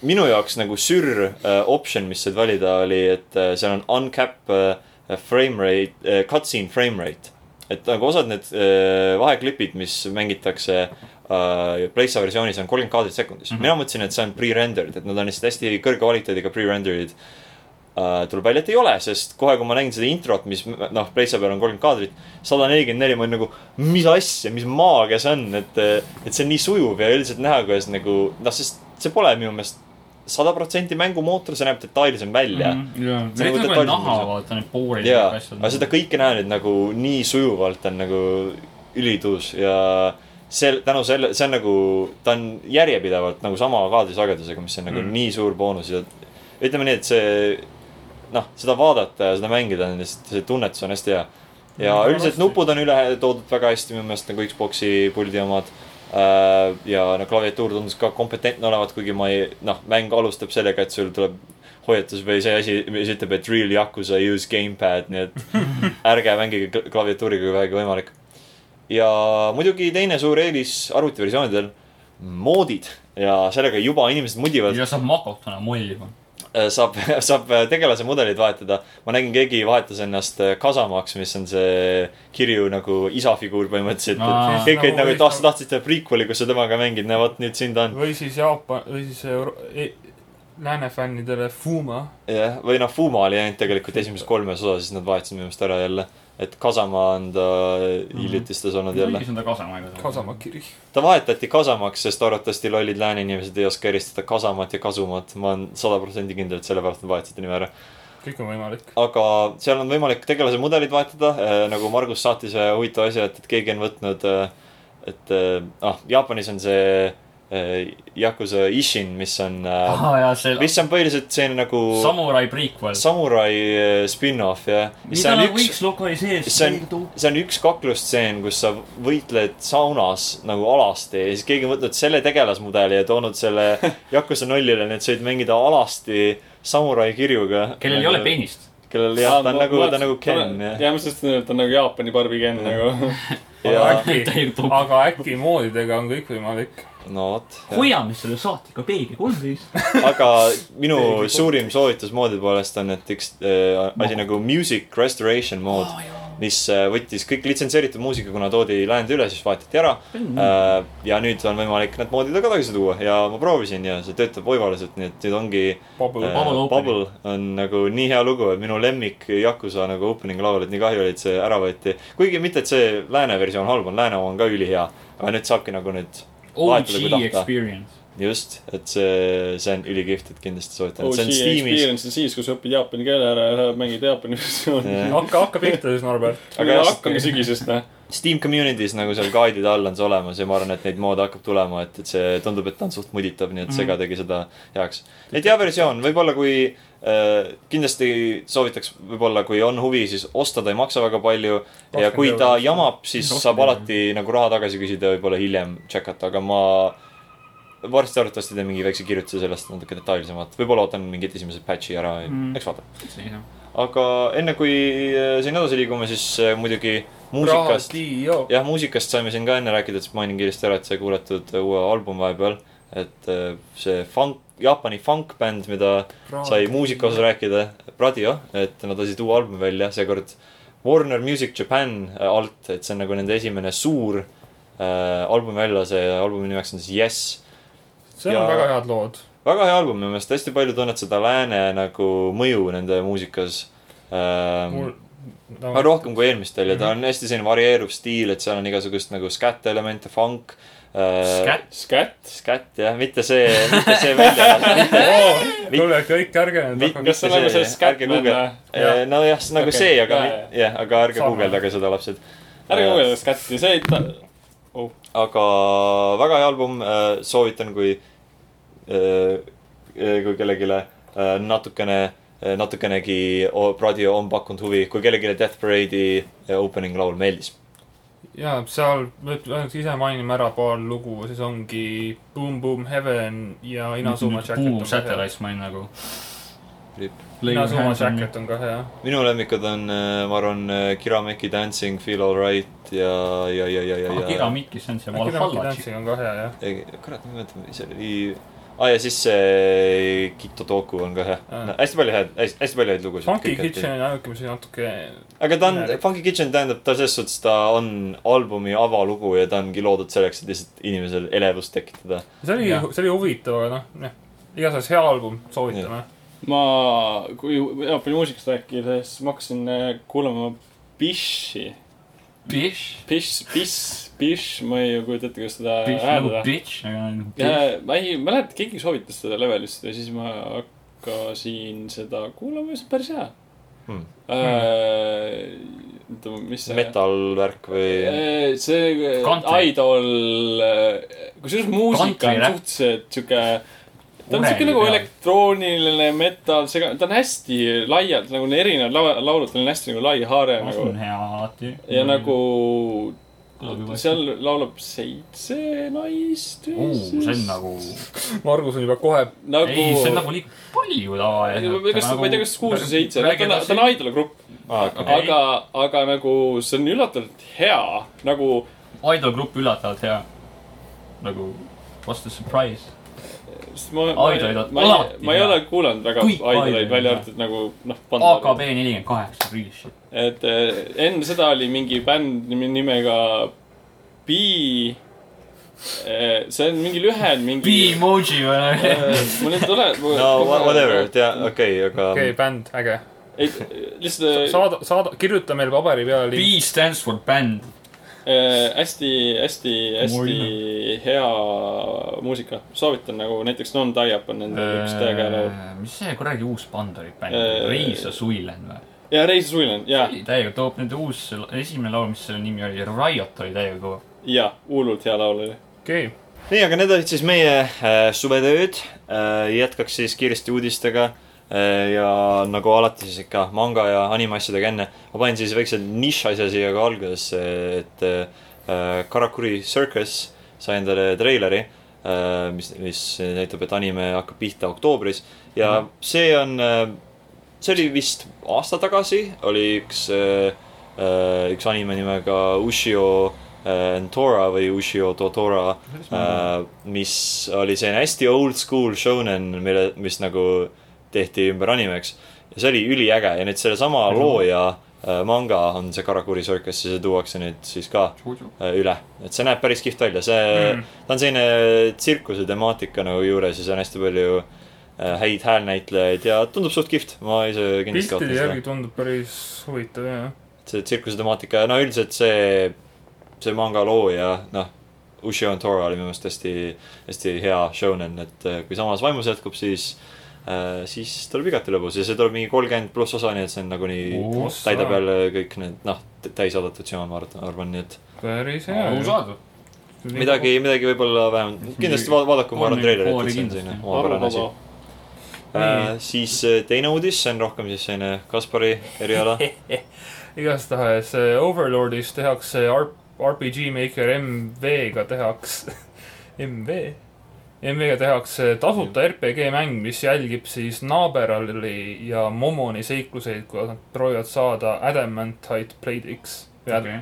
A: minu jaoks nagu sür äh, option , mis said valida , oli , et äh, seal on uncap äh, frame rate äh, , cutscene frame rate . et nagu osad need äh, vaheklipid , mis mängitakse äh, PlayStation versioonis on kolmkümmend kaadrit sekundis mm .
C: Mhm.
A: -hmm. mina mõtlesin , et see on pre-rendered , et nad on lihtsalt hästi kõrge kvaliteediga pre-rendered äh, . tuleb välja , et ei ole , sest kohe , kui ma nägin seda introt , mis m- noh , PlayStation peal on kolmkümmend kaadrit , sada nelikümmend neli , ma olin nagu , mis asja , mis maagia see on , et , et see on nii sujuv ja üldiselt näha , kuidas nagu noh , sest see pole minu meelest sada protsenti mängumootor , see näeb detailsem
C: Mhm.
A: välja mm .
C: jah ,
A: See
C: see
A: nagu detailsem
C: on nagu naha
A: lihtsalt. ,
C: vaata need boore'id
A: jaa ,
C: ja kõik
A: aga seda kõike näha nüüd nagu nii sujuvalt on nagu ülituus ja see , tänu selle , see on nagu , ta on järjepidevalt nagu sama kaadrisagedusega , mis on nagu mm.
C: Mm.
A: nii suur boonus ja ütleme nii , et see noh , seda vaadata ja seda mängida on lihtsalt , see tunnetus on hästi hea . ja
D: Mm,
A: üldiselt
D: kindlasti.
A: nupud on üle toodud väga hästi minu meelest nagu Xbox'i puldi omad . ja no klaviatuur tundus ka kompetentne olevat , kuigi ma ei , noh , mäng alustab sellega , et sul tuleb hoiatus või see asi , mis ütleb , et real Yakuza use gamepad , nii et ärge mängige kla- klaviatuuriga , kui vähegi võimalik . ja muidugi teine suur eelis arvutiversioonidel , moodid ja sellega juba inimesed mudivad .
C: ja saab makotana mollima .
A: Äh, saab , [laughs] saab tegelase mudeleid vahetada . ma nägin , keegi vahetas ennast Kasamaks , mis on see kirju nagu isa figuur põhimõtteliselt
C: Aa.
A: et kõik olid nagu
D: Nagu
A: tahtsid ,
D: isa-
A: tahtsid teha prequel'i , kus sa temaga mängid , no vot nüüd siin ta on .
D: või siis Jaapan , või siis Euro- , e- lääne fännidele Fuma .
A: jah , või noh , Fuma oli ainult tegelikult esimeses kolmes osas , siis nad vahetasid minu meelest ära jälle . et Kasamaa on ta hiljutistes olnud jälle .
C: õigus on ta kasamaega .
D: Kasama . kiri .
A: ta vahetati Kasamaks , sest arvatavasti lollid lääne inimesed ei oska eristada Kasamat ja Kasumat . ma olen sada protsenti kindel , et sellepärast nad vahetasid nime ära .
D: kõik on võimalik .
A: aga seal on võimalik tegelase mudelid vahetada , nagu Margus saatis ühe huvitava asja , et , et keegi on võtnud , et eh, ah , Jaapanis on see eh, Yakuza Ishin , mis on ,
C: aa jaa , see
A: mis on põhiliselt selline nagu
C: samurai prequel .
A: samurai eh, spin-off jah . see
C: mida
A: on
C: nad
A: üks ,
C: võiks lokaliseerida
A: see on , see on üks kaklustseen , kus sa võitled saunas nagu alasti ja siis keegi on võtnud selle tegelasmudeli ja toonud
C: [laughs]
A: selle Yakuza nullile , nii et sa võid mängida alasti samurai kirjuga .
C: kellel ei ole peenist .
A: [laughs] kellel jah , ta on nagu , ta on nagu Ken jah .
B: jah , ma just ütlesin , et ta on nagu Jaapani Barbi Ken nagu .
A: ja
C: hoiame
D: aga äkki moodidega on kõik võimalik .
A: no vot .
C: selle saatega peegli kolmteist .
A: aga minu suurim soovitus moodi poolest on , et üks äh, asi nagu music restoration mood , mis äh, võttis kõik litsenseeritud muusika , kuna toodi läände üle , siis vahetati ära äh, . ja nüüd on võimalik need moodid ka tagasi tuua ja ma proovisin ja see töötab oivalaselt , nii et nüüd ongi
D: Bubble
A: äh, .
C: Bubble opening.
A: Bubble on nagu nii hea lugu , et minu lemmik Yakuza nagu opening laul , et nii kahju oli , et see ära võeti . kuigi mitte , et see lääne versioon halb on , lääne oma on ka ülihea , aga nüüd saabki nagu nüüd
C: OG
A: vahetada, kui tahta.
C: experience .
A: just , et see , see on ülikihvt , et kindlasti soovitan ,
C: Oh,
A: et see on
B: OG
A: Steamis .
B: Oh, experience on siis , kui sa õpid jaapani keele ära ja lähed mängid jaapani versiooni .
A: Jah.
D: hakka , hakka pihta siis , Norbert .
A: Aga
B: aga
A: jah,
B: hakkame sügisest , noh .
A: Steam community's nagu seal guide'ide all on see olemas ja ma arvan , et neid moodi hakkab tulema , et , et see tundub , et ta on suht mõditav ,
C: Mhm.
A: nii et segadagi seda heaks . et hea versioon , võib-olla kui äh, , kindlasti soovitaks võib-olla , kui on huvi , siis osta , ta ei maksa väga palju . ja kui ta
D: eurot.
A: jamab , siis
C: Rohkem
A: saab
C: ei ole.
A: alati nagu raha tagasi küsida , võib-olla hiljem check ata , aga ma varsti arvatavasti teen mingi väikse kirjutuse sellest natuke detailsemalt , võib-olla ootan mingit esimesed patch'i ära mm.
C: Mhm.
D: Mm. ,
A: eks vaata .
C: see
A: aga enne kui äh, siin edasi liigume , siis äh, muidugi muusikast ,
D: Raadio .
A: jah , muusikast saime siin ka enne rääkida , et mainin kiiresti ära , et sai kuulatud äh, uue album vahepeal . et äh, see funk , Jaapani funkbänd , mida sai muusika osas . rääkida , Radio , et nad lasid uue albumi välja , seekord Warner Music Japan äh, alt , et see on nagu nende esimene suur äh, album välja , see albumi nimeks on siis Yes .
D: seal
A: ja-
D: on väga head lood .
A: väga hea album minu meelest , hästi palju tunned seda lääne nagu mõju nende muusikas ähm, .
D: mul .
A: aga rohkem kui eelmistel ja ta on hästi selline varieeruv stiil , et seal on igasugust nagu skat elemente , funk äh, .
C: Skat?
B: Scat .
A: skat jah , mitte see , mitte see välja .
B: [laughs]
A: [laughs]
D: kuule , kõik ärge
A: Vi-
D: nüüd hakake .
B: kas see on nagu see
A: See-
B: Scat
A: ärge
B: Man
A: guugelda.
B: või ?
D: Jah.
A: nojah , nagu okay.
B: Okei,
A: see , aga
B: jaa,
A: mi-
B: jaa.
A: jah , aga ärge
D: Sarnane.
A: guugeldage seda lapsed . Äh,
B: ärge guugeldage Scatti , see ei ta... .
A: aga väga hea album , soovitan , kui , kui kellelegi äh, natukene , natukenegi o- radio on pakkunud huvi , kui kellelegi Death Parade'i äh, opening laul meeldis .
D: ja seal , peaks ise mainima ära paar lugu , siis ongi Boom Boom Heaven ja Inazuma Jacket .
C: Boom Satellites ma olin nagu .
D: Inazuma Jacket on ka hea .
A: minu lemmikud on , ma arvan , Kirameki Dancing , Feel Alright ja , ja , ja , ja ,
D: Ah,
A: ja , ja
C: Akira . Mikis on see
D: Kirjaniku
C: Valhalla .
D: tantsing on ka hea jah .
A: kurat , ma ei mäleta , mis see oli . aa ja siis see Kito Toku on ka hea
D: Aa.
A: no, . hästi palju häid , hästi palju häid lugusid .
D: Funky Kitchen on ainuke , mis oli natuke
A: aga ta on
D: Näe. ,
A: Funky Kitchen tähendab , ta selles suhtes , ta on albumi avalugu ja ta ongi loodud selleks , et lihtsalt inimesel elevust tekitada .
D: see oli
C: Jah. ,
D: see oli huvitav , aga noh , jah . igatahes hea album , soovitame .
B: ma , kui Jaapani muusikast rääkida , siis ma hakkasin äh, kuulama Bishi .
C: Bitch .
B: Bish , Bish , Bish , ma ei kujuta ette , kuidas seda
C: Bitch nagu
B: hääldada .
C: bitch , aga nagu bitch .
B: ma ei mäleta , keegi soovitas seda levelist ja siis ma hakkasin seda kuulama ja see on päris hea
A: Hmm. .
B: oota , mis see .
A: metal-värk või ?
B: see äh,
C: Country.
B: idol , kusjuures muusika on
C: Country, jah.
B: suhteliselt sihuke , ta on
C: Ureli
B: sihuke nagu
C: peal.
B: elektrooniline metal , sega- , ta on hästi laialt nagu need erinevad laua- laulud , tal on hästi nagu lai haare nagu
C: on hea alati .
B: ja nagu
C: Mm. Kõlab juba
B: seal laulab seitse naist .
C: see on nagu ,
D: Margus on juba kohe ,
B: nagu
C: ei , see on nagu liiga palju tavaliselt .
B: kas , ma ei tea , kas kuus või seitse , ta on , ta
C: ta
B: on idolgrupp ,
A: aa ,
C: Okei.
B: aga , aga nagu see on üllatavalt hea , nagu
C: on . idolgrupp üllatavalt hea . nagu , what's the surprise ?
B: sest ma ,
C: Idolid on
B: ma, ma,
C: alati
B: ma ei
C: hea.
B: ole kuulanud väga
C: Kõik
B: idolaid ,
C: idolid
B: välja
C: on
B: arvatud nagu noh ,
C: AKB . nelikümmend kaheksa , real shit .
B: et eh, enne seda oli mingi bänd nimi- nimega B . see on mingi lühend , mingi .
C: B-emoji või ? nagu-
B: mul ei tule .
A: [laughs] no wha- whatever ,. tea , okei , aga
D: okei , bänd , äge .
B: ei , lihtsalt eh,
D: saada , saada , kirjuta meile paberi peale .
C: B stands for band .
B: eh, hästi , hästi , hästi
C: Moina.
B: hea muusika . soovitan nagu näiteks Non-Tie-Up on nende Äh,
A: Eh.
B: üks täiega hea laul .
C: mis see kuradi uus band oli , bänd
B: Äh, ,
C: Reisa Suilen või ?
B: ja Reis Suilen ja ,
C: täiega toob nende uus , esimene laul , mis selle nimi oli , Riot oli täiega kõva .
B: ja hullult hea laul oli .
D: okei ,
A: nii , aga need olid siis meie äh, suvetööd äh, . jätkaks siis kiiresti uudistega äh, ja nagu alati siis ikka manga ja animasjadega enne . ma panin siis väikse nišasja siia ka algusesse , et äh, Karakuri Circus sai endale treileri äh, , mis , mis näitab , et anime hakkab pihta oktoobris ja mm -hmm. see on äh, see oli vist aasta tagasi , oli üks äh, , äh, üks anime nimega Ushio äh, Tora või Ushio Totora äh, , mis oli selline hästi old school shonen , mille , mis nagu tehti ümber animeks . ja see oli üliäge ja nüüd sellesama looja äh, manga on see Karakuri Circus ja see tuuakse nüüd siis ka äh, üle , et see näeb päris kihvt välja , see mm.
D: Mm. ,
A: ta on selline äh, tsirkuse temaatika nagu juures ja see on hästi palju äh, häid häälnäitlejaid ja tundub suht kihvt , ma ise kindlasti
D: piltide
A: ootan
D: järgi
A: seda .
D: tundub päris huvitav jah .
A: see tsirkuse temaatika ja no üldiselt see , see manga looja , noh , Ushio on Tora oli minu meelest hästi , hästi hea shonen , et äh, kui samas vaimus jätkub , siis siis tuleb igati lõbus ja see tuleb mingi kolmkümmend pluss osa , nii et see on nagunii ,
D: Ossa.
A: täidab jälle kõik need noh , täisadaptatsioon , ma arvan , arvan , nii et
D: päris hea .
C: arusaadav .
A: midagi , midagi võib-olla vähem , kindlasti va- vaadaku , ma arvan ,
C: Kolm-
A: treilerit ,
C: kolm-
A: et see on
C: kindlasti.
A: selline omapärane asi
B: aruvaba ..
A: Äh, siis äh, teine uudis , see on rohkem siis selline Kaspari
D: [laughs]
A: eriala .
D: igastahes äh, Overlordis tehakse R- RPG Maker MV-ga [laughs] tehakse MV ? MV-ga tehakse tasuta RPG mäng , mis jälgib siis Naaberali ja Momoni seikluseid , kuidas nad proovivad saada Adamantite Platiks . ja
C: okei ,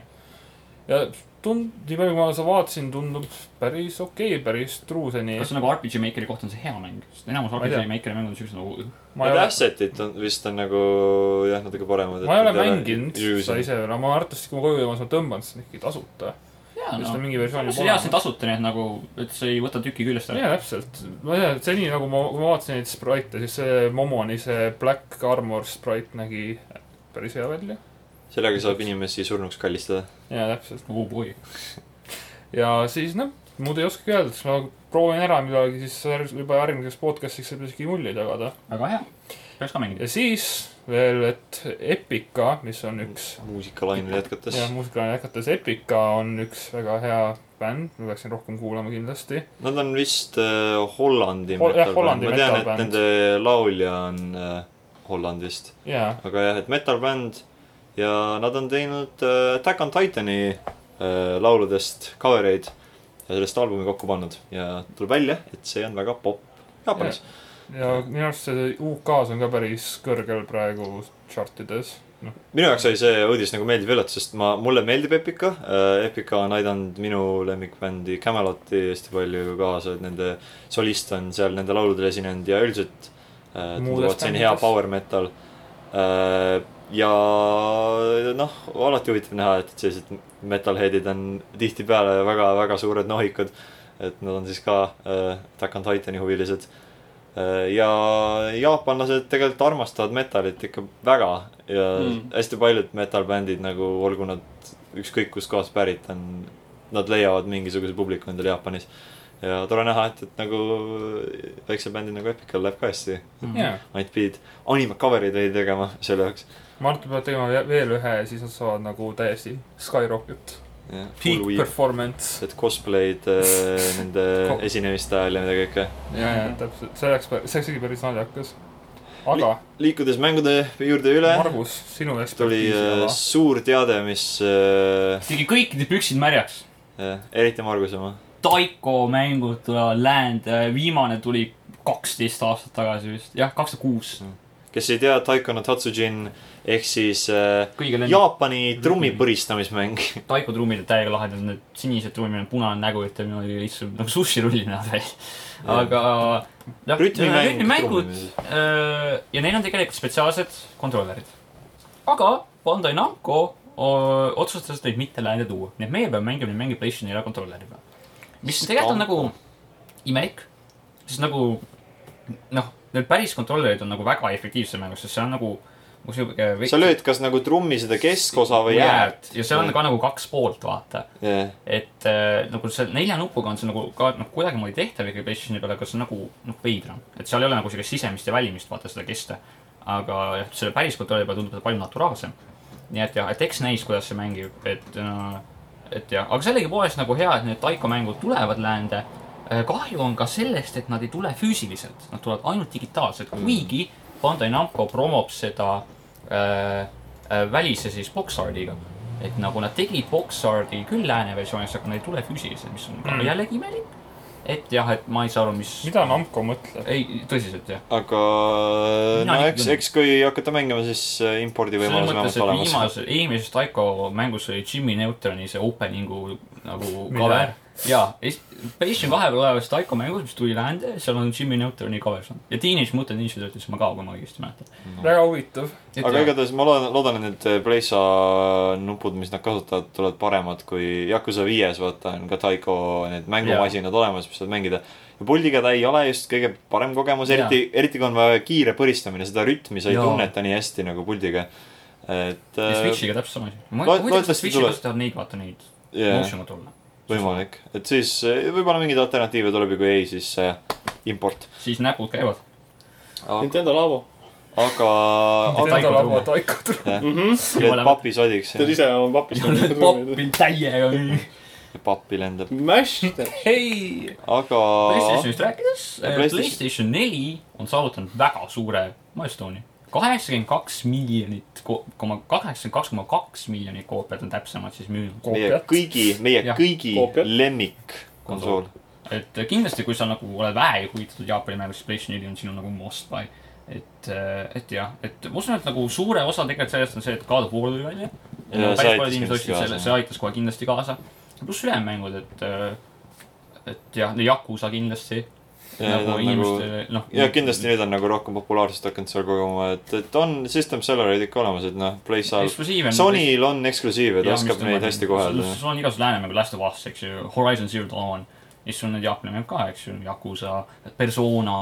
D: ja tund- , nii palju , kui ma seda vaatasin , tundub päris okei okay, , päris true seni .
C: kas see nagu RPG Makeri kohta on see hea mäng , sest enamus
D: Ma ei tea.
C: RPG Makeri mängud on siuksed nagu
D: ma ei
A: Need
D: ole ,
A: asset'id on vist on nagu jah , natuke paremad .
D: ma ei ole mänginud seda . ise veel , aga ma arvatavasti , kui ma koju jõuan , siis ma tõmban seda ikkagi tasuta .
C: jaa ,
D: sest
C: no
D: on mingi versioon
C: Ah, noh. see on hea , see on tasuta , nii et nagu , et see ei võta tüki küljest ära .
D: jaa , täpselt . ma ei tea , seni nagu ma , kui ma vaatasin neid sprite , siis see Momoni , see Black Armor sprite nägi päris hea välja .
A: sellega saab inimesi surnuks kallistada .
D: jaa , täpselt .
C: oo Oh boy .
D: ja siis noh , muud ei oskagi öelda , siis ma proovin ära midagi , siis järg- juba järgmiseks podcast'iks saab isegi muljeid jagada .
C: väga hea , peaks ka mängima .
D: ja siis veel , et Epica , mis on üks
A: muusikalainel jätkates .
D: jah , muusikaline jätkates Epica on üks väga hea bänd , ma peaksin rohkem kuulama kindlasti .
A: Nad on vist äh, Hollandi
D: Hol- jah,
A: metal-bänd ,
D: Hollandi
A: ma tean , et
D: metal-bänd.
A: nende laulja on äh, Hollandist ,
D: jaa ,
A: aga jah , et metal-bänd ja nad on teinud äh, Attack on Titani äh, lauludest cover eid ja sellest albumi kokku pannud ja tuleb välja , et see on väga popp Jaapanis .
D: ja minu arust see UK-s on ka päris kõrgel praegu chartides . noh ,
A: minu jaoks oli see uudis nagu meeldiv üllatus , sest ma , mulle meeldib Epica . Epica on aidanud minu lemmikbändi Cameloti hästi palju kaasa , et nende solist on seal nende lauludel esinenud ja üldiselt äh, tundub ,
D: Muudes
A: et see on hea
D: bändides.
A: power metal . ja noh , alati huvitav näha , et et sellised metalhead'id on tihtipeale väga-väga suured nohikud . et nad on siis ka äh, Attack on Titani huvilised . ja jaapanlased tegelikult armastavad metalit ikka väga ja mm.
B: Mm.
A: hästi paljud metal-bändid nagu olgu nad ükskõik kustkohast pärit on , nad leiavad mingisuguse publiku endale Jaapanis . ja tore näha , et , et nagu väiksel bändil nagu Epical läheb ka hästi .
D: jaa .
A: Nad pidid anime cover'id oli tegema selle jaoks .
D: ma arvan , et nad peavad tegema ve- veel ühe ja siis nad saavad nagu täiesti skyrocket . Peak
A: et
D: performance .
A: cosplay'd äh, nende
D: [laughs] Ko-
A: esinemiste ajal ja mida kõike .
D: ja , ja täpselt , see oleks , see oleks ikka päris naljakas . aga ,
A: liikudes mängude juurde üle ,
D: Margus , sinu
A: tuli
D: ekspertiisi
A: äh,
D: ala .
A: suur teade , mis äh,
C: tegi kõikide püksid märjaks .
A: äh, eriti Margus oma .
C: Taiko mängud tulevad läände , viimane tuli kaksteist aastat tagasi vist , jah , kaks tuhat kuus .
A: kes ei tea , Taiko no Tatsujin ehk siis äh,
C: kõige lennuk- .
A: Jaapani trummi põristamismäng .
C: Taiko trummid on täiega lahedad , need sinised trummid , punane nägu ütleb niimoodi lihtsalt nagu sushi-rulli [laughs] näeb välja . aga jah ,
A: Rütmimäng
C: rütmimängud
A: trummides.
C: öö, ja neil on tegelikult spetsiaalsed kontrollerid . aga Bandai Namco öö, otsustas neid mitte läände tuua , nii et meie peame mängima neid mänge PlayStationi ja kontrolleriga . mis tegelikult on nagu imelik , sest nagu noh , need päris kontrollerid on nagu väga efektiivsed mängus , sest see on nagu nagu sihuke
A: sa lööd kas nagu trummi seda keskosa või jääd .
C: ja seal on ka nagu kaks poolt , vaata
A: jah ,
C: et äh, nagu see nelja nupuga on see nagu ka noh , kuidagimoodi tehtav ikkagi PlayStationi peal , aga see on nagu noh , veidram . et seal ei ole nagu sellist sisemist ja välimist vaata seda kesta . aga jah , selle päris kontrolli peal tundub ta palju naturaalsem . nii et jah , et eks näis , kuidas see mängib , et no, , et jah , aga sellegipoolest nagu hea , et need Taiko mängud tulevad läände . kahju on ka sellest , et nad ei tule füüsiliselt , nad tulevad ainult digitaalselt , kuigi Bandai Namco promob seda äh, äh, välise siis box-art'iga et nagu nad tegid Boxardi küll lääne versioonis , aga nad ei tule füüsiliselt , mis on mm. jällegi imelik . et jah , et ma ei saa aru , mis ,
D: mida Namco mõtleb ?
C: ei tõsiselt jah .
A: aga
C: Mina
A: no
C: ei
A: eks ,
C: tunne.
A: eks kui hakata mängima , siis äh, impordi
C: selles
A: võimalus on vähemalt
C: mõttes , et
A: olemas .
C: viimases , eelmises Taiko mängus oli Jimmy Neutroni see opening'u nagu
D: Mida?
C: cover . jaa , PlayStation kahe peal olevas Taiko mängus , mis tuli läände , seal on Jimmy Neutroni cover seal . ja Teenage Mutant Ninja Turtles ma ka , kui ma õigesti mäletan .
D: väga huvitav .
A: aga igatahes ma loodan , loodan , et need Playsa nupud , mis nad kasutavad , tulevad paremad kui Yakuza viies , vaata , on ka Taiko need mängumasinad olemas , mis saad mängida . ja puldiga ta ei ole just kõige parem kogemus , eriti , eriti kui on vaja kiire põristamine , seda rütmi sa ei
C: Jaa.
A: tunneta nii hästi nagu puldiga . et
C: ja
A: äh,
C: Switch'iga täpselt sama asi . ma
A: Loe-
C: ei tea ,
A: loodetavasti
C: kas Switch'i
A: tuleb.
C: kasutajad neid , vaata neid
A: jaa,
C: motion control'e .
A: võimalik , et siis äh, võib-olla mingeid alternatiive tuleb ja kui ei , siis äh, import .
C: siis näpud käivad .
A: aga ,
B: Nintendo Labo .
A: aga
D: Nintendo
C: Taiko
D: labo
C: Truman.
D: Taiko Truman .
A: teed papi sodiks
B: tead
A: ja
B: ise oma papist .
C: [laughs] popin täiega nii .
A: pappi lendab .
B: Mash ,
C: hei ,
A: aga
C: Playstationist rääkides ,
A: PlayStation-
C: Playstation neli on saavutanud väga suure milestone'i . kaheksakümmend kaks miljonit , koma kaheksakümmend kaks koma kaks miljonit koopiat on täpsemalt siis müünud .
A: meie
D: koopiat .
A: kõigi , meie
C: Jah.
A: kõigi
B: Koopiat.
A: lemmikkonsool .
C: et kindlasti , kui sa nagu oled vähegi huvitatud Jaapani mängust , PlayStation neli on sinu nagu must buy . et , et jah , et ma usun , et nagu suure osa tegelikult sellest on see , et God of War tuli välja .
A: see
C: päris
A: aitas
C: paljud
A: kindlasti
C: inimesed ostsid selle ,
A: kaasa.
C: see aitas kohe kindlasti kaasa . pluss ülejäänud mängud , et , et jah , Yakuza kindlasti .
A: Ja need
C: nagu
A: on
C: inimestele , noh .
A: ja kindlasti . nüüd on nagu rohkem populaarsust hakanud seal koguma , et , et on system sellereid ikka olemas , et noh , PlayStation .
C: eksklusiive .
A: Sonyl on eksklusiive , ta oskab neid hästi kohelda .
C: sul on igasugused lääne mängud , Last of Us , eks ju , Horizon Zero Dawn . ja siis sul on need Jaapani mängud ka , eks ju , Yakuza , Persona ,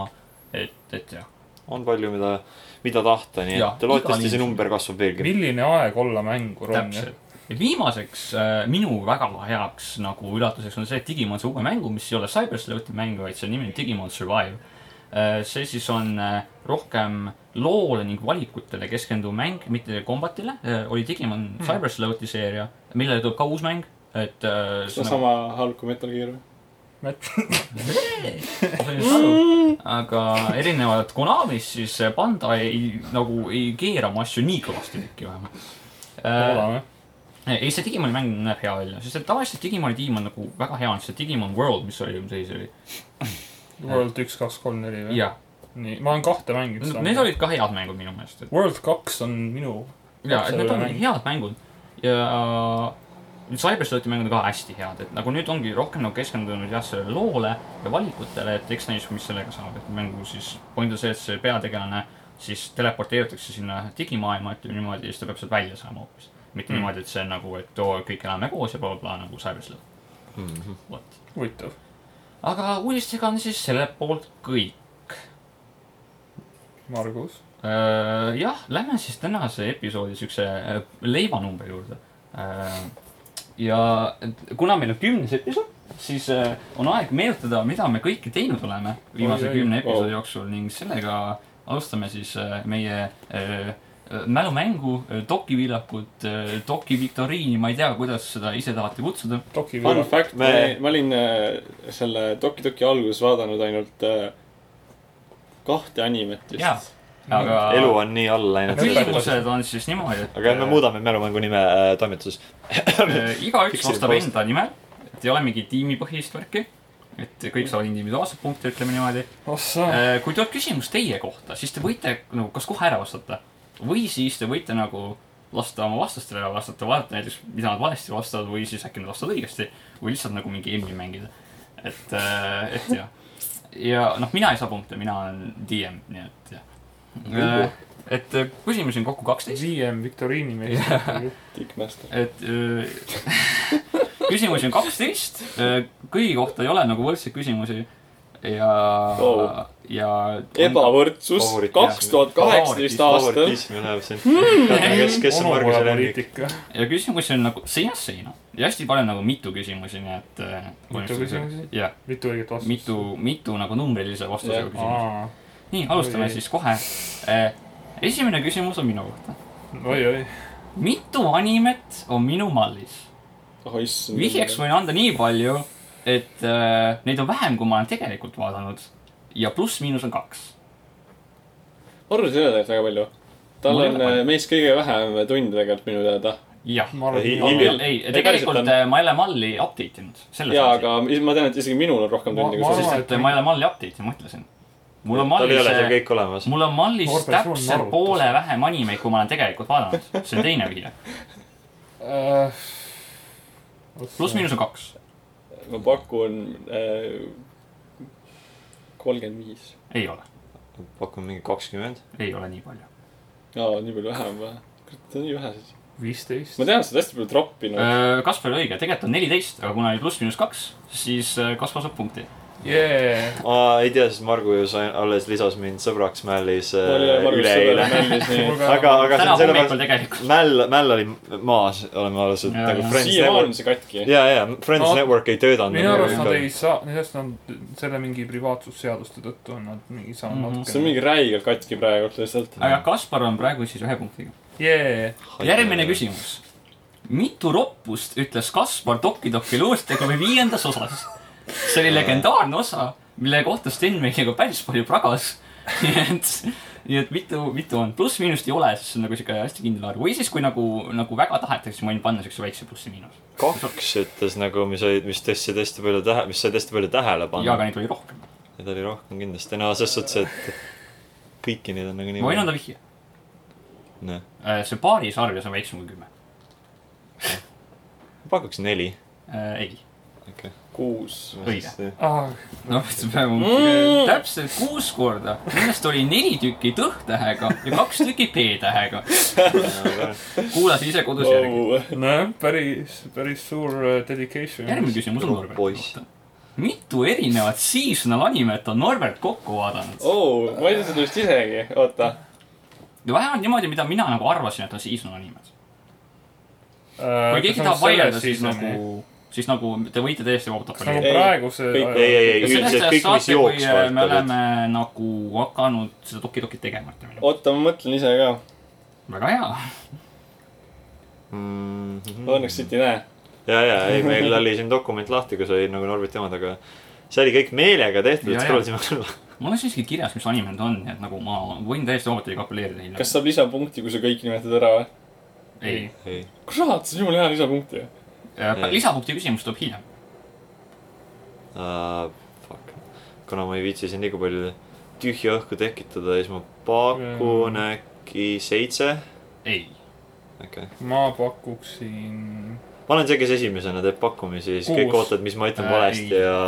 C: et , et jah .
A: on palju , mida , mida tahta , nii
C: Jah,
A: et loodetavasti see
C: igal
A: number kasvab veelgi .
D: milline aeg olla mänguruum .
C: täpselt . ja viimaseks äh, minu väga heaks nagu üllatuseks on see , et Digimon saab uue mängu , mis ei ole Cybersleuti mäng , vaid see nimi on Digimon Survive . see siis on äh, rohkem loole ning valikutele keskenduv mäng , mitte kombatile . oli Digimon hmm. Cybersleuti seeria , millele tuleb ka uus mäng , et äh,
B: see on sama halb kui Metal Gear .
C: [laughs] nagu, aga erinevalt Konamist , siis Bandai ei, nagu ei keera oma asju nii kõvasti tükki vähemalt äh, .
D: loodame .
C: ei , see Digimoni mäng näeb hea välja , sest et tavaliselt Digimoni tiim on nagu väga hea , on see Digimon World , mis oli , mis asi see oli ? äh.
D: World üks , kaks , kolm , neli või ?
C: jah ,
D: nii , ma olen kahte mänginud
C: need . olid ka head mängud minu meelest , et
D: World kaks on minu
C: ja , et need
D: Selle
C: on
D: mäng.
C: head mängud ja Cyberstati mängud on ka hästi head , et nagu nüüd ongi rohkem nagu keskendunud jah , sellele loole ja valikutele , et eks näis , mis sellega saab , et mängu siis point on see , et see peategelane siis teleporteeritakse sinna digimaailma , ütleme niimoodi , ja siis ta peab sealt välja saama hoopis . mitte mm. niimoodi , et see on nagu , et oo , kõik elame koos ja blablabla nagu Cyberstati mm . -hmm. vot .
D: huvitav .
C: aga uudistega on siis sellelt poolt kõik .
D: Margus .
C: Äh, jah , lähme siis tänase episoodi siukse äh, leivanumbri juurde . ja et kuna meil on kümnes episood , siis äh, on aeg meenutada , mida me kõike teinud oleme viimase
D: Oi, oi,
C: kümne
B: oo.
C: episoodi jooksul ning sellega alustame siis äh, meie äh, mälumängu , äh, dokiviilakut , dokiviktoriini , ma ei tea , kuidas seda ise tahate kutsuda .
D: Toki
B: Fun
D: Viru .
B: fact
A: me-
B: me... , ma olin äh, selle Toki Toki alguses vaadanud ainult äh, kahte animet
C: jaa ,
B: vist .
C: aga
A: elu on nii all läinud . aga
C: küsimused on siis niimoodi , et
A: jah , me muudame mälumängu nime äh, toimetuses .
C: Äh, igaüks
A: Fikseeritud
C: vastab
A: post.
C: enda nimel , et ei ole mingit tiimipõhist värki . et kõik saavad individuaalselt punkte , ütleme niimoodi .
D: ossa .
C: kui tuleb küsimus teie kohta , siis te võite nagu kas kohe ära vastata või siis te võite nagu lasta oma vastastele ära vastata , vaadata näiteks , mida nad valesti vastavad või siis äkki nad vastavad õigesti või lihtsalt nagu mingi emmi mängida . et , et jah . ja noh , mina ei saa punkte , mina olen DM , nii et jah . et äh, küsimusi on kokku kaksteist .
D: VM viktoriini mees .
B: Tickmaster .
C: et öö, [laughs] küsimusi on kaksteist , kõigi kohta ei ole nagu võrdseid küsimusi ja
B: Oh.
C: oh. , ja .
B: ebavõrdsus
A: Favoriit- ,
B: kaks tuhat kaheksateist aastal .
A: favoritism läheb
C: Hmm.
A: siin . kes , kes on Marguse lemmik ?
D: poliitika .
C: ja küsimusi on nagu seinast seina ja hästi palju nagu mitu küsimusi , nii et . äh,
D: mitu küsimusi ?
C: jah ,
D: mitu õiget vastust ?
C: mitu , mitu nagu numbrilise vastusega
B: Jah.
C: küsimusi . nii , alustame
D: Oi.
C: siis kohe . esimene küsimus on minu kohta .
D: oi-oi .
C: mitu animet on minu mallis ?
B: oh issand .
C: vihjeks võin anda nii palju , et äh, neid on vähem , kui ma olen tegelikult vaadanud ja pluss-miinus on kaks .
B: Margus ei ole tegelikult väga palju . tal
C: Mul ei
B: on
C: ole palju.
B: äh, meist kõige vähem tunde tegelikult minu teada .
C: jah .
D: ma arvan ,
A: Ei,
D: et
A: ei,
D: mina-
C: ei ,
B: päriselt
C: tegelikult
B: on-
C: äh, ma ei ole malli update inud .
B: jaa ,. aga is- ma tean , et isegi minul on rohkem
D: Ma-
B: tunde
D: ma
B: kui sul
D: arvan- .
C: sest , et ma ei ole malli update inud , ma ütlesin . mul on
A: tal ei ole seal
C: mallis ,
A: kõik olemas .
C: mul on mallis
D: Noor persoon
C: täpselt
D: naerutas.
C: poole vähem animeid , kui ma olen tegelikult vaadanud . see on teine vihje .
D: Äh,
C: pluss-miinus on kaks .
B: ma pakun äh, kolmkümmend viis .
C: ei ole ,
A: pakun mingi kakskümmend .
C: ei ole nii palju .
B: aa , nii palju vähem või ? kurat , see on nii vähe siis .
D: viisteist .
B: ma tean , et sa oled hästi palju
C: Äh,
B: troppinud .
C: Kaspar oli õige , tegelikult on neliteist , aga kuna oli pluss-miinus kaks , siis äh, Kaspar saab punkti .
D: yeah. .
A: ma ei tea , sest Margu ju sai , alles lisas mind sõbraks Mällis äh, üleeile .
B: üleeile .
A: aga , aga see
C: täna
A: on
C: hommikul
A: sellepärast ,
C: tegelikult .
A: Mäll , Mäll oli maas , oleme alles
C: Jaa,
A: nagu
C: jaa.
A: [laughs] Friends
B: siiamaani
A: Network .
B: on see katki .
A: ja , ja Friends
D: No,
A: Network ei töötanud .
D: minu arust nad ei saa , sest nad selle mingi privaatsusseaduste tõttu on nad mingi saanud
C: Mhm.
D: mm -hmm.
B: see on
D: natuke .
B: mingi räigelt katki praegu lihtsalt .
C: aga Kaspar on praegu siis ühe punktiga .
D: Yeah.
C: järgmine . küsimus . mitu roppust ütles Kaspar Tokidoki luust ega või viiendas osas ? see oli legendaarne osa , mille kohta Sten meiega päris palju pragas . [laughs] nii et , nii et mitu , mitu on , pluss-miinust ei ole , sest see on nagu siuke hästi kindel arv või siis , kui nagu , nagu väga tahetakse , ma võin panna siukse väikse plussi-miinus .
A: kaks ütles nagu , mis olid , mis tõstsid hästi palju tähe- , mis said hästi palju
C: ja ,
A: tähelepanu .
C: aga neid oli rohkem .
A: Neid oli rohkem kindlasti , no ses suhtes , et kõiki neid on nagu nii
C: ma võin anda vihje .
A: Noh.
C: see paaris arves on väiksem kui kümme .
A: ma pakuks neli .
C: Äh, ei ,
B: kuus .
C: õige .
D: Ah,
C: noh , see peab
B: Mm.
C: mm. täpselt kuus korda , millest oli neli tükki T-tähega ja kaks tükki P-tähega . kuulasin ise kodus järgi .
D: nojah , päris , päris suur äh, dedication .
C: järgmine küsimus on Norbert kohta . mitu erinevat seasonal animet on Norbert kokku vaadanud ?
B: oo , ma ei tea seda vist isegi , oota .
C: vähemalt niimoodi , mida mina nagu arvasin , et on seasonal animed .
D: Äh,
A: Äh,
C: kui keegi tahab vaielda , siis nagu , siis nagu te võite täiesti vabalt
D: kas nagu
B: Ei,
D: praeguse
B: kõik-
A: ei , ei , ei ,
C: sellest
A: üldiselt
C: ajast
A: kõik , mis
C: saate , kui äh, me
A: jooksvalt .
C: oleme nagu hakanud seda Toki-Tokit tegema , ütleme nii .
B: oota , ma mõtlen ise ka .
C: väga hea .
A: Mhm.
B: Õnneks siit ei näe .
A: ja , ja , ei , meil oli siin dokument lahti , kus olid nagu Norberti omad , aga see oli kõik meelega tehtud ,
C: Ja,
A: et
C: ja.
A: scroll sima alla .
C: mul on siiski kirjas , mis anime need on , nii et nagu ma võin täiesti vabalt teile kalkuleerida hiljem .
B: kas saab lisapunkti , kui sa kõik nimetad ära või ?
C: ei ,
A: ei ,
B: kurat , see on jumala hea lisapunkti .
A: Ei.
C: lisapunkti küsimus tuleb hiljem .
A: fuck . kuna ma ei viitsi siin liiga palju tühja õhku tekitada , siis ma pakun äkki seitse .
C: ei ,
A: okei okay. ,
D: ma pakuksin .
A: ma olen see , kes esimesena teeb pakkumisi , siis kõik
D: Kuus.
A: ootavad , mis ma ütlen
C: Äh,
A: valesti
C: ei.
A: ja .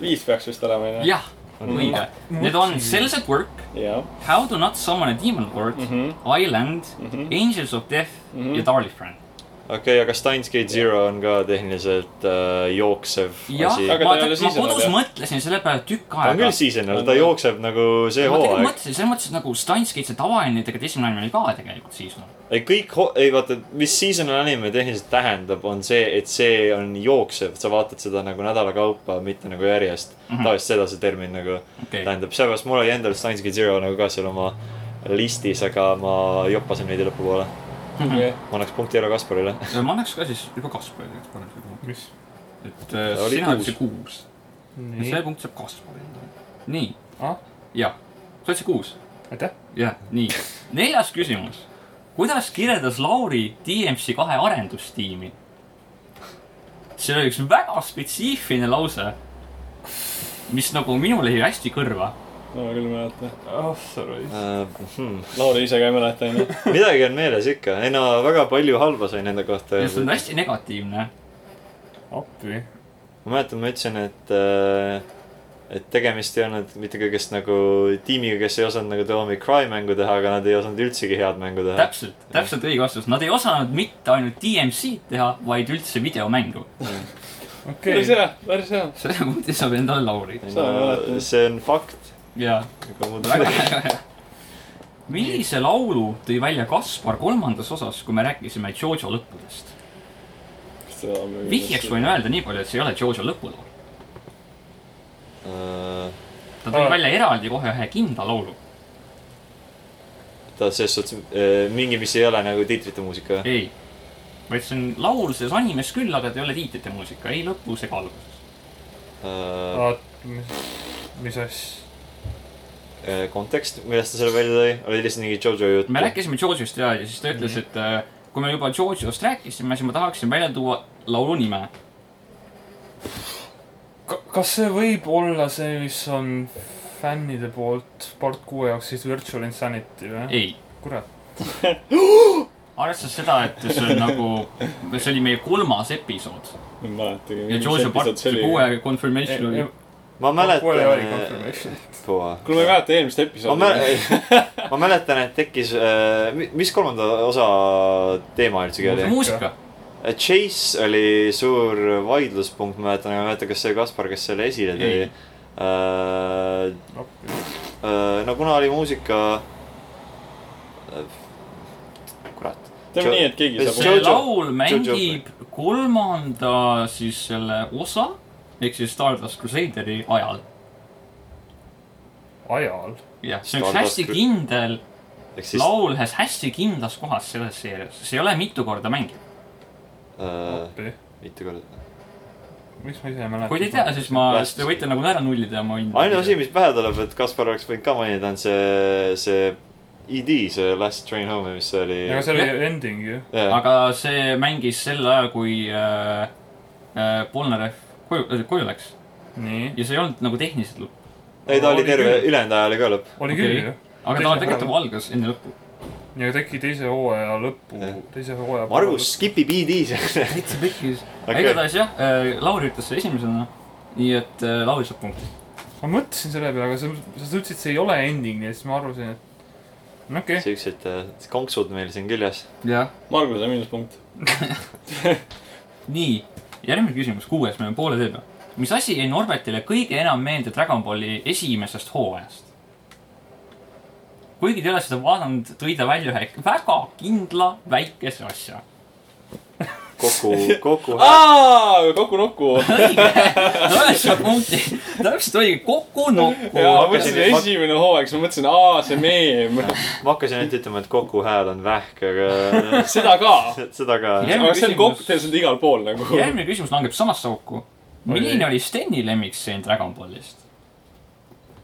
B: viis peaks vist olema ,
A: Äh.
B: onju .
C: jah , õige . Need on Cells at Work ,
B: jah . Mhm.
C: How to not summon a demon lord
A: Mm-hmm.
C: mm , -hmm. Island mm , -hmm. Angels of death mm -hmm. ja Darling friend .
A: okei , aga Steins Gate Zero on ka tehniliselt äh, jooksev
C: jah ,
A: asi .
B: Aga
C: ma,
B: ta ei ole
C: ma
B: seasonal,
C: kodus
B: jah.
C: mõtlesin selle peale tükk
A: ta on
C: aega
A: küll . seasonal , ta jookseb nagu see
C: ma tegelikult
A: hooaeg .
C: mõtlesin , selles mõttes et nagu Steins Gate , see tavaline tegelikult esimene anime oli ka tegelikult noh. seasonal .
A: ei , kõik ho- , ei vaata , mis seasonal anime tehniliselt tähendab , on see , et see on jooksev , sa vaatad seda nagu nädala kaupa , mitte nagu järjest mm
C: Mhm.
A: -hmm. . tavaliselt seda see termin nagu
C: okei okay. ,
A: tähendab , seepärast mul oli endal Steins Gate Zero nagu ka seal oma listis , aga ma joppasin veidi lõpupoole . ma annaks punkti ära Kasparile .
C: [laughs] ma annaks ka siis juba Kasparile tegelikult parem selle punkti .
D: mis ?
C: et äh,
A: Ta oli
C: sina
A: kuus.
C: ütlesid kuus . ja
D: nii
C: see , punkt saab Kasparile . nii
D: Ah. ,
C: jah , sa ütlesid kuus
D: aitäh .
C: jah , nii . neljas küsimus . kuidas kirjeldas Lauri DMC kahe arendustiimi ? see oli üks väga spetsiifiline lause , mis nagu minule jäi hästi kõrva .
B: no ma küll ei mäleta .
D: ah sa raisk .
A: Hmm.
B: Lauri ise ka ei mäleta , onju .
A: midagi on meeles ikka , ei no väga palju halba sai nende kohta
C: see on
A: öeldud .
C: hästi negatiivne .
D: appi .
A: ma mäletan , ma ütlesin , et äh, , et tegemist ei olnud mitte kõigest nagu tiimiga , kes ei osanud nagu Doomi Cry mängu teha , aga nad ei osanud üldsegi head mängu teha .
C: täpselt , täpselt õige vastus . Nad ei osanud mitte ainult DMC-d teha , vaid üldse videomängu .
D: okei
B: päris . hea , päris hea .
C: selle punkti saab endale Lauri .
A: Ei
B: Seda ma
A: No,
B: mäletan.
A: see on fakt .
C: jaa , väga hea . millise laulu tõi välja Kaspar kolmandas osas , kui me rääkisime Jojo lõppudest ? vihjeks võin . öelda nii palju , et see ei ole Jojo lõpulaul . ta tõi
D: Aa.
C: välja eraldi kohe ühe kindla laulu .
A: [laughs] ta selles suhtes äh, mingi , mis ei ole nagu tiitrite muusika .
C: ei , vaid see on laul selles animes küll , aga ta ei ole tiitrite muusika , ei lõpus ega alguses .
A: eh,
D: vaat , mis , mis asja ?
A: eh, kontekst , millest ta selle välja tõi , oli lihtsalt mingi Jojo jutt .
C: me rääkisime Jojost ja , ja siis ta ütles , et äh, kui me juba Jojost rääkisime , siis ma tahaksin välja tuua laulu nime .
D: kas see võib olla see , mis on fännide poolt part kuue jaoks siis Virtual Insanity või ?
C: ei ,
D: kurat .
C: arvestades seda , et see on nagu , see oli meie kolmas episood
B: ma ei mäletagi .
C: ja Jojo part kuue confirmation oli .
D: part
A: ma
D: kuue oli
A: mäletan .
C: äh,
D: confirmation .
B: kuule , ma ei mäleta eelmist
A: ma
B: episoodi .
A: mäletan , ma mäletan , et tekkis äh, , mis kolmanda osa teema üldsegi oli ? Eh,
C: muusika ,
A: Chase oli suur vaidluspunkt , ma mäletan , ma ei mäleta , kas see Kaspar , kes selle esile tõi . äh, . eh, no kuna oli muusika . kurat .
B: teeme
A: Jo-
B: nii , et keegi
A: Ei,
B: saab
A: Jojo.
C: see laul
A: Jojo.
C: mängib kolmanda siis selle osa ehk siis Stardust Crusaderi ajal .
D: ajal .
C: jah , see on üks
A: Stardust
C: hästi
A: Cru-
C: kindel
A: ehk
C: siis...
A: siis
C: laul ühes hästi kindlas kohas selles seerias , see ei ole mitu korda mängitud .
A: äh,
D: appi .
A: mitu korda .
D: miks ma ise ei mäleta ?
C: kui te ei tea , siis ma ,
A: Last-
C: siis te võite nagu ära nullida ja ma võin .
A: ainus asi , mis pähe tuleb , et Kaspar oleks võinud ka mainida , on see , see ED , see Last Train Home , mis oli .
D: aga see oli ending ju .
A: jah ,
C: aga see mängis sel ajal , kui äh, äh, Polnareff koju , koju läks
D: nii .
C: ja see ei olnud nagu tehniliselt lõpp ,
A: ei ta oli
D: Oli
A: terve ,
D: küll.
A: ülejäänud aja oli ka lõpp .
D: oli
C: Okei.
D: küll ju .
C: aga ta tegelikult juba algas enne lõppu .
D: ja teki teise hooaja lõppu
A: Jah. ,
D: teise hooaja .
A: Margus . skipib ED-s .
C: täitsa pekkis .
A: Okei.
C: igatahes jah , Lauri ütles see esimesena , nii et äh, Lauri saab punkti .
D: ma mõtlesin selle peale , aga sa , sa ütlesid , see ei ole ending , nii et siis ma arvasin , et no okei okay. .
A: siuksed äh, konksud meil siin küljes .
C: jah .
B: Margus on miinuspunkt .
C: nii , järgmine küsimus , kuues , me oleme poole tee peal . mis asi jäi Norbertile kõige enam meelde Dragon Balli esimesest hooajast ? kuigi te ei ole seda vaadanud , tõi ta välja ühe väga kindla väikese asja .
A: kokku ,
C: [laughs]
A: kokku .
C: Ah!
B: aa , Koku-Nokku .
C: üheksa punkti , täpselt oligi kokku-nokku .
B: jaa , ma
A: hakkasin-
B: mõtlesin esimene hooaeg , siis ma mõtlesin , aa , see meem . [laughs]
A: ma hakkasin ainult ütlema , et Koku hääl on vähk ,
C: [laughs]
A: aga
B: seda ka .
A: seda ka .
C: Järgmine
B: aga see on
C: küsimus.
B: kokteil seal igal pool nagu .
C: järgmine küsimus langeb samasse auku . milline oli Steni lemmikseen Dragon Ballist ?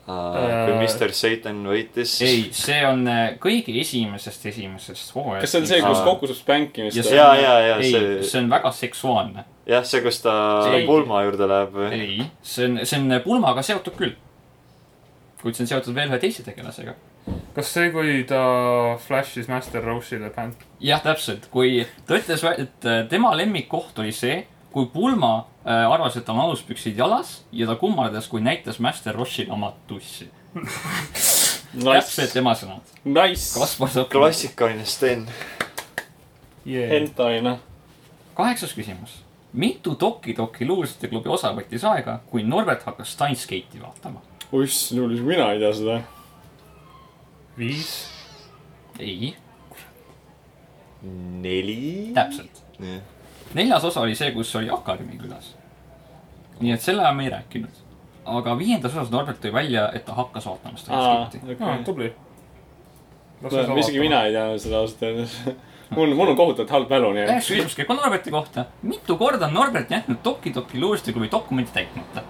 A: kui Mr Satan võitis .
C: Äh, ei , see on äh, kõige esimesest , esimesest hooajast .
B: kas see on see , kus
A: Aa.
B: Koku saab spänkimist
C: Ja
B: teha?
C: see-
A: ja , ja , ja
C: ei ,
A: see ,
C: see on väga seksuaalne .
A: jah , see , kus ta
C: See ei-
A: pulma juurde läheb .
C: ei , see on , see on pulmaga seotud küll . kuid see on seotud veel ühe teise tegelasega .
D: kas see , kui ta flash'is Master Rose'ile bänd ,
C: jah , täpselt , kui ta ütles , et äh, tema lemmikkoht oli see , kui pulma äh, arvas , et tal on aluspüksid jalas ja ta kummardas , kui näitas Master Roshile oma tussi . täpselt
B: Nice ,
C: tema sõnad .
B: nice .
C: Kaspar saab .
A: klassikaline Sten .
D: yeah. ?
B: Hentai , noh .
C: kaheksas küsimus . mitu Doki Doki luulsite klubi osa võttis aega , kui Norbert hakkas Steinsgate'i vaatama ?
B: uss , luulis , mina ei tea seda .
D: viis ,
C: ei ,
A: neli .
C: täpselt . neljas osa oli see , kus oli Akarmi külas . nii et selle ajal me ei rääkinud . aga viiendas osas Norbert tõi välja , et ta hakkas vaatama
B: aa ,
C: Steinsgate'i .
D: aa ,
B: okei .
D: tubli .
B: isegi mina . ei tea seda ausalt öeldes . [laughs] mul , mul on kohutavalt halb mälu , nii et
C: üheksa küsimus käib ka Norberti kohta . mitu korda on Norbert jätnud Doki Doki luulsite klubi dokumente täitmata ?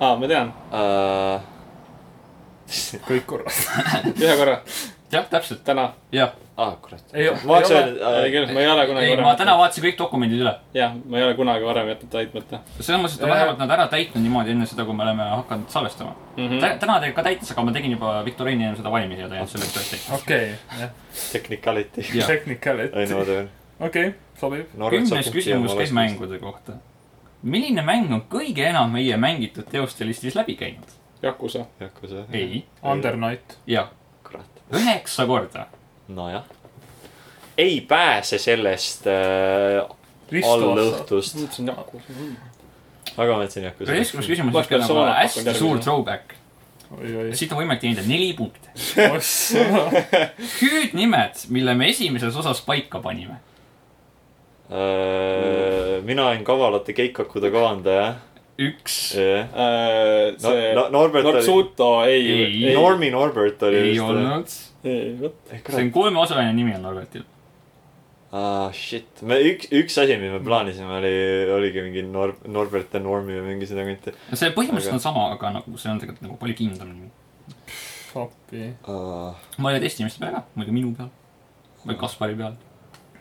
B: aa , ma tean .
A: Äh,
D: kõik
B: [laughs]
D: korras .
B: ühe korra ,
C: jah , täpselt ,
B: täna .
C: jah .
A: ah , kurat .
D: ei ,
A: ma oleks
D: ole ,
A: öelnud ,
B: ei küll , ma ei ole kunagi
C: Äh, ei , ma täna . vaatasin kõik dokumendid üle .
B: jah , ma ei ole kunagi varem jätnud täitmata
C: selles mõttes , et ta
D: Jaa.
C: vähemalt nad ära täitnud niimoodi enne seda , kui me oleme hakanud salvestama .
B: mm .
C: Tä-
B: -hmm.
C: täna tegelikult ka täitis , aga ma tegin juba viktoriini enne seda valmis ja ta ei olnud selleks tööks tehtud .
D: okei , jah ,
A: technicality .
C: Jah.
D: technical , et
A: ainumoodi veel .
D: okei , sobib .
C: kümnes küsimus käib . mängude kohta . milline mäng on kõige enam meie mängitud teoste listis läbi käinud ?
B: Yakuza .
A: Yakuza .
C: ei ,
D: Undernight .
C: jah ,
A: kurat .
C: üheksa korda .
A: nojah . ei pääse sellest äh, allõhtust .
B: mõtlesin Yakuza .
A: väga mõtlesin Yakuza .
C: üheksakümnes küsimus
B: Oleks
C: on
B: pidanud
C: nagu
B: sama
C: hästi
B: pakkuma
C: suur
B: tervisele.
C: throwback .
D: oi-oi .
C: siit on võimalik teenida neli punkti .
D: [laughs] ossa .
C: hüüdnimed , mille me esimeses osas paika panime .
A: Äh, mina olin kavalate keikakude kavandaja .
C: üks ,
A: jah . No,
B: Äh, see
A: no, Norbert oli ,
B: Nortsuto , ei ,
C: Ei.
B: ei ,
A: Normi Norbert oli
C: ei
A: vist . äh, eh,
C: olnud . see
B: ei , vot .
C: on kolmeosaline nimi on Norbertil .
A: ah, . shit , me üks , üks asi , mis me plaanisime , oli , oligi mingi Nor- , Norbert ja Normi või mingi seda kanti
C: see
A: Aga-
C: põhimõtteliselt on sama , aga nagu see on tegelikult nagu palju kindlam nimi .
D: appi .
A: ah, .
C: ma ei ole testimist peal ka , muidu minu peal või Kaspari peal .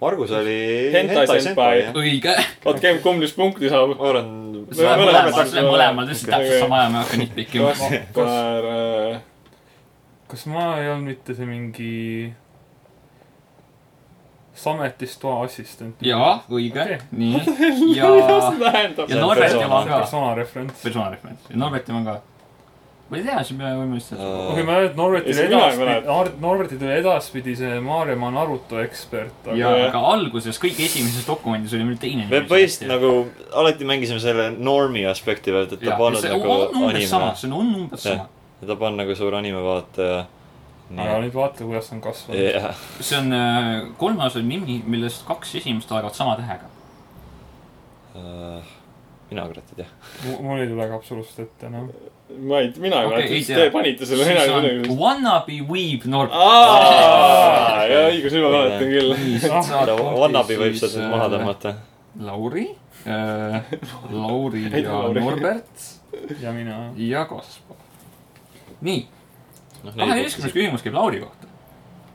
A: Margus oli .
B: Hentai senpai.
C: õige .
B: oot , Keem , kumb nüüd punkti saab ?
A: ma arvan ,
B: See on mõlemad-
C: mõlemad , mõlemad ütlesid täpselt
B: Okei.
C: sama ja ma ei hakka neid pikkima .
B: Kaspar , äh,
D: kas ma ei olnud mitte see mingi sametist toa assistent ?
C: jaa , õige
D: Okei. ,
C: nii . ja ,
B: [laughs] mida see tähendab
C: ja ? Norberti
A: persona.
C: oma ka .
D: persona referents .
C: persoonareferents . ja Norberti oma ka . ma ei tea , siis me võime vist seda .
D: okei , ma mäletan ,
B: Ei,
D: et Norbertil
B: seda mina ei mäleta.
D: edaspidi , Norbertil oli edaspidi see Maarja maa Naruto ekspert ,
C: ja
D: aga ,
B: Jaa.
C: aga alguses kõige esimeses dokumendis oli meil teine .
A: põhimõtteliselt . nagu alati mängisime selle normi aspekti pealt , et ta
C: jah ,
A: pannud
C: see
A: nagu
C: on umbes sama ,
A: anime .
C: see on umbes
A: Jah.
C: sama .
A: ta pannud nagu suur animevaataja .
D: aga nüüd vaata , kuidas on kasvanud .
A: jah ,
C: see on , kolmas on nimi , millest kaks esimest algavad sama tähega .
A: Äh, mina kurat ei tea .
D: mul ei tule ka absoluutselt ette noh. enam .
B: ma ei , mina ei
C: Okei, ei
B: mäleta ,
C: tea.
B: te panite selle
C: siis
B: mina ei
C: on
B: mäleta .
C: Wannabe Weeb Norb .
A: Ah!
B: aa , jaa , õigus , nüüd ma mäletan küll .
A: Wannabi Ah! võib sealt nüüd
C: äh,
A: maha . tõmmata .
C: Lauri ,
A: [laughs]
C: Lauri
B: Ei tea,
C: ja
B: Lauri.
C: Norbert
D: ja mina .
C: ja Kaspar . nii ,
A: Noh,
C: kaheteistkümnes küsimus käib Lauri kohta .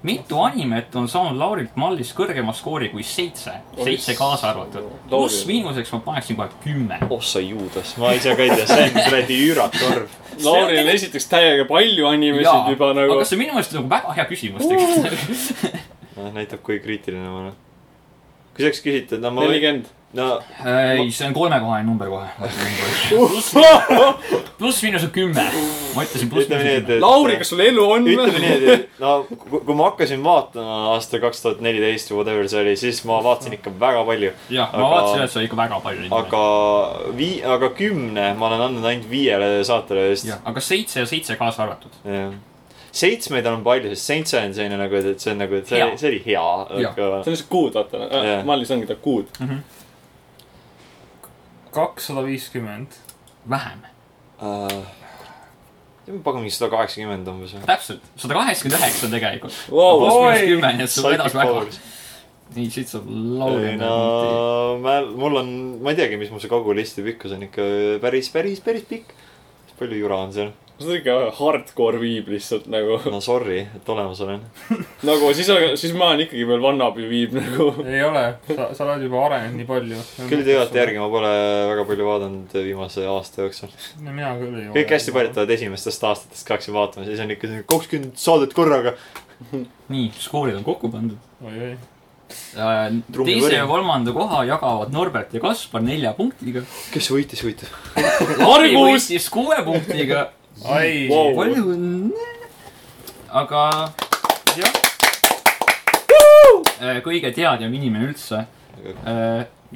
C: mitu animet on saanud Laurilt Mallis kõrgema skoori kui seitse , seitse kaasa arvatud ? pluss-miinuseks ma paneksin kohe kümme .
A: ossa Oh, juudas , ma ise ka ei tea , see on [laughs] kuradi üüratorv .
B: Lauril esiteks täiega palju animesid juba nagu
C: aga . see on minu meelest nagu väga hea küsimus tegelikult .
A: [laughs] noh , näitab , kui kriitiline ma olen . kui sa oleks küsitud , no ma võin ,
B: nelikümmend .
A: no
C: ei , see on kolmekohaline
A: [laughs]
C: number kohe . pluss-miinus on kümme . ma ütlesin
A: ütleme nii ,
C: pluss-miinus
A: et ,
C: kümme .
A: et .
B: Lauri , kas sul elu on
A: ütleme
B: või ?
A: nii , et no kui kui ma hakkasin vaatama aasta kaks tuhat neliteist või whatever see oli , siis ma vaatasin ikka väga palju .
C: jah , ma
A: aga-
C: vaatasin , et see oli ikka väga palju .
A: aga vii- , aga kümne ma olen andnud ainult viiele saatele vist .
C: aga seitse ja seitse kaasa arvatud .
A: jah . seitsmeid on palju , sest seitse on selline nagu , et see on nagu , et see
C: Hea. ,
A: see oli hea .
C: Jah.
A: aga
B: see on lihtsalt kuud , vaata
A: Jah. .
B: Mallis ongi ta kuud .
D: kakssada viiskümmend .
C: vähem .
A: äh, . pagan , mingi sada kaheksakümmend umbes või ?
C: täpselt , sada kaheksakümmend üheksa tegelikult .
B: Wow,
C: pluss-miinus
D: oi!
C: kümme , nii et sul vedas väga . nagu nii , siit saab
A: ei
C: laulda .
A: no ma , mul on , ma ei teagi , mis mul see kogu listi pikkus on ikka päris , päris , päris pikk . palju jura on seal ?
B: see on ikka hardcore viib lihtsalt nagu .
A: no sorry , et olemas olen .
B: nagu siis , siis ma olen ikkagi veel vannapi viib nagu .
D: ei ole , sa , sa oled juba arenenud nii palju .
A: küll tõejuhataja . järgi ma pole väga palju vaadanud viimase aasta jooksul .
D: no mina küll ei ole .
A: kõik hästi paljud . tulevad esimestest aastatest ka hakkasid vaatama , siis on ikka selline kakskümmend saadet korraga .
C: nii , skoorid on kokku pandud .
D: oi-oi .
A: Trummi
C: teise ja
A: võrin.
C: kolmanda koha jagavad Norbert ja Kaspar nelja punktiga .
A: kes võitis , võitis .
C: Harri
B: Argus!
C: võitis kuue punktiga .
D: ai
B: Wow.
D: wow. ,
C: palju õnne . aga jah . kõige teadjam inimene üldse .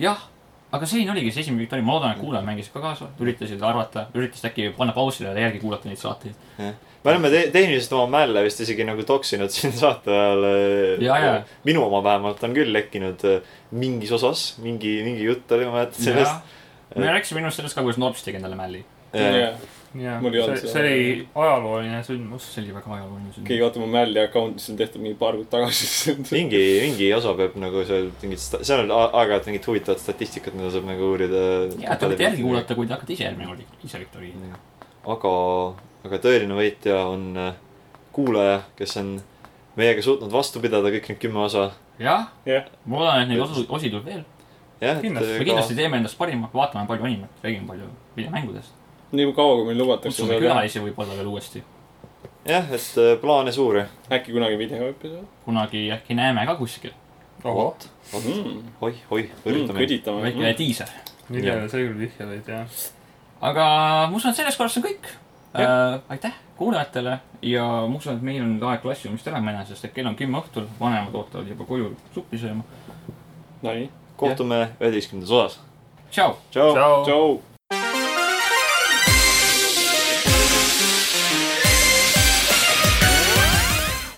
C: jah , aga selline oligi see esimene viktoriin , ma loodan , et kuulajad mängisid ka kaasa , üritasid arvata , üritasid äkki panna pausile ja järgi kuulata neid saateid .
A: me oleme te tehniliselt oma mälle vist isegi nagu toksinud [laughs] siin saate
C: Ja, ja.
A: ajal . minu oma vähemalt on küll lekkinud äh, mingis osas , mingi , mingi jutt oli , ma mäletan sellest . Eh,
C: me rääkisime minu arust sellest ka , kuidas Norps tegi endale mälli .
A: Jah.
D: jah ,
B: Mul ei olnud
D: see ,
B: seda.
D: see oli ajalooline sündmus .
C: see oli väga ajalooline
B: keegi
C: sündmus .
B: vaatab mu Mälli account'i , see on tehtud mingi paar kuud tagasi .
A: mingi , mingi osa peab nagu seal mingit , seal on a- aeg-ajalt mingit huvitavat statistikat , mida saab nagu uurida .
C: ja , te võite järgi . kuulata , kui te hakkate ise järgmine kord ise viktoriini .
A: aga , aga tõeline võitja on äh, kuulaja , kes on meiega suutnud vastu pidada kõik need kümme osa .
C: jah
B: Jah. ,
C: ma loodan , et neid osu , osi tuleb veel .
A: jah , et
D: Kindlasti,
A: äh,
C: me kindlasti teeme endast parima , vaatame palju animet , räägime palju videomängudest .
B: nii kaua , kui meil lubatakse
C: kutsume
B: seda teha .
C: külalisi võib-olla veel uuesti .
A: ka- jah , et äh, plaane suuri .
B: äkki kunagi videoõppida
C: kunagi äkki näeme ka kuskil .
B: Mhm.
D: ohoh ,
B: mm. .
A: oi , oi ,
B: Mm,
A: üritame mm, .
B: kõditame
C: väike
B: mm. .
C: diiser .
D: millele sa küll vihjad ei tea .
C: aga ma usun , et selles korras on kõik . Äh, aitäh kuulajatele ja ma usun , et meil on nüüd aeg klassiruumist ära minna , sest et kell on kümme õhtul , vanemad ootavad juba koju suppi sööma .
B: Nonii ,
A: kohtume üheteistkümnendas osas .
C: tšau .
A: tšau .
D: tšau .
B: tšau .